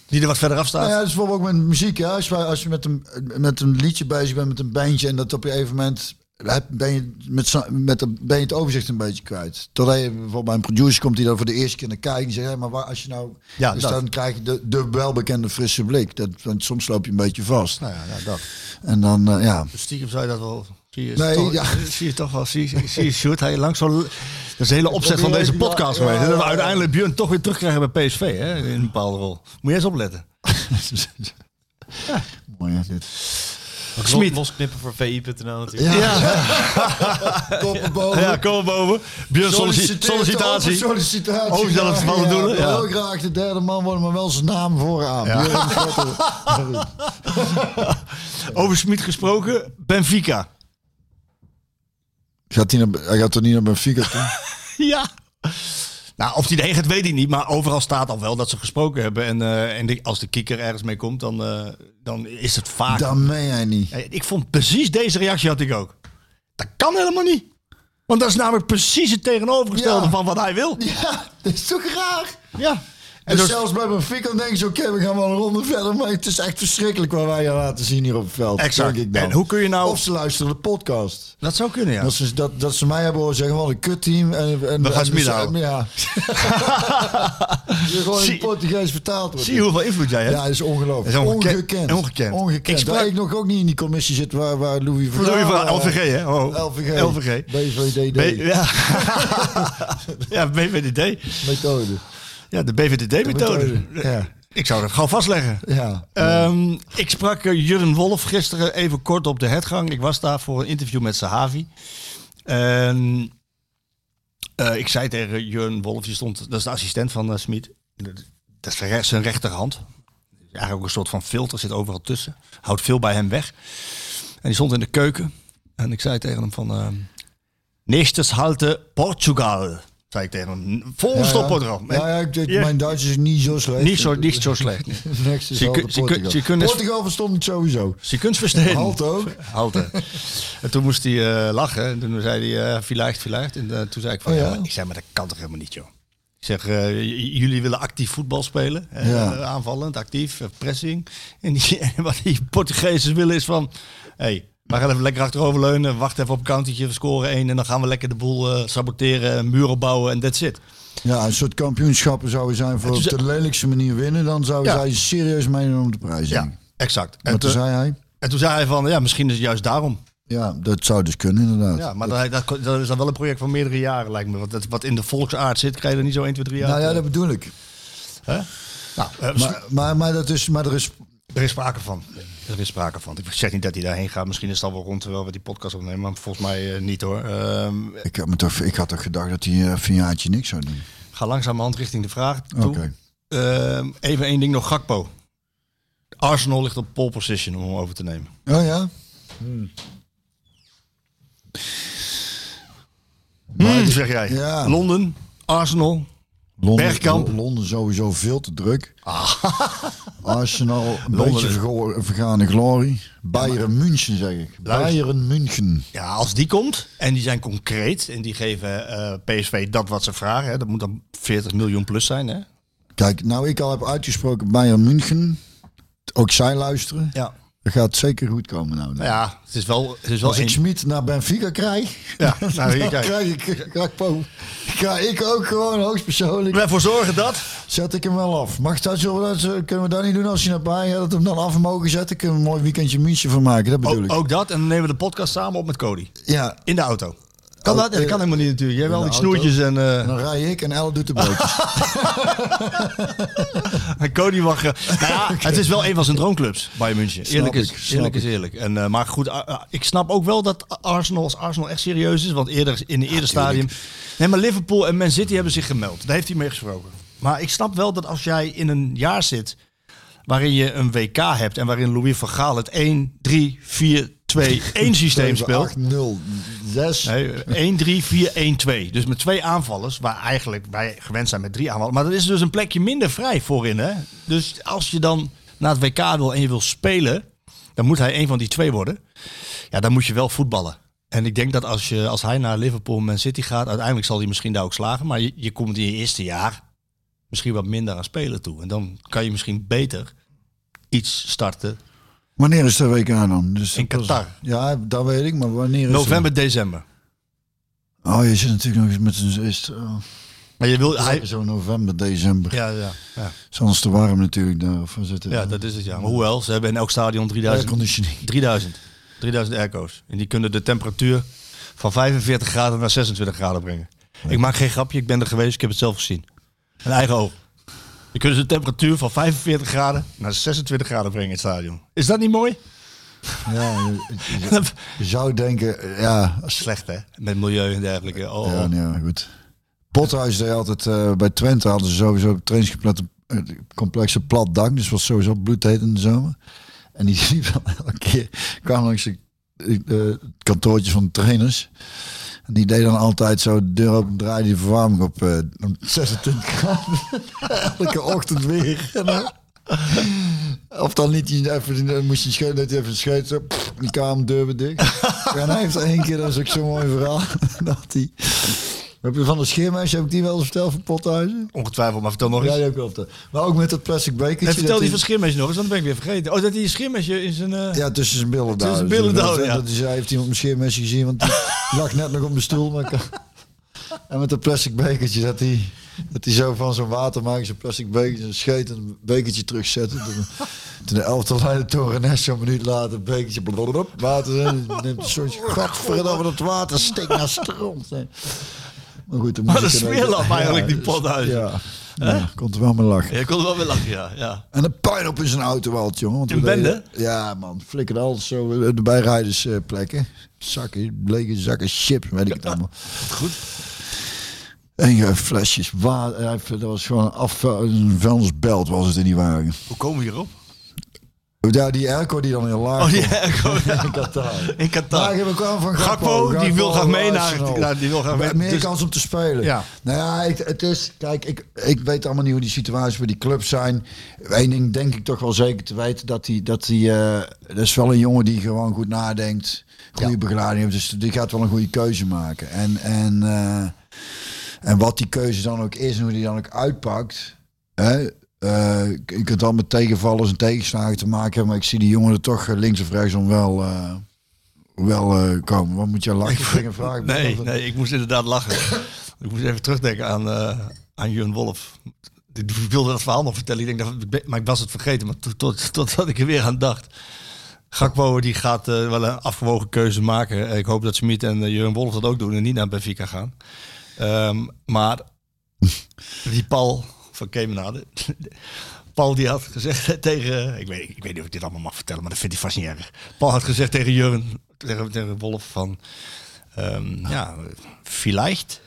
[SPEAKER 7] Die er wat verder af staat.
[SPEAKER 2] Nou ja, dat is bijvoorbeeld ook met muziek. Hè? Als, je, als je met een, met een liedje bezig bent, met een bandje... en dat op een gegeven moment heb- ben je, met, z'n- met, de- ben je het overzicht een beetje kwijt. Totdat je bijvoorbeeld bij een producer komt die dan voor de eerste keer naar kijkt... en zegt, hé, maar waar, als je nou...
[SPEAKER 7] Ja,
[SPEAKER 2] dus
[SPEAKER 7] dat.
[SPEAKER 2] dan krijg je de, de welbekende frisse blik. Dat, want soms loop je een beetje vast.
[SPEAKER 7] Nou ja, nou, dat. Dus
[SPEAKER 2] En dan, eh, ja...
[SPEAKER 7] Stiekem zou je dat wel... Zie je,
[SPEAKER 2] Nee,
[SPEAKER 7] toch,
[SPEAKER 2] ja.
[SPEAKER 7] zie je toch wel. Zie, zie, zie je Sjoerd, hij lang zo... Dat is de hele opzet van
[SPEAKER 2] probeer-
[SPEAKER 7] deze podcast
[SPEAKER 2] ja,
[SPEAKER 7] geweest.
[SPEAKER 2] ja,
[SPEAKER 7] dat we
[SPEAKER 2] ja.
[SPEAKER 7] uiteindelijk Björn toch weer terugkrijgen bij PSV. Hè, in een bepaalde rol. Moet je eens opletten.
[SPEAKER 2] Mooi, hè, dit.
[SPEAKER 7] Smit.
[SPEAKER 4] Losknippen voor vi.nl natuurlijk.
[SPEAKER 2] Ja. Koppen boven.
[SPEAKER 7] Ja, kom boven. Björn sollicitatie.
[SPEAKER 2] Solliciteert
[SPEAKER 7] sollicitatie.
[SPEAKER 2] open sollicitatie.
[SPEAKER 7] Oh, is dat het van de doelen?
[SPEAKER 2] ik wil
[SPEAKER 7] Ja.
[SPEAKER 2] Heel graag de derde man worden, maar wel zijn naam vooraan. Björn Vetter.
[SPEAKER 7] Over Smit gesproken, Benfica.
[SPEAKER 2] Gaat hij, naar, hij gaat toch niet naar Benfica toe?
[SPEAKER 7] Ja. Nou, of die erheen gaat, weet ik niet. Maar overal staat al wel dat ze gesproken hebben. En, eh, en die- als de kikker ergens mee komt, dan, eh, dan is het vaak...
[SPEAKER 2] Dan meen jij niet.
[SPEAKER 7] Eh, Ik vond precies deze reactie had ik ook. Dat kan helemaal niet. Want dat is namelijk precies het tegenovergestelde
[SPEAKER 2] Ja.
[SPEAKER 7] van wat hij wil.
[SPEAKER 2] Ja, dat is toch raar?
[SPEAKER 7] Ja.
[SPEAKER 2] En
[SPEAKER 7] En dus,
[SPEAKER 2] zelfs bij Benfica denken ze, oké, we gaan wel een ronde verder. Maar het is echt verschrikkelijk wat wij hier laten zien hier op het veld.
[SPEAKER 7] Exact.
[SPEAKER 2] denk ik dan.
[SPEAKER 7] En hoe kun je nou-
[SPEAKER 2] Of ze luisteren de podcast.
[SPEAKER 7] dat zou kunnen, ja.
[SPEAKER 2] Dat, ze, dat, dat ze mij hebben horen zeggen, wat een kutteam. En, en,
[SPEAKER 7] We gaan
[SPEAKER 2] en-
[SPEAKER 7] Smit houden.
[SPEAKER 2] Ja. Je gewoon in
[SPEAKER 7] Zie-
[SPEAKER 2] Portugees vertaald wordt.
[SPEAKER 7] Zie je hoeveel invloed jij hebt?
[SPEAKER 2] Ja, dat is ongelooflijk.
[SPEAKER 7] Dat is ongekend.
[SPEAKER 2] ongekend.
[SPEAKER 7] Ongekend. Ik sprak-
[SPEAKER 2] Waar ik nog ook niet in die commissie zit waar, waar Louis van
[SPEAKER 7] Louis van
[SPEAKER 2] Gaal, eh,
[SPEAKER 7] LVG, hè? Oh.
[SPEAKER 2] LVG.
[SPEAKER 7] LVG.
[SPEAKER 2] BVDD.
[SPEAKER 7] B- ja. ja, BVDD.
[SPEAKER 2] methode.
[SPEAKER 7] Ja, de BVDD-methode.
[SPEAKER 2] methode, ja.
[SPEAKER 7] Ik zou dat gauw vastleggen.
[SPEAKER 2] Ja.
[SPEAKER 7] Ehm, ik sprak eh, Jurgen Wolf gisteren even kort op de hertgang. Ik was daar voor een interview met Sahavi. En, eh, ik zei tegen Jurgen Wolf, die stond, dat is de assistent van eh, Smit. Dat is zijn re- zijn rechterhand. Eigenlijk ook een soort van filter, zit overal tussen. Houdt veel bij hem weg. En die stond in de keuken. En ik zei tegen hem van... ehm Nächstes halte Portugal. Zei ik tegen hem. Volgende stop Portugal. En-
[SPEAKER 2] Ja, ja, ik, ik- mijn Duits is niet zo slecht.
[SPEAKER 7] Niet zo, niet zo slecht. Dus
[SPEAKER 2] Next is
[SPEAKER 7] Ze kun-
[SPEAKER 2] altijd
[SPEAKER 7] ze kun-
[SPEAKER 2] Portugal.
[SPEAKER 7] ze kunnen-
[SPEAKER 2] Portugal verstond het sowieso.
[SPEAKER 7] Ze kunt verstehen.
[SPEAKER 2] Halt ook.
[SPEAKER 7] Halte. En toen moest hij eh, lachen. En toen zei hij, eh vielleicht, vielleicht. En eh, toen zei ik van,
[SPEAKER 2] Oh, ja.
[SPEAKER 7] ja. maar- ik zei, maar dat kan toch helemaal niet, joh. Ik zeg, eh, j- jullie willen actief voetbal spelen. eh,
[SPEAKER 2] Ja.
[SPEAKER 7] aanvallend, actief, eh, pressing. En die, wat die Portugezen willen is van, hé, hey, we gaan even lekker achteroverleunen. Wacht even op een countertje, we scoren één. En dan gaan we lekker de boel eh, saboteren, muren bouwen en that's it.
[SPEAKER 2] Ja, een soort kampioenschappen zouden zijn voor op
[SPEAKER 7] toen
[SPEAKER 2] de lelijkste manier winnen. Dan zou
[SPEAKER 7] Ja.
[SPEAKER 2] zij serieus meedoen om de prijs.
[SPEAKER 7] Ja,
[SPEAKER 2] heen.
[SPEAKER 7] exact.
[SPEAKER 2] Maar
[SPEAKER 7] En
[SPEAKER 2] toen
[SPEAKER 7] toen,
[SPEAKER 2] zei hij,
[SPEAKER 7] en toen zei hij van, ja, misschien is het juist daarom.
[SPEAKER 2] ja, dat zou dus kunnen inderdaad.
[SPEAKER 7] Ja, maar dat, dat, dat is dan wel een project van meerdere jaren, lijkt me. Want dat, wat in de volksaard zit, krijg je er niet zo 1, 2, 3 jaar.
[SPEAKER 2] nou ja,
[SPEAKER 7] voor.
[SPEAKER 2] dat bedoel ik.
[SPEAKER 7] nou, eh,
[SPEAKER 2] Maar, maar, maar, dat is, maar er is
[SPEAKER 7] er is sprake van. Er is sprake van. Ik zeg niet dat hij daarheen gaat. Misschien is het al wel rond terwijl we die podcast opnemen. Maar volgens mij eh, niet hoor. Ehm,
[SPEAKER 2] Ik had, me toch, ik had toch gedacht dat hij eh, van jaartje niks zou doen.
[SPEAKER 7] ga langzamerhand richting de vraag toe.
[SPEAKER 2] Oké.
[SPEAKER 7] Ehm, even één ding nog, Gakpo. Arsenal ligt op pole position om hem over te nemen.
[SPEAKER 2] Oh ja? Maar
[SPEAKER 7] Hmm,
[SPEAKER 2] die-
[SPEAKER 7] zeg jij.
[SPEAKER 2] Ja.
[SPEAKER 7] Londen, Arsenal.
[SPEAKER 2] Londen,
[SPEAKER 7] Bergkamp. Ah.
[SPEAKER 2] Lo- Londen sowieso veel te druk. Arsenal, een
[SPEAKER 7] Londen
[SPEAKER 2] beetje
[SPEAKER 7] is-
[SPEAKER 2] vergo- vergane glorie. Bayern München zeg ik. Bayern München.
[SPEAKER 7] Ja, als die komt en die zijn concreet en die geven eh, PSV dat wat ze vragen. Hè, dat moet dan 40 miljoen plus zijn. Hè?
[SPEAKER 2] Kijk, nou ik al heb uitgesproken Bayern München. Ook zij luisteren.
[SPEAKER 7] Ja.
[SPEAKER 2] Dat gaat zeker goed komen nou.
[SPEAKER 7] Nou ja, het is wel, het is wel
[SPEAKER 2] Als ik
[SPEAKER 7] één-
[SPEAKER 2] Schmid naar Benfica krijg,
[SPEAKER 7] Ja, nou, hier,
[SPEAKER 2] dan
[SPEAKER 7] kijk.
[SPEAKER 2] krijg ik Gakpo. Ga ik ook gewoon hoogstpersoonlijk
[SPEAKER 7] Ik wil ervoor zorgen dat.
[SPEAKER 2] Zet ik hem wel af. Mag dat zo? Dat, eh, kunnen we dat niet doen als je naar Bayern gaat? Dat we hem dan af mogen zetten? Kunnen we een mooi weekendje München van maken? Dat bedoel
[SPEAKER 7] Ook,
[SPEAKER 2] ik.
[SPEAKER 7] ook dat. En dan nemen we de podcast samen op met Cody.
[SPEAKER 2] Ja.
[SPEAKER 7] In de auto. Kan
[SPEAKER 2] Oh,
[SPEAKER 7] dat? Dat
[SPEAKER 2] eh,
[SPEAKER 7] kan helemaal niet natuurlijk. Jij hebt wel
[SPEAKER 2] in
[SPEAKER 7] die
[SPEAKER 2] de auto.
[SPEAKER 7] snoertjes en, eh,
[SPEAKER 2] En dan rij ik en Elle doet de bootjes.
[SPEAKER 7] en Cody mag... eh, nou ja, Het is wel een van zijn droomclubs, Bayern München. Eerlijk
[SPEAKER 2] ik,
[SPEAKER 7] is,
[SPEAKER 2] snap
[SPEAKER 7] eerlijk is eerlijk. En, eh, maar goed, ah, ah, ik snap ook wel dat Arsenal, als Arsenal echt serieus is, want eerder, in een eerder stadium... Nee, maar Liverpool en Man City hebben zich gemeld. Daar heeft hij mee gesproken. Maar ik snap wel dat als jij in een jaar zit waarin je een WK hebt en waarin Louis van Gaal het 1, 3, 4, 2, 1 systeem speelt...
[SPEAKER 2] 8, 0, 6.
[SPEAKER 7] Nee, 1-3-4-1-2. Dus met twee aanvallers, waar eigenlijk wij gewend zijn met drie aanvallers. Maar er is dus een plekje minder vrij voorin. Hè? Dus als je dan naar het WK wil en je wil spelen, dan moet hij een van die twee worden. Ja, dan moet je wel voetballen. En ik denk dat als, je, als hij naar Liverpool Man City gaat, uiteindelijk zal hij misschien daar ook slagen. Maar je, je komt in je eerste jaar misschien wat minder aan spelen toe. En dan kan je misschien beter iets starten.
[SPEAKER 2] Wanneer is de WK dan? Dus
[SPEAKER 7] In
[SPEAKER 2] dat was-
[SPEAKER 7] Qatar.
[SPEAKER 2] Ja, dat weet ik. Maar wanneer is
[SPEAKER 7] November, december.
[SPEAKER 2] het? Oh, je zit natuurlijk nog eens met een... Is, oh,
[SPEAKER 7] Maar je wil, hij,
[SPEAKER 2] zo november, december.
[SPEAKER 7] ja, ja, ja.
[SPEAKER 2] Het is anders te warm natuurlijk daar. Of we zitten,
[SPEAKER 7] Ja, dat is het ja. Maar hoewel, ze hebben in elk stadion 3000,
[SPEAKER 2] Airconditioning.
[SPEAKER 7] 3000, 3000 airco's. En die kunnen de temperatuur van 45 graden naar 26 graden brengen. Ik maak geen grapje, ik ben er geweest, ik heb het zelf gezien. Een eigen oog. Die kunnen ze de temperatuur van 45 graden naar 26 graden brengen in het stadion. Is dat niet mooi?
[SPEAKER 2] Ja, je, je- je zou denken, ja,
[SPEAKER 7] Slecht hè? Met milieu en dergelijke. Oh,
[SPEAKER 2] Ja, nee, maar goed. Pothuis deed altijd eh, bij Twente hadden ze sowieso op het trainingscomplex een complexe plat dak, dus was sowieso bloedheet in de zomer. En die liep dan elke keer, kwam langs de, eh, het kantoortje van de trainers. En die deed dan altijd zo de deur open, draaide die verwarming op eh, om 26 graden. elke ochtend weer. En dan- of dan liet hij even, dan moest hij scheut, deed hij even een scheut, zo, pff, die kamer deur weer dicht. en hij heeft er één keer, dat is ook zo'n mooi verhaal, dat hij... Heb je van de scheermeisjes, heb ik die wel eens verteld van Pothuizen?
[SPEAKER 7] Ongetwijfeld, maar vertel nog eens.
[SPEAKER 2] Ja, die heb ik wel verteld. Maar ook met dat plastic bekertje.
[SPEAKER 7] en vertel
[SPEAKER 2] dat
[SPEAKER 7] die van
[SPEAKER 2] hij-
[SPEAKER 7] Schimmersje nog eens, want dat ben ik weer vergeten. Oh, dat die Schimmersje in zijn... eh,
[SPEAKER 2] Ja, tussen zijn billen daar.
[SPEAKER 7] Tussen zijn billen
[SPEAKER 2] Dus
[SPEAKER 7] daar,
[SPEAKER 2] dat-
[SPEAKER 7] ja.
[SPEAKER 2] Dat hij zei, heeft iemand mijn scheermesje gezien, want die lag net nog op mijn stoel. Maar ik- en met dat plastic bekertje, dat hij dat hij zo van zo'n water maakt, zo'n plastic bekertje, een scheet en een bekertje terugzetten. Toen, toen de elftal leider Torrenes zo'n minuut later, een bekertje, blablabla, water in, en neemt een soort gadverdamme dat water, steekt naar stront. hè. Maar goed, dan moet
[SPEAKER 7] Wat
[SPEAKER 2] ik
[SPEAKER 7] een
[SPEAKER 2] er ook-
[SPEAKER 7] smeerlap eigenlijk, die
[SPEAKER 2] dus-
[SPEAKER 7] Pothuizen.
[SPEAKER 2] Ja, ja komt er wel mee lachen.
[SPEAKER 7] Ja, ik kon wel weer lachen, ja. ja.
[SPEAKER 2] En een puinhoop in zijn auto altijd, jongen. Want
[SPEAKER 7] In
[SPEAKER 2] we deden-
[SPEAKER 7] Bende?
[SPEAKER 2] Ja, man. Flikkerde alles zo eh, de bijrijdersplekken. Zakken, lege zakken, chips, weet ik het allemaal.
[SPEAKER 7] Goed.
[SPEAKER 2] En eh, flesjes water. Hij heeft- Dat was gewoon een, af, een vuilnisbelt was het in die wagen.
[SPEAKER 7] Hoe komen we hierop?
[SPEAKER 2] Ja, die airco die dan heel laag
[SPEAKER 7] Oh
[SPEAKER 2] kwam.
[SPEAKER 7] ja, ik kom- ja.
[SPEAKER 2] In Qatar.
[SPEAKER 7] in Qatar.
[SPEAKER 2] Maar we kwamen van Gakpo.
[SPEAKER 7] Gakpo, die wil graag mee naar-
[SPEAKER 2] Arsenal.
[SPEAKER 7] naar- die wil graag mee-
[SPEAKER 2] Meer
[SPEAKER 7] dus-
[SPEAKER 2] kans om te spelen.
[SPEAKER 7] Ja.
[SPEAKER 2] Nou ja, ik, het is... Kijk, ik, ik weet allemaal niet hoe die situaties bij die clubs zijn. Eén ding denk ik toch wel zeker te weten. Dat hij... Dat, hij, eh, dat is wel een jongen die gewoon goed nadenkt. Goede begeleiding heeft. Dus die gaat wel een goede keuze maken. En... en eh, en wat die keuze dan ook is en hoe die dan ook uitpakt. Hè, eh, je kunt dan met tegenvallers en tegenslagen te maken hebben. Maar ik zie die jongen er toch eh, links of rechtsom wel, eh, wel eh, komen. Wat moet je lachen? Ik ging een vraag.
[SPEAKER 7] Nee,
[SPEAKER 2] Of-
[SPEAKER 7] nee, ik moest inderdaad lachen. ik moest even terugdenken aan, eh aan Jun Wolf. Ik wilde dat verhaal nog vertellen, ik denk dat, ik ben- maar ik was het vergeten. Maar tot, tot, totdat ik er weer aan dacht. Gakpo die gaat eh, wel een afgewogen keuze maken. Eh, Ik hoop dat Smit en uh, Jurgen Wolf dat ook doen en niet naar Benfica gaan. Ehm, maar die Paul van Kemenade, Paul die had gezegd tegen, ik weet, ik weet niet of ik dit allemaal mag vertellen, maar dat vindt hij vast niet erg. Paul had gezegd tegen Jurgen, tegen, tegen Wolf van, ehm, ja, vielleicht,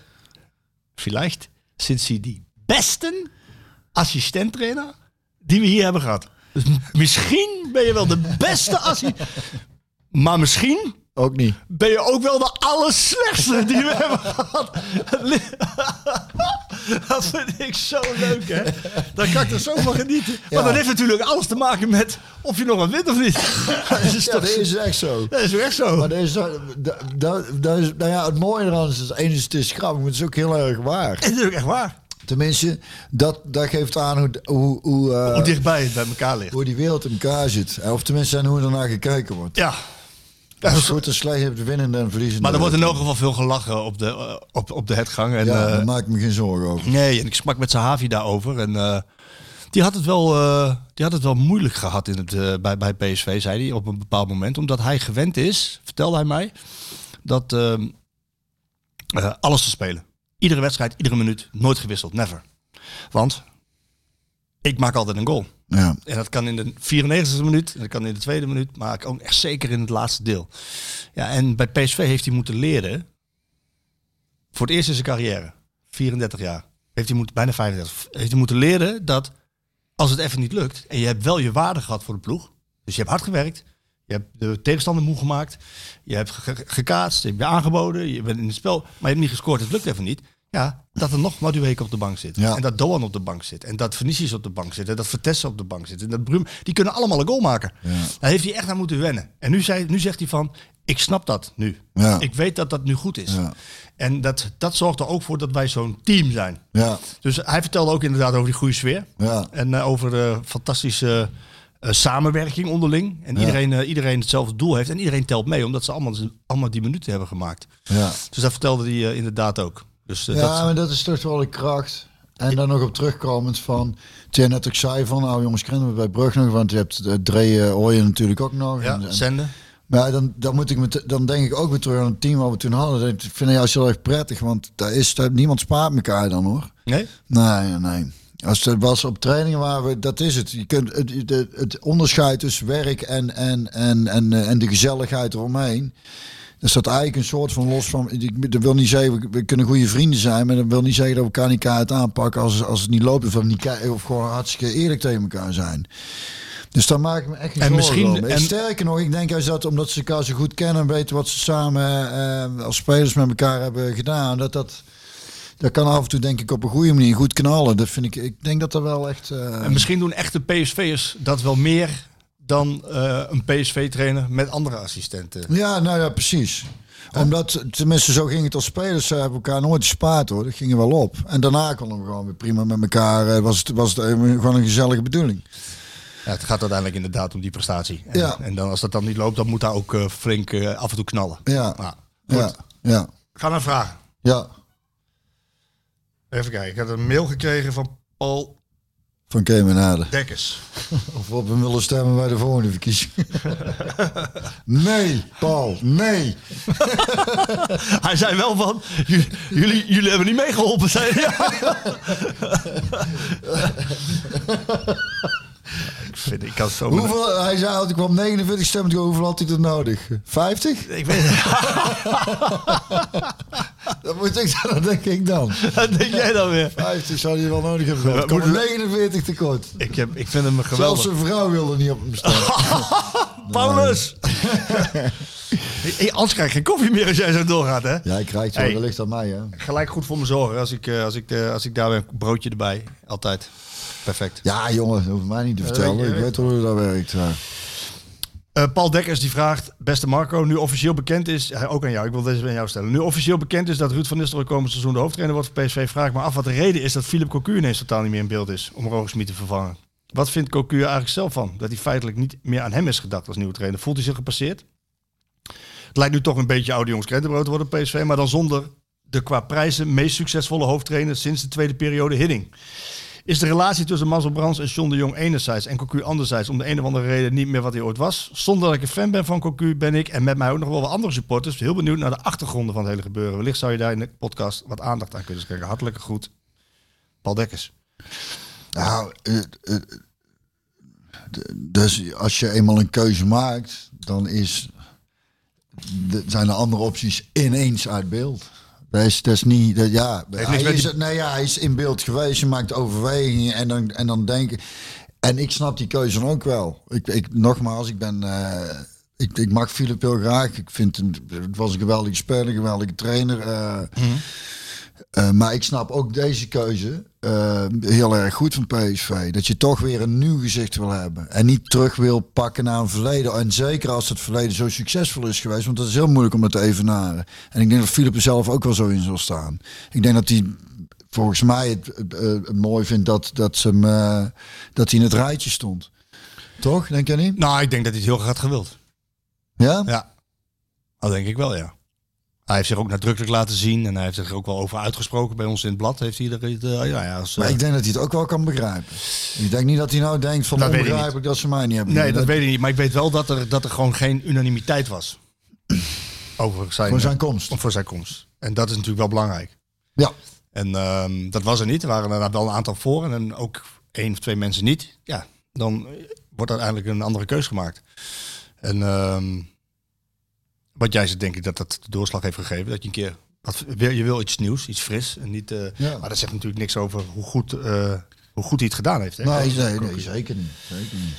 [SPEAKER 7] vielleicht sind sie die besten assistenttrainer die we hier hebben gehad. Dus misschien ben je wel de beste assistent, maar misschien
[SPEAKER 2] Ook niet.
[SPEAKER 7] ben je ook wel de allerslechtste die we hebben gehad. Dat vind ik zo leuk, hè? Daar kan ik er zo van genieten. Maar
[SPEAKER 2] Ja.
[SPEAKER 7] dat heeft natuurlijk alles te maken met of je nog wat wint of niet. Dus Dat is,
[SPEAKER 2] Ja,
[SPEAKER 7] toch,
[SPEAKER 2] dat is echt zo.
[SPEAKER 7] dat is toch echt zo?
[SPEAKER 2] Maar dat is, dat, dat, dat is, nou ja, het mooie eraan is, het ene is het is grappig, maar het is ook heel erg waar.
[SPEAKER 7] dat is ook echt waar.
[SPEAKER 2] Tenminste, dat, dat geeft aan hoe, hoe, hoe, eh,
[SPEAKER 7] Hoe dichtbij het bij elkaar ligt.
[SPEAKER 2] hoe die wereld in elkaar zit. Eh, Of tenminste, en hoe er naar gekeken wordt.
[SPEAKER 7] Ja.
[SPEAKER 2] Ja, Als het goed en slecht hebt, winnende en verliezende.
[SPEAKER 7] Maar er wordt in elk geval veel gelachen op de, eh, op, op de hetgang. En,
[SPEAKER 2] Ja,
[SPEAKER 7] eh,
[SPEAKER 2] daar maak ik me geen zorgen over.
[SPEAKER 7] Nee, en ik sprak met Sahavi daarover. En eh, die, had het wel, eh, die had het wel moeilijk gehad in het, eh, bij, bij PSV, zei hij, op een bepaald moment. Omdat hij gewend is, vertelde hij mij, dat ehm, eh, alles te spelen. Iedere wedstrijd, iedere minuut, nooit gewisseld, never. Want ik maak altijd een goal.
[SPEAKER 2] Ja.
[SPEAKER 7] En dat kan in de 94e minuut, en dat kan in de tweede minuut, maar ook echt zeker in het laatste deel. Ja, en bij PSV heeft hij moeten leren, voor het eerst in zijn carrière, 34 jaar, heeft hij moeten, bijna 35, heeft hij moeten leren dat als het even niet lukt, en je hebt wel je waarde gehad voor de ploeg, dus je hebt hard gewerkt, je hebt de tegenstander moe gemaakt, je hebt ge- ge- gekaatst, je hebt je aangeboden, je bent in het spel, maar je hebt niet gescoord, het lukt even niet. Ja, dat er nog Madueke op de bank zit.
[SPEAKER 2] Ja.
[SPEAKER 7] En dat Doan op de bank zit. En dat Vinicius op de bank zit. En dat Vertessen op de bank zit. En dat Brum. Die kunnen allemaal een goal maken. Daar heeft hij echt aan moeten wennen. En nu, zei, nu zegt hij van, ik snap dat nu.
[SPEAKER 2] Ja.
[SPEAKER 7] Ik weet dat dat nu goed is.
[SPEAKER 2] Ja.
[SPEAKER 7] En dat, dat zorgt er ook voor dat wij zo'n team zijn.
[SPEAKER 2] Ja.
[SPEAKER 7] Dus hij vertelde ook inderdaad over die goede sfeer.
[SPEAKER 2] Ja.
[SPEAKER 7] En eh, over de fantastische eh, samenwerking onderling. En
[SPEAKER 2] Ja.
[SPEAKER 7] iedereen, eh, iedereen hetzelfde doel heeft. En iedereen telt mee, omdat ze allemaal, allemaal die minuten hebben gemaakt.
[SPEAKER 2] Ja.
[SPEAKER 7] Dus dat vertelde hij eh, inderdaad ook. Dus eh,
[SPEAKER 2] ja,
[SPEAKER 7] dat,
[SPEAKER 2] maar dat is toch wel de kracht. En dan nog op terugkomend van, toen je net ook zei van, nou jongens, kennen we bij Brug nog, want je hebt uh, Dre Ooyen natuurlijk ook nog. En-
[SPEAKER 7] ja,
[SPEAKER 2] en-
[SPEAKER 7] zenden.
[SPEAKER 2] Maar dan, dan, moet ik met, dan denk ik ook weer terug aan het team wat we toen hadden. Dat vind ik juist heel erg prettig, want daar is, daar, niemand spaart elkaar dan hoor.
[SPEAKER 7] Nee?
[SPEAKER 2] Nee, nee, nee. Als het was op trainingen waar we, dat is het. Je kunt het, het, het onderscheid tussen werk en, en, en, en, eh, en de gezelligheid eromheen. Dat staat eigenlijk een soort van los van. ik- Dat wil niet zeggen, we- we kunnen goede vrienden zijn, maar dat wil niet zeggen dat we elkaar niet keihard aanpakken als, als het niet loopt. Of, dat we niet kei- of gewoon hartstikke eerlijk tegen elkaar zijn. Dus daar maak ik me echt geen
[SPEAKER 7] En
[SPEAKER 2] zorgen
[SPEAKER 7] misschien-
[SPEAKER 2] om.
[SPEAKER 7] en-
[SPEAKER 2] Sterker nog, ik denk juist dat omdat ze elkaar zo goed kennen en weten wat ze samen eh, als spelers met elkaar hebben gedaan, dat dat. Dat kan af en toe denk ik op een goede manier goed knallen. Dat vind ik, ik denk dat er wel echt... eh,
[SPEAKER 7] En misschien doen echte PSV'ers dat wel meer dan eh, een PSV-trainer met andere assistenten.
[SPEAKER 2] Ja, nou ja, precies. Omdat, tenminste zo ging het als spelers, ze hebben elkaar nooit gespaard hoor. Dat ging er wel op. En daarna konden we gewoon weer prima met elkaar. eh, Was het, was het even gewoon een gezellige bedoeling.
[SPEAKER 7] Ja, het gaat uiteindelijk inderdaad om die prestatie. En,
[SPEAKER 2] Ja.
[SPEAKER 7] en dan, als dat dan niet loopt, dan moet daar ook eh, flink eh, af en toe knallen.
[SPEAKER 2] Ja.
[SPEAKER 7] Nou, goed.
[SPEAKER 2] Ja, ja,
[SPEAKER 7] Ik ga naar vragen.
[SPEAKER 2] ja.
[SPEAKER 7] Even kijken. Ik had een mail gekregen van Paul
[SPEAKER 2] Van Kemenade.
[SPEAKER 7] Dekkers.
[SPEAKER 2] Of we op hem willen stemmen bij de volgende verkiezing. nee, Paul, nee.
[SPEAKER 7] Hij zei wel van, "J- jullie, jullie hebben niet meegeholpen. Zei hij. Ja. ik, vind, ik kan het zo...
[SPEAKER 2] Hoeveel, hij zei, altijd, ik kwam 49 stemmen, toe, hoeveel had hij er nodig? 50?
[SPEAKER 7] Ik weet het.
[SPEAKER 2] Dat, moet ik, dat denk ik dan.
[SPEAKER 7] Wat denk jij dan weer?
[SPEAKER 2] 50 zou hij wel nodig hebben gehad.
[SPEAKER 7] Ja,
[SPEAKER 2] Er kwam
[SPEAKER 7] moet-
[SPEAKER 2] 49 tekort.
[SPEAKER 7] Ik, heb, ik vind hem
[SPEAKER 2] Zelfs
[SPEAKER 7] geweldig.
[SPEAKER 2] zijn vrouw wilde niet op hem stemmen.
[SPEAKER 7] Paulus! hey, anders krijg ik geen koffie meer als jij zo doorgaat, hè?
[SPEAKER 2] Ja, ik krijg zo,
[SPEAKER 7] Hey.
[SPEAKER 2] dat ligt aan mij, hè.
[SPEAKER 7] Gelijk goed voor me zorgen als ik, eh, als ik, eh, als ik daar ben. Broodje erbij. Altijd. Perfect.
[SPEAKER 2] Ja, jongen, dat hoeft mij niet te
[SPEAKER 7] weet
[SPEAKER 2] vertellen.
[SPEAKER 7] je,
[SPEAKER 2] Ik weet hoe dat werkt. ja.
[SPEAKER 7] Eh, Paul Dekkers die vraagt, beste Marco, nu officieel bekend is, eh, ook aan jou, ik wil deze bij jou stellen. Nu officieel bekend is dat Ruud van Nistelrooy komend seizoen de hoofdtrainer wordt voor PSV, vraag ik me af wat de reden is dat Philip Cocu ineens totaal niet meer in beeld is om Roger Smit te vervangen. Wat vindt Cocu er eigenlijk zelf van? Dat hij feitelijk niet meer aan hem is gedacht als nieuwe trainer. Voelt hij zich gepasseerd? Het lijkt nu toch een beetje oude jongens krentenbrood te worden op PSV, maar dan zonder de qua prijzen meest succesvolle hoofdtrainer sinds de tweede periode Hidding. Is de relatie tussen Marcel Brands en John de Jong enerzijds en Cocu anderzijds om de een of andere reden niet meer wat hij ooit was? Zonder dat ik een fan ben van Cocu ben ik en met mij ook nog wel wat andere supporters heel benieuwd naar de achtergronden van het hele gebeuren. Wellicht zou je daar in de podcast wat aandacht aan kunnen schenken. Hartelijke groet, Paul Dekkers.
[SPEAKER 2] Nou, eh, eh, d- dus als je eenmaal een keuze maakt, dan is, d- zijn de andere opties ineens uit beeld. Dat is, dat is niet, dat, ja, hij
[SPEAKER 7] niks met
[SPEAKER 2] is,
[SPEAKER 7] die-
[SPEAKER 2] nee, ja, hij is in beeld geweest, je maakt overwegingen en dan, en dan denk ik... En ik snap die keuze dan ook wel. Ik, ik, nogmaals, ik ben... eh, ik, ik mag Philip heel graag. Ik vind hem, het was een geweldige speler, een geweldige trainer. eh, eh, maar ik snap ook deze keuze eh, heel erg goed van PSV. Dat je toch weer een nieuw gezicht wil hebben. En niet terug wil pakken naar een verleden. En zeker als het verleden zo succesvol is geweest. Want dat is heel moeilijk om dat te evenaren. En ik denk dat Philip er zelf ook wel zo in zal staan. Ik denk dat hij volgens mij het, het, eh, het mooi vindt dat, dat, ze hem, eh, dat hij in het rijtje stond. Toch? Denk jij niet?
[SPEAKER 7] Nou, ik denk dat hij het heel graag had gewild.
[SPEAKER 2] Ja?
[SPEAKER 7] Ja, dat denk ik wel, ja. Hij heeft zich ook nadrukkelijk laten zien en hij heeft zich er ook wel over uitgesproken bij ons in het blad. Heeft hij er, eh, ja, ja, als,
[SPEAKER 2] Maar
[SPEAKER 7] eh,
[SPEAKER 2] ik denk dat hij het ook wel kan begrijpen. Ik denk niet dat hij nou denkt van
[SPEAKER 7] Dat weet ik
[SPEAKER 2] onbegrijpelijk dat ze mij niet hebben.
[SPEAKER 7] Nee, dat weet ik niet. Maar ik weet wel dat er, dat er gewoon geen unanimiteit was. Over zijn,
[SPEAKER 2] Voor zijn komst.
[SPEAKER 7] Voor zijn komst. En dat is natuurlijk wel belangrijk.
[SPEAKER 2] Ja.
[SPEAKER 7] En ehm, dat was er niet. Er waren er wel een aantal voor en dan ook één of twee mensen niet. Ja, dan wordt uiteindelijk een andere keus gemaakt. En ehm, wat jij zegt, denk ik dat dat de doorslag heeft gegeven. Dat je een keer... wat- je wil iets nieuws, iets fris. En niet, eh,
[SPEAKER 2] Ja.
[SPEAKER 7] Maar dat zegt natuurlijk niks over hoe goed, eh, hoe goed hij het gedaan heeft. hè?
[SPEAKER 2] Nee, nee, nee, zeker niet. Zeker niet.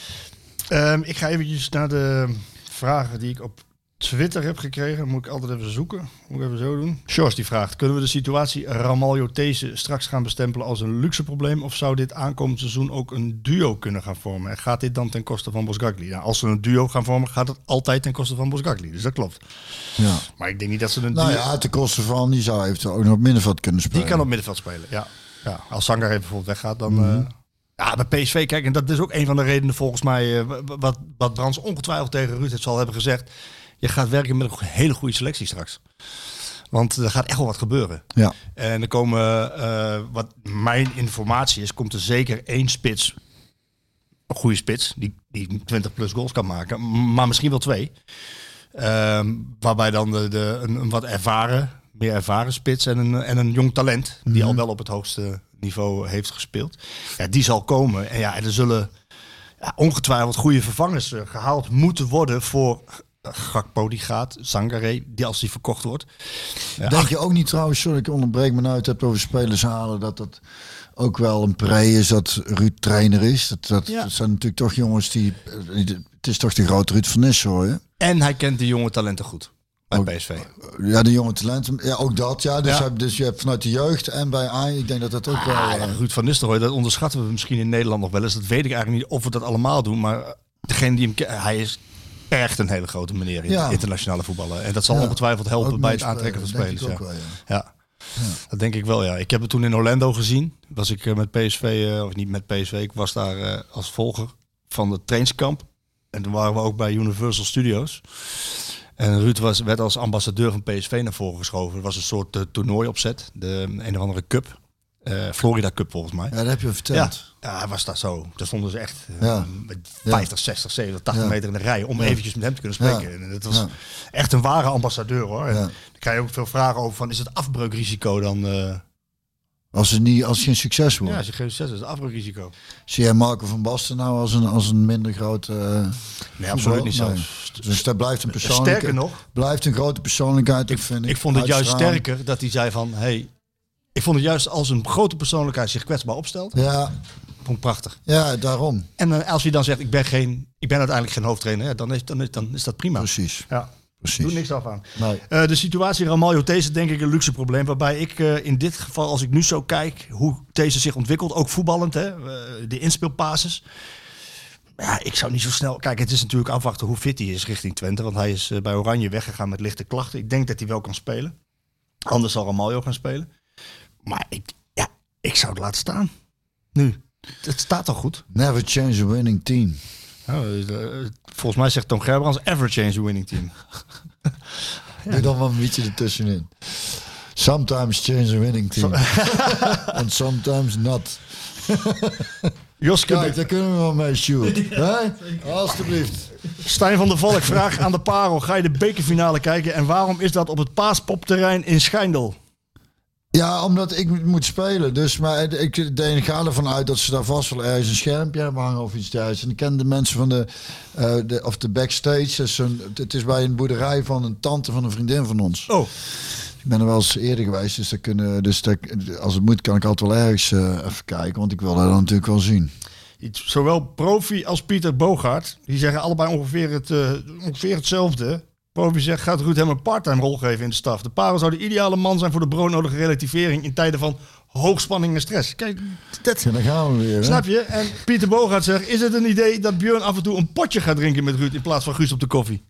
[SPEAKER 7] Ehm, ik ga eventjes naar de vragen die ik op Twitter heb gekregen. Dan moet ik altijd even zoeken. Moet ik even zo doen. Sjors die vraagt, kunnen we de situatie Ramaljo-These straks gaan bestempelen als een luxe probleem? Of zou dit aankomend seizoen ook een duo kunnen gaan vormen? En gaat dit dan ten koste van Bosgagli? Nou, als ze een duo gaan vormen, gaat het altijd ten koste van Bosgagli. Dus dat klopt.
[SPEAKER 2] Ja.
[SPEAKER 7] Maar ik denk niet dat ze een
[SPEAKER 2] Nou
[SPEAKER 7] duo...
[SPEAKER 2] ja, ten koste van, die zou eventueel ook nog op middenveld kunnen
[SPEAKER 7] Die
[SPEAKER 2] spelen.
[SPEAKER 7] kan op middenveld spelen, ja. ja als Zanger even bijvoorbeeld weggaat, dan... eh, ja, bij PSV, kijk, en dat is ook een van de redenen volgens mij... eh, wa- wa- wat, wat Brands ongetwijfeld tegen Ruud het zal hebben gezegd. Je gaat werken met een go- hele goede selectie straks. Want er gaat echt wel wat gebeuren.
[SPEAKER 2] Ja.
[SPEAKER 7] En er komen, eh, wat mijn informatie is, komt er zeker één spits. Een goede spits, die, die 20 plus goals kan maken. m- Maar misschien wel twee. Ehm, waarbij dan de, de, een, een wat ervaren, meer ervaren spits en een, en een jong talent. Die al wel op het hoogste niveau heeft gespeeld. Ja, die zal komen. En ja, en er zullen ja, ongetwijfeld goede vervangers eh, gehaald moeten worden voor eh, Gakpo die gaat, Sangaré, die als die verkocht wordt. Ja,
[SPEAKER 2] Denk je ook niet trouwens, sorry ik onderbreek me nou, je het hebt over spelers halen, dat dat ook wel een pre is dat Ruud trainer is. Dat, dat,
[SPEAKER 7] Ja.
[SPEAKER 2] dat zijn natuurlijk toch jongens die, het is toch de grote Ruud van Nistelrooy, hè?
[SPEAKER 7] En hij kent de jonge talenten goed bij PSV.
[SPEAKER 2] Ja, de jonge talenten. Ja, ook dat. Ja. Dus,
[SPEAKER 7] Ja.
[SPEAKER 2] Heb, dus je hebt vanuit de jeugd en bij Ajax, ik denk dat dat ook wel...
[SPEAKER 7] Ah, ja,
[SPEAKER 2] eh,
[SPEAKER 7] Ruud van Nistelrooy, dat onderschatten we misschien in Nederland nog wel eens. Dat weet ik eigenlijk niet of we dat allemaal doen. Maar eh, degene die hem ke- hij is echt een hele grote meneer in
[SPEAKER 2] Ja.
[SPEAKER 7] het internationale voetballen. En dat zal
[SPEAKER 2] Ja.
[SPEAKER 7] ongetwijfeld helpen
[SPEAKER 2] Ook
[SPEAKER 7] bij het
[SPEAKER 2] meespeler,
[SPEAKER 7] aantrekken van
[SPEAKER 2] denk ik
[SPEAKER 7] spelers. Ja.
[SPEAKER 2] ook wel, ja.
[SPEAKER 7] Ja. dat denk ik wel. Ja, ik heb het toen in Orlando gezien. Was ik eh, met PSV eh, of niet met PSV? Ik was daar eh, als volger van het trainingskamp. En toen waren we ook bij Universal Studios. En Ruud was, werd als ambassadeur van PSV naar voren geschoven. Het was een soort eh, toernooiopzet. De eh, een of andere cup. Eh, Florida Cup volgens mij.
[SPEAKER 2] Ja, dat heb je
[SPEAKER 7] Ja.
[SPEAKER 2] verteld.
[SPEAKER 7] ja, hij was daar zo. Daar stonden ze echt eh,
[SPEAKER 2] Ja.
[SPEAKER 7] met
[SPEAKER 2] Ja.
[SPEAKER 7] 50, 60, 70, 80
[SPEAKER 2] Ja.
[SPEAKER 7] meter in de rij om eventjes met hem te kunnen
[SPEAKER 2] Ja.
[SPEAKER 7] spreken. En dat was
[SPEAKER 2] Ja.
[SPEAKER 7] echt een ware ambassadeur hoor. En
[SPEAKER 2] Ja.
[SPEAKER 7] dan krijg je ook veel vragen over van is het afbreukrisico dan? eh
[SPEAKER 2] Als, het niet, als je een succes wordt.
[SPEAKER 7] ja, als je geen succes is, het afbreukrisico.
[SPEAKER 2] Zie jij Marco van Basten nou als een, als een minder groot... eh,
[SPEAKER 7] Nee, absoluut niet
[SPEAKER 2] Nee.
[SPEAKER 7] zelfs.
[SPEAKER 2] Dus dat blijft een persoonlijkheid.
[SPEAKER 7] Sterker nog,
[SPEAKER 2] Blijft een grote persoonlijkheid, ik, vind ik.
[SPEAKER 7] ik vond het juist
[SPEAKER 2] Uitstraling.
[SPEAKER 7] sterker dat hij zei van hey, ik vond het juist als een grote persoonlijkheid zich kwetsbaar opstelt,
[SPEAKER 2] Ja,
[SPEAKER 7] vond ik prachtig.
[SPEAKER 2] ja, daarom.
[SPEAKER 7] En eh, als hij dan zegt ik ben geen, ik ben uiteindelijk geen hoofdtrainer, ja, dan, is, dan, is, dan is dat prima.
[SPEAKER 2] Precies.
[SPEAKER 7] Ja. Doe
[SPEAKER 2] Precies.
[SPEAKER 7] niks af aan.
[SPEAKER 2] Nee.
[SPEAKER 7] Eh, de situatie Ramaljo These denk ik een luxe probleem. Waarbij ik eh, in dit geval, als ik nu zo kijk hoe These zich ontwikkelt, ook voetballend, hè, eh, de inspeelpases. Ja, ik zou niet zo snel. Kijk, het is natuurlijk afwachten hoe fit hij is richting Twente. Want hij is eh, bij Oranje weggegaan met lichte klachten. Ik denk dat hij wel kan spelen. Anders zal Ramaljo gaan spelen. Maar ik, ja, ik zou het laten staan. Nu. Het staat al goed.
[SPEAKER 2] Never change a winning team.
[SPEAKER 7] Nou, eh, eh, volgens mij zegt Tom Gerbrands ever change a winning team.
[SPEAKER 2] Doe dan wel een liedje ertussenin. Sometimes change a winning team. And sometimes not.
[SPEAKER 7] Joske,
[SPEAKER 2] Kijk, daar kunnen we wel mee, Sjoerd. Hè? Alsjeblieft.
[SPEAKER 7] Stijn van der Valk vraagt aan de parel. Ga je de bekerfinale kijken? En waarom is dat op het paaspopterrein in Schijndel?
[SPEAKER 2] Ja, omdat ik moet spelen. Dus maar ik, ik denk, ga ervan uit dat ze daar vast wel ergens een schermpje hebben hangen of iets dergelijks. En ik ken de mensen van de, eh, de of de backstage. Dat is een- het is bij een boerderij van een tante van een vriendin van ons.
[SPEAKER 7] Oh,
[SPEAKER 2] Ik ben er wel eens eerder geweest, dus, daar kunnen, dus daar, als het moet kan ik altijd wel ergens eh, even kijken. Want ik wil dat dan natuurlijk wel zien.
[SPEAKER 7] iets- zowel Profi als Pieter Bogaert. Die zeggen allebei ongeveer, het, eh, ongeveer hetzelfde. Profi zegt, gaat Ruud hem een parttime rol geven in de staf? De parel zou de ideale man zijn voor de broodnodige relativering in tijden van hoogspanning en stress. Kijk, dat
[SPEAKER 2] En dan gaan we weer. hè?
[SPEAKER 7] snap je? En Pieter Bogaert zegt, is het een idee dat Björn af en toe een potje gaat drinken met Ruud in plaats van Guus op de koffie?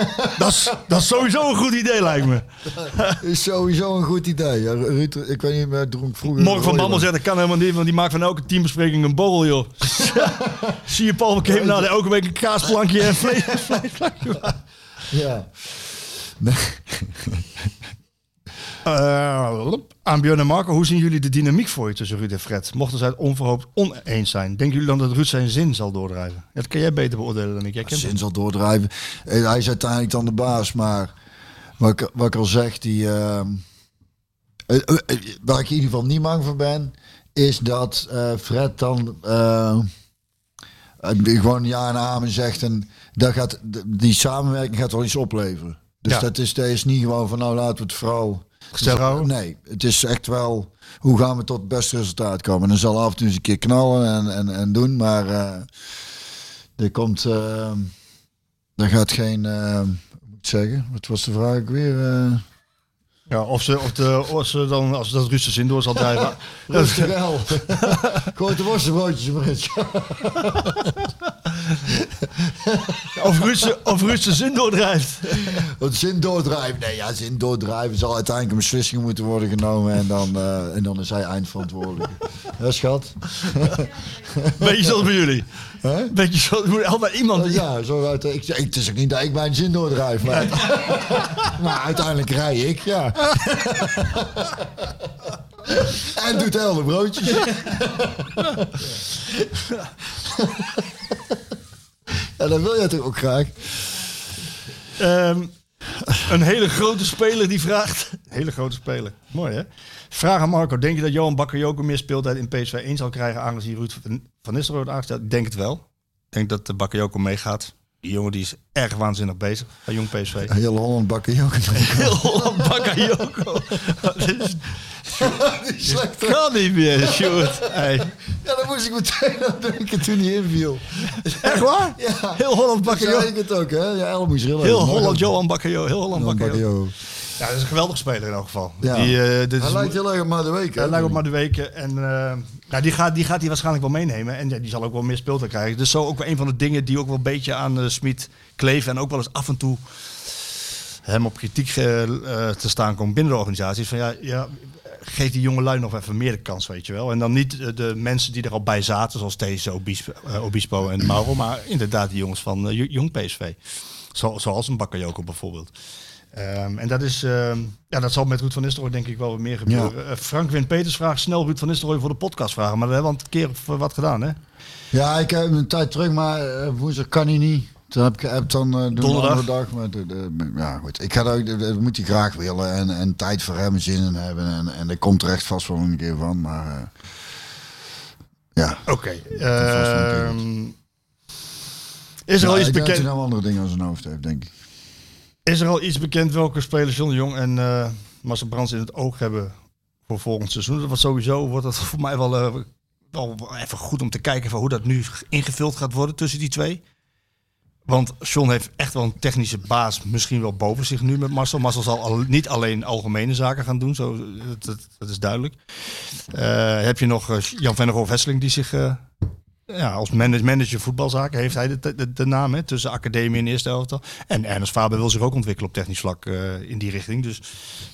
[SPEAKER 7] dat, is, dat is sowieso een goed idee, lijkt me.
[SPEAKER 2] Is sowieso een goed idee. Ja, Ruud, ik weet niet meer, dronk vroeger.
[SPEAKER 7] Morgen van Bammel zegt, dat kan helemaal niet, want die maakt van elke teambespreking een borrel, joh. Zie je Paul McCabe nou elke week een kaasplankje en vlees, vleesplankje.
[SPEAKER 2] Ja.
[SPEAKER 7] Eh, aan Björn en Marco, hoe zien jullie de dynamiek voor je tussen Ruud en Fred? Mochten zij het onverhoopt oneens zijn, denken jullie dan dat Ruud zijn zin zal doordrijven? Dat kan jij beter beoordelen dan ik. Jij kent
[SPEAKER 2] Zin zal doordrijven. Eh, Hij is uiteindelijk dan de baas, maar wat ik, wat ik al zeg, die, ehm, eh, eh, eh, waar ik in ieder geval niet bang voor ben, is dat eh, Fred dan eh, eh, gewoon ja en amen zegt en dat gaat, d- die samenwerking gaat wel iets opleveren. Dus
[SPEAKER 7] Ja.
[SPEAKER 2] dat, is, dat is niet gewoon van nou laten we het vooral...
[SPEAKER 7] Gezellig houden.
[SPEAKER 2] Nee, het is echt wel hoe gaan we tot het beste resultaat komen. En dan zal af en toe eens een keer knallen en, en, en doen, maar... eh, er komt. eh, er gaat geen. eh, hoe moet ik het zeggen? Wat was de vraag ook weer? eh
[SPEAKER 7] Ja, of, ze, of, de, of ze dan, als dat Ruud zijn zin door zal drijven.
[SPEAKER 2] Rustig wel. Gooi de worstenbroodjes maar eens.
[SPEAKER 7] of, Ruud zijn- of Ruud zijn zin doordrijft.
[SPEAKER 2] Want zin doordrijven. Nee, ja, zin doordrijven zal uiteindelijk een beslissing moeten worden genomen. En dan, eh, en dan is hij eindverantwoordelijk. Hè, schat?
[SPEAKER 7] Beetje zoals bij jullie. Beetje zoals, er moet altijd iemand...
[SPEAKER 2] Eh, Ja, zo uit, ik, ik- het is ook niet dat ik mijn zin doordrijf. Maar, maar uiteindelijk rij ik, ja. en doet helder broodjes. ja, dat wil jij toch ook graag?
[SPEAKER 7] Ehm, een hele grote speler die vraagt: Hele grote speler. Mooi, hè? Vraag aan Marco. Denk je dat Johan Bakayoko meer speeltijd in PSV 1 zal krijgen... aangezien Ruud van- van Nistelrooy wordt aangesteld? Ik denk het wel. Ik denk dat de Bakayoko meegaat. Die jongen die is erg waanzinnig bezig. Bij jong PSV.
[SPEAKER 2] Heel Holland bakken ook.
[SPEAKER 7] Heel Holland Bakayoko. Dit is-
[SPEAKER 2] Slecht.
[SPEAKER 7] kan niet meer, Sjoerd. Hey.
[SPEAKER 2] Ja, daar moest ik meteen aan denken toen hij inviel.
[SPEAKER 7] Echt waar?
[SPEAKER 2] Ja.
[SPEAKER 7] Heel Holland
[SPEAKER 2] Bakkejo. Ik
[SPEAKER 7] Bakayoko.
[SPEAKER 2] het ook, hè? Ja, El moest rillen.
[SPEAKER 7] Heel Holland Johan Bakayoko. Heel Holland
[SPEAKER 2] Holland
[SPEAKER 7] Bakayoko.
[SPEAKER 2] Bakkejo.
[SPEAKER 7] Ja, dat is een geweldig speler in elk geval.
[SPEAKER 2] Ja.
[SPEAKER 7] Die, eh, dit
[SPEAKER 2] Hij
[SPEAKER 7] is,
[SPEAKER 2] lijkt heel erg op Madueke. hè?
[SPEAKER 7] Hij Eh, lijkt op maar de weken. En eh, nou, die, gaat, die gaat hij waarschijnlijk wel meenemen. En ja, die zal ook wel meer speeltijd krijgen. Dus zo ook wel een van de dingen die ook wel een beetje aan eh Smit kleven. En ook wel eens af en toe hem op kritiek eh, eh, te staan komt binnen de organisatie. Is Van ja, ja, geef die jonge lui nog even meer de kans, weet je wel. En dan niet eh, de mensen die er al bij zaten, zoals deze Obispo, eh, Obispo en Mauro. Maar inderdaad die jongens van eh, Jo- jong PSV. Zo, zoals een Bakayoko bijvoorbeeld. Ehm, en dat, is, ehm, ja, dat zal met Ruud van Nistelrooy denk ik wel wat meer gebeuren. Eh, Frank Win Peters vraagt snel Ruud van Nistelrooy voor de podcast vragen. Maar we hebben al een keer of, eh, wat gedaan, hè?
[SPEAKER 2] Ja, ik heb hem een tijd terug, maar eh, woensdag kan hij niet. Toen heb ik heb dan eh, doen we een
[SPEAKER 7] Donderdag.
[SPEAKER 2] andere dag. Maar de, de- ja, goed. Ik ga daar, ook- dat- dat moet hij graag willen en, en tijd voor hem zin in hebben. En, en er komt er echt vast wel een keer van. Maar eh, ja.
[SPEAKER 7] Oké. ehm, is er al
[SPEAKER 2] Ja,
[SPEAKER 7] iets
[SPEAKER 2] ik denk dat
[SPEAKER 7] bekend?
[SPEAKER 2] hij nou andere dingen aan zijn hoofd heeft, denk ik.
[SPEAKER 7] Is er al iets bekend welke spelers John de Jong en eh Marcel Brands in het oog hebben voor volgend seizoen? Want sowieso wordt dat voor mij wel, eh, wel even goed om te kijken van hoe dat nu ingevuld gaat worden tussen die twee. Want John heeft echt wel een technische baas misschien wel boven zich nu met Marcel. Marcel zal al, niet alleen algemene zaken gaan doen, zo, dat, dat, dat is duidelijk. Eh, heb je nog eh, Jan Vennegoor Wesseling die zich eh, ja, als manage- manager voetbalzaken heeft hij de, de, de naam hè, tussen academie en eerste elftal. En Ernest Faber wil zich ook ontwikkelen op technisch vlak eh, in die richting. Dus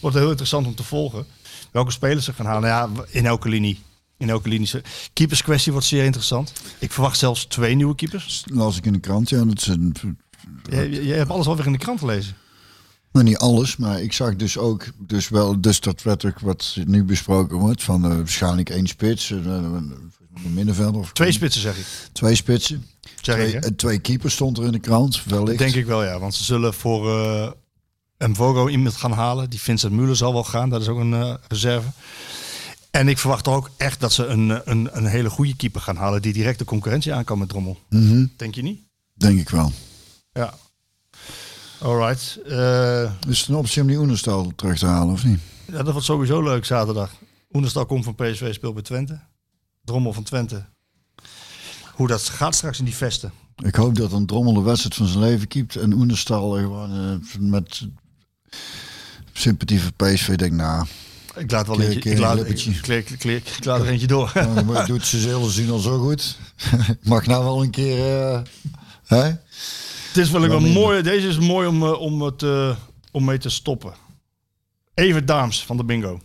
[SPEAKER 7] wordt heel interessant om te volgen welke spelers ze gaan halen. Nou ja, in elke linie. In elke linie. Keeperskwestie wordt zeer interessant. Ik verwacht zelfs twee nieuwe keepers.
[SPEAKER 2] Las ik in de krant, ja. Dat is een,
[SPEAKER 7] Je, je- je hebt alles alweer in de krant gelezen.
[SPEAKER 2] Nou, niet alles, maar ik zag dus ook, dus wel, dus dat werd ook wat nu besproken wordt, van eh, waarschijnlijk één spits, eh, een middenvelder of
[SPEAKER 7] Twee spitsen zeg ik.
[SPEAKER 2] Mm. twee spitsen.
[SPEAKER 7] Zeg
[SPEAKER 2] twee,
[SPEAKER 7] ik, hè?
[SPEAKER 2] eh, twee keepers stond er in de krant, wellicht.
[SPEAKER 7] Denk ik wel ja, want ze zullen voor eh Mvogo iemand gaan halen. Die Vincent Muller zal wel gaan, dat is ook een eh, reserve. En ik verwacht ook echt dat ze een, eh, een, een hele goede keeper gaan halen die direct de concurrentie aan kan met Drommel.
[SPEAKER 2] Mhm,
[SPEAKER 7] Denk je niet?
[SPEAKER 2] denk ik wel.
[SPEAKER 7] Ja. Alright. Eh,
[SPEAKER 2] Dus het een optie om die Oenerstal terug te halen, of niet?
[SPEAKER 7] ja, dat wordt sowieso leuk zaterdag. Oenerstal komt van PSV, speelt bij Twente. Drommel van Twente. Hoe dat gaat straks in die vesten.
[SPEAKER 2] Ik hoop dat een drommel de wedstrijd van zijn leven kiept en Oenerstal er gewoon eh, met sympathie voor PSV denkt, nou,
[SPEAKER 7] Ik laat wel
[SPEAKER 2] Kleer-
[SPEAKER 7] eentje, ik
[SPEAKER 2] kleer-
[SPEAKER 7] laat, ik,
[SPEAKER 2] eh, lippertje.
[SPEAKER 7] kleer- kleer- ik laat er eentje door.
[SPEAKER 2] nou, doet ze hele zien al zo goed. Mag nou wel een keer, eh, hè?
[SPEAKER 7] Het is wel
[SPEAKER 2] Wel
[SPEAKER 7] een
[SPEAKER 2] minder.
[SPEAKER 7] mooie, deze is mooi om, eh, om, het, eh, om mee te stoppen. Even Daams van de bingo.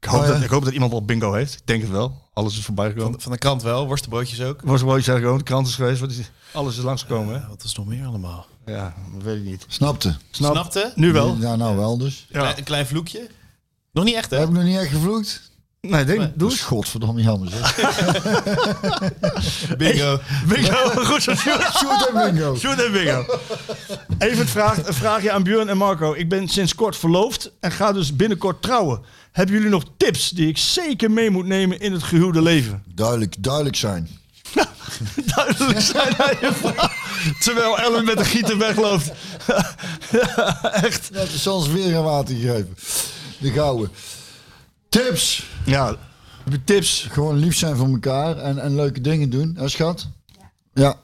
[SPEAKER 7] Ik hoop,
[SPEAKER 2] Oh, ja.
[SPEAKER 7] dat, ik hoop dat iemand al bingo heeft. Ik denk het wel. Alles is voorbij gekomen.
[SPEAKER 4] Van de krant wel, worstenbroodjes ook.
[SPEAKER 7] Was mooi, zeg gewoon. De krant is geweest. Wat is, alles is langsgekomen,
[SPEAKER 4] Ja, wat is nog meer allemaal?
[SPEAKER 7] hè? Ja, dat weet ik niet.
[SPEAKER 2] Snapte.
[SPEAKER 7] Snap-
[SPEAKER 4] Snapte?
[SPEAKER 7] Nou, Nu wel.
[SPEAKER 2] Ja, nou wel dus.
[SPEAKER 7] Ja.
[SPEAKER 4] Klein- Een klein vloekje? Nog niet echt,
[SPEAKER 2] Heb
[SPEAKER 4] hè?
[SPEAKER 2] ik nog niet echt gevloekt?
[SPEAKER 7] Nee, denk,
[SPEAKER 4] Nee.
[SPEAKER 7] doe
[SPEAKER 2] Dat is
[SPEAKER 7] eens.
[SPEAKER 2] godverdomme jammer zeg.
[SPEAKER 4] Bingo.
[SPEAKER 7] Bingo. Goed zo, Sjoerd.
[SPEAKER 2] Shoot en bingo.
[SPEAKER 7] Sjoerd en bingo. Even het vraag, een vraagje aan Björn en Marco. Ik ben sinds kort verloofd en ga dus binnenkort trouwen. Hebben jullie nog tips die ik zeker mee moet nemen in het gehuwde leven?
[SPEAKER 2] Duidelijk, duidelijk zijn.
[SPEAKER 7] duidelijk zijn aan je vrouw. Terwijl Ellen met de gieter wegloopt. Echt.
[SPEAKER 2] Dat is ons weer een water gegeven. De gouden. Tips.
[SPEAKER 7] Ja, tips.
[SPEAKER 2] Gewoon lief zijn voor elkaar en, en leuke dingen doen. Hè, schat? Ja.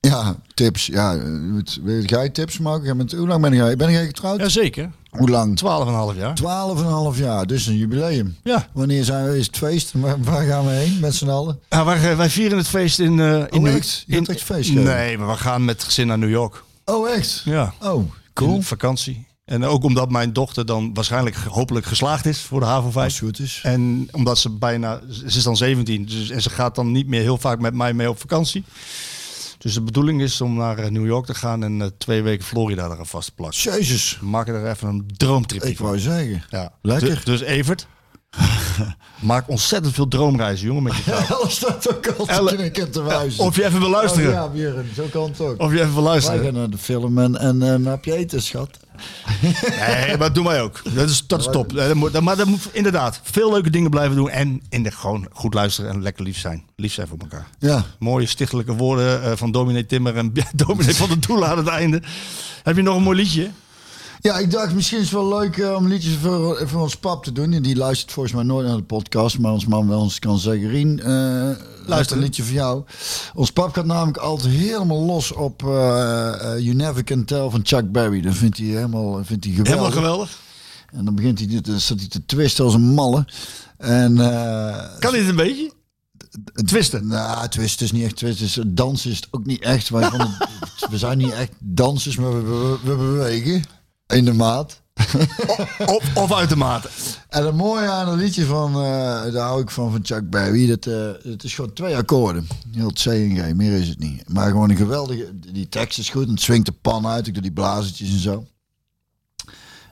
[SPEAKER 2] Ja, tips. Ja, eh, moet- wil jij tips maken? Jij bent- Hoe lang ben jij? Ben jij getrouwd?
[SPEAKER 7] Jazeker.
[SPEAKER 2] Hoe lang?
[SPEAKER 7] 12,5 jaar.
[SPEAKER 2] Twaalf en een half jaar. Dus een jubileum.
[SPEAKER 7] Ja.
[SPEAKER 2] Wanneer zijn we? Is het feest? Waar, waar gaan we heen met z'n allen?
[SPEAKER 7] Ja, wij, wij vieren het feest in... eh, in
[SPEAKER 2] Oh,
[SPEAKER 7] New-
[SPEAKER 2] echt? Je hebt echt feest gehouden?
[SPEAKER 7] Nee, maar we gaan met het gezin naar New York.
[SPEAKER 2] Oh, echt?
[SPEAKER 7] Ja.
[SPEAKER 2] Oh,
[SPEAKER 7] Cool.
[SPEAKER 2] cool.
[SPEAKER 7] vakantie. En ook omdat mijn dochter dan waarschijnlijk ge- hopelijk geslaagd is voor de HAVO 5.
[SPEAKER 2] Als het goed is.
[SPEAKER 7] En omdat ze bijna, ze is dan 17, dus, en ze gaat dan niet meer heel vaak met mij mee op vakantie. Dus de bedoeling is om naar eh, New York te gaan en eh, twee weken Florida eraan vast te plakken.
[SPEAKER 2] Jezus.
[SPEAKER 7] We maken er even een droomtrip
[SPEAKER 2] Ik wou zeggen.
[SPEAKER 7] Ja.
[SPEAKER 2] Lekker.
[SPEAKER 7] Dus, dus Evert, maak ontzettend veel droomreizen, jongen, met je vrouw.
[SPEAKER 2] Alles staat ook altijd
[SPEAKER 7] Elle-
[SPEAKER 2] in een keer te wijzen.
[SPEAKER 7] Of je even wil
[SPEAKER 2] Oh
[SPEAKER 7] luisteren.
[SPEAKER 2] ja, Björn, zo kan het ook.
[SPEAKER 7] Of je even wil
[SPEAKER 2] Wij
[SPEAKER 7] luisteren.
[SPEAKER 2] gaan naar de film en, en eh, een hapje eten, schat.
[SPEAKER 7] Nee, maar doe mij ook. Dat is, dat is top. Eh, dat moet- dat- Maar dat moet inderdaad veel leuke dingen blijven doen. En in de, gewoon goed luisteren en lekker lief zijn. Lief zijn voor elkaar.
[SPEAKER 2] Ja.
[SPEAKER 7] Mooie stichtelijke woorden eh, van dominee Timmer en dominee van de Doelen aan het einde. Heb je nog een mooi liedje?
[SPEAKER 2] Ja, ik dacht misschien is het wel leuk eh, om liedjes voor, voor ons pap te doen. En die luistert volgens mij nooit naar de podcast, maar ons man wel eens kan zeggen, Rien, eh, luister een liedje voor jou. Ons pap gaat namelijk altijd helemaal los op eh, eh, You Never Can Tell van Chuck Berry. Dan vindt hij helemaal, vindt hij
[SPEAKER 7] Helemaal geweldig.
[SPEAKER 2] En dan begint hij, dit- dan staat hij te twisten als een malle. En eh,
[SPEAKER 7] Kan dit een beetje?
[SPEAKER 2] Twisten? Nou, twisten is niet echt twisten. Is, dansen is het ook niet echt. Wij van het- we zijn niet echt dansers, maar we, we, we bewegen in de maat.
[SPEAKER 7] Of, of uit de mate.
[SPEAKER 2] En het mooie aan een liedje van, eh, daar hou ik van, van Chuck Berry, dat, eh, het is gewoon twee akkoorden. Heel het C en G, meer is het niet. Maar gewoon een geweldige, die tekst is goed, en het swingt de pan uit, ik doe die blazertjes en zo.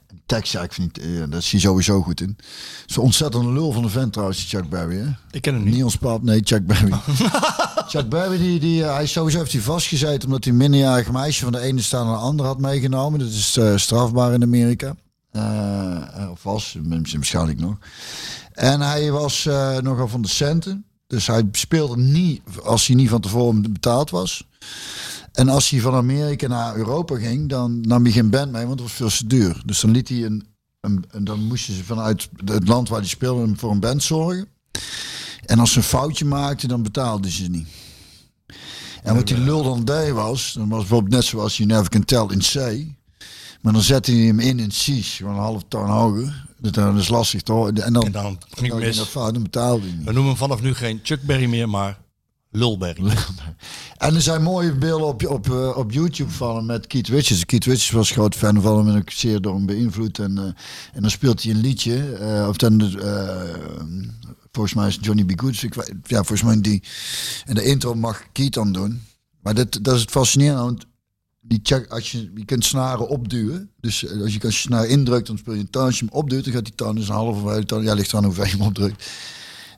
[SPEAKER 2] En tekst, ja, ik vind niet, eh, dat is hij sowieso goed in. Zo'n ontzettend lul van de vent trouwens, die Chuck Berry, hè?
[SPEAKER 7] Ik ken hem niet.
[SPEAKER 2] Niet ons pap, nee, Chuck Berry. Chuck Berry, die, die, eh, hij is sowieso heeft hij vastgezeten omdat hij een minderjarig meisje van de ene staat naar de andere had meegenomen. Dat is eh, strafbaar in Amerika. Eh, eh, of was, misschien waarschijnlijk nog. En hij was eh, nogal van de centen. Dus hij speelde niet als hij niet van tevoren betaald was. En als hij van Amerika naar Europa ging, dan nam hij geen band mee, want het was veel te duur. Dus dan liet hij een, een, een- dan moesten ze vanuit het land waar hij speelde hem voor een band zorgen. En als ze een foutje maakten, dan betaalden ze niet. En wat die lul dan deed was, dan was bijvoorbeeld net zoals je never can tell in C. Maar dan zette hij hem in in C's, gewoon een half toon hoger. Dat, dat is lastig toch? En dan,
[SPEAKER 7] En dan ging
[SPEAKER 2] dan
[SPEAKER 7] het
[SPEAKER 2] ging dat
[SPEAKER 7] mis.
[SPEAKER 2] fout, dan betaalde hij niet.
[SPEAKER 7] We noemen hem vanaf nu geen Chuck Berry meer, maar Lulberry.
[SPEAKER 2] En er zijn mooie beelden op, op, eh, op YouTube van hem met Keith Richards. Keith Richards was groot fan van hem en ook zeer door hem beïnvloed. En, eh, en dan speelt hij een liedje. eh, of dan, eh, volgens mij is het Johnny B. Goods. Ik, weet- ja, volgens mij die. En de intro mag Keith dan doen. Maar dat, dat is het fascinerende. Want die check, als je, je kunt snaren opduwen. Dus eh, als je, als je snaar indrukt, dan speel je een toon. Als je hem opduwt, dan gaat die toon dus een halve toon. Ja, ligt eraan hoeveel je hem opdrukt.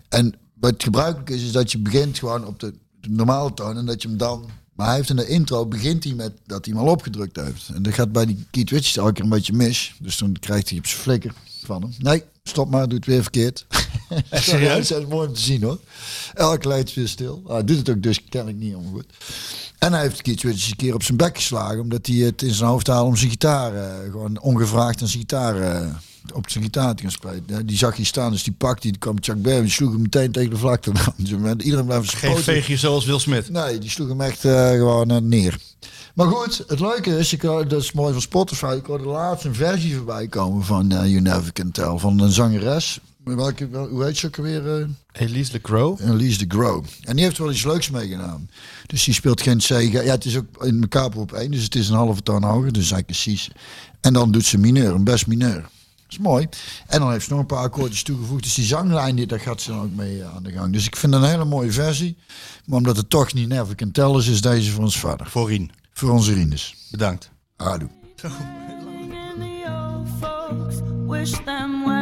[SPEAKER 2] En wat gebruikelijk is, is dat je begint gewoon op de, de normale toon en dat je hem dan... Maar hij heeft in de intro, begint hij met dat hij hem al opgedrukt heeft. En dat gaat bij die Keith Richards elke keer een beetje mis. Dus dan krijgt hij op zijn flikker van hem. Nee, stop maar, doe het weer verkeerd. Echt
[SPEAKER 7] serieus?
[SPEAKER 2] Dat is mooi om te zien hoor. Elk leidt weer stil. Ah, Hij doet het ook dus kennelijk niet helemaal goed. En hij heeft Keith Richards een keer op zijn bek geslagen. Omdat hij het in zijn hoofd haalde om zijn gitaar... eh, gewoon ongevraagd aan zijn gitaar... eh, op zijn gitaar te gaan spelen. Ja, die zag hij staan, dus die pakte, die kwam Chuck Berry, die sloeg hem meteen tegen de vlakte. Iedereen bleef zijn
[SPEAKER 7] Geen
[SPEAKER 2] poten-
[SPEAKER 7] veegje zoals Will Smith.
[SPEAKER 2] Nee, die sloeg hem echt eh, gewoon eh, neer. Maar goed, het leuke is, ik, hoor- dat is mooi van Spotify, ik hoorde laatst een versie voorbij komen van eh, You Never Can Tell, van een zangeres. Welke, wel- hoe heet ze ook alweer? eh?
[SPEAKER 4] Elise LeCrow.
[SPEAKER 2] Elise de Grow. En die heeft wel iets leuks meegenomen. Dus die speelt geen C. Ja, het is ook in elkaar op één. Dus het is een halve toon hoger. Dus eigenlijk precies. En dan doet ze mineur, een best mineur. Dat is mooi. En dan heeft ze nog een paar akkoordjes toegevoegd. Dus die zanglijn, die, daar gaat ze dan ook mee eh, aan de gang. Dus ik vind het een hele mooie versie. Maar omdat het toch niet never can tell is, is deze voor ons vader.
[SPEAKER 7] Voor Rien.
[SPEAKER 2] Voor onze Rines.
[SPEAKER 7] Bedankt.
[SPEAKER 2] Ado.
[SPEAKER 10] Wish them well. Oh,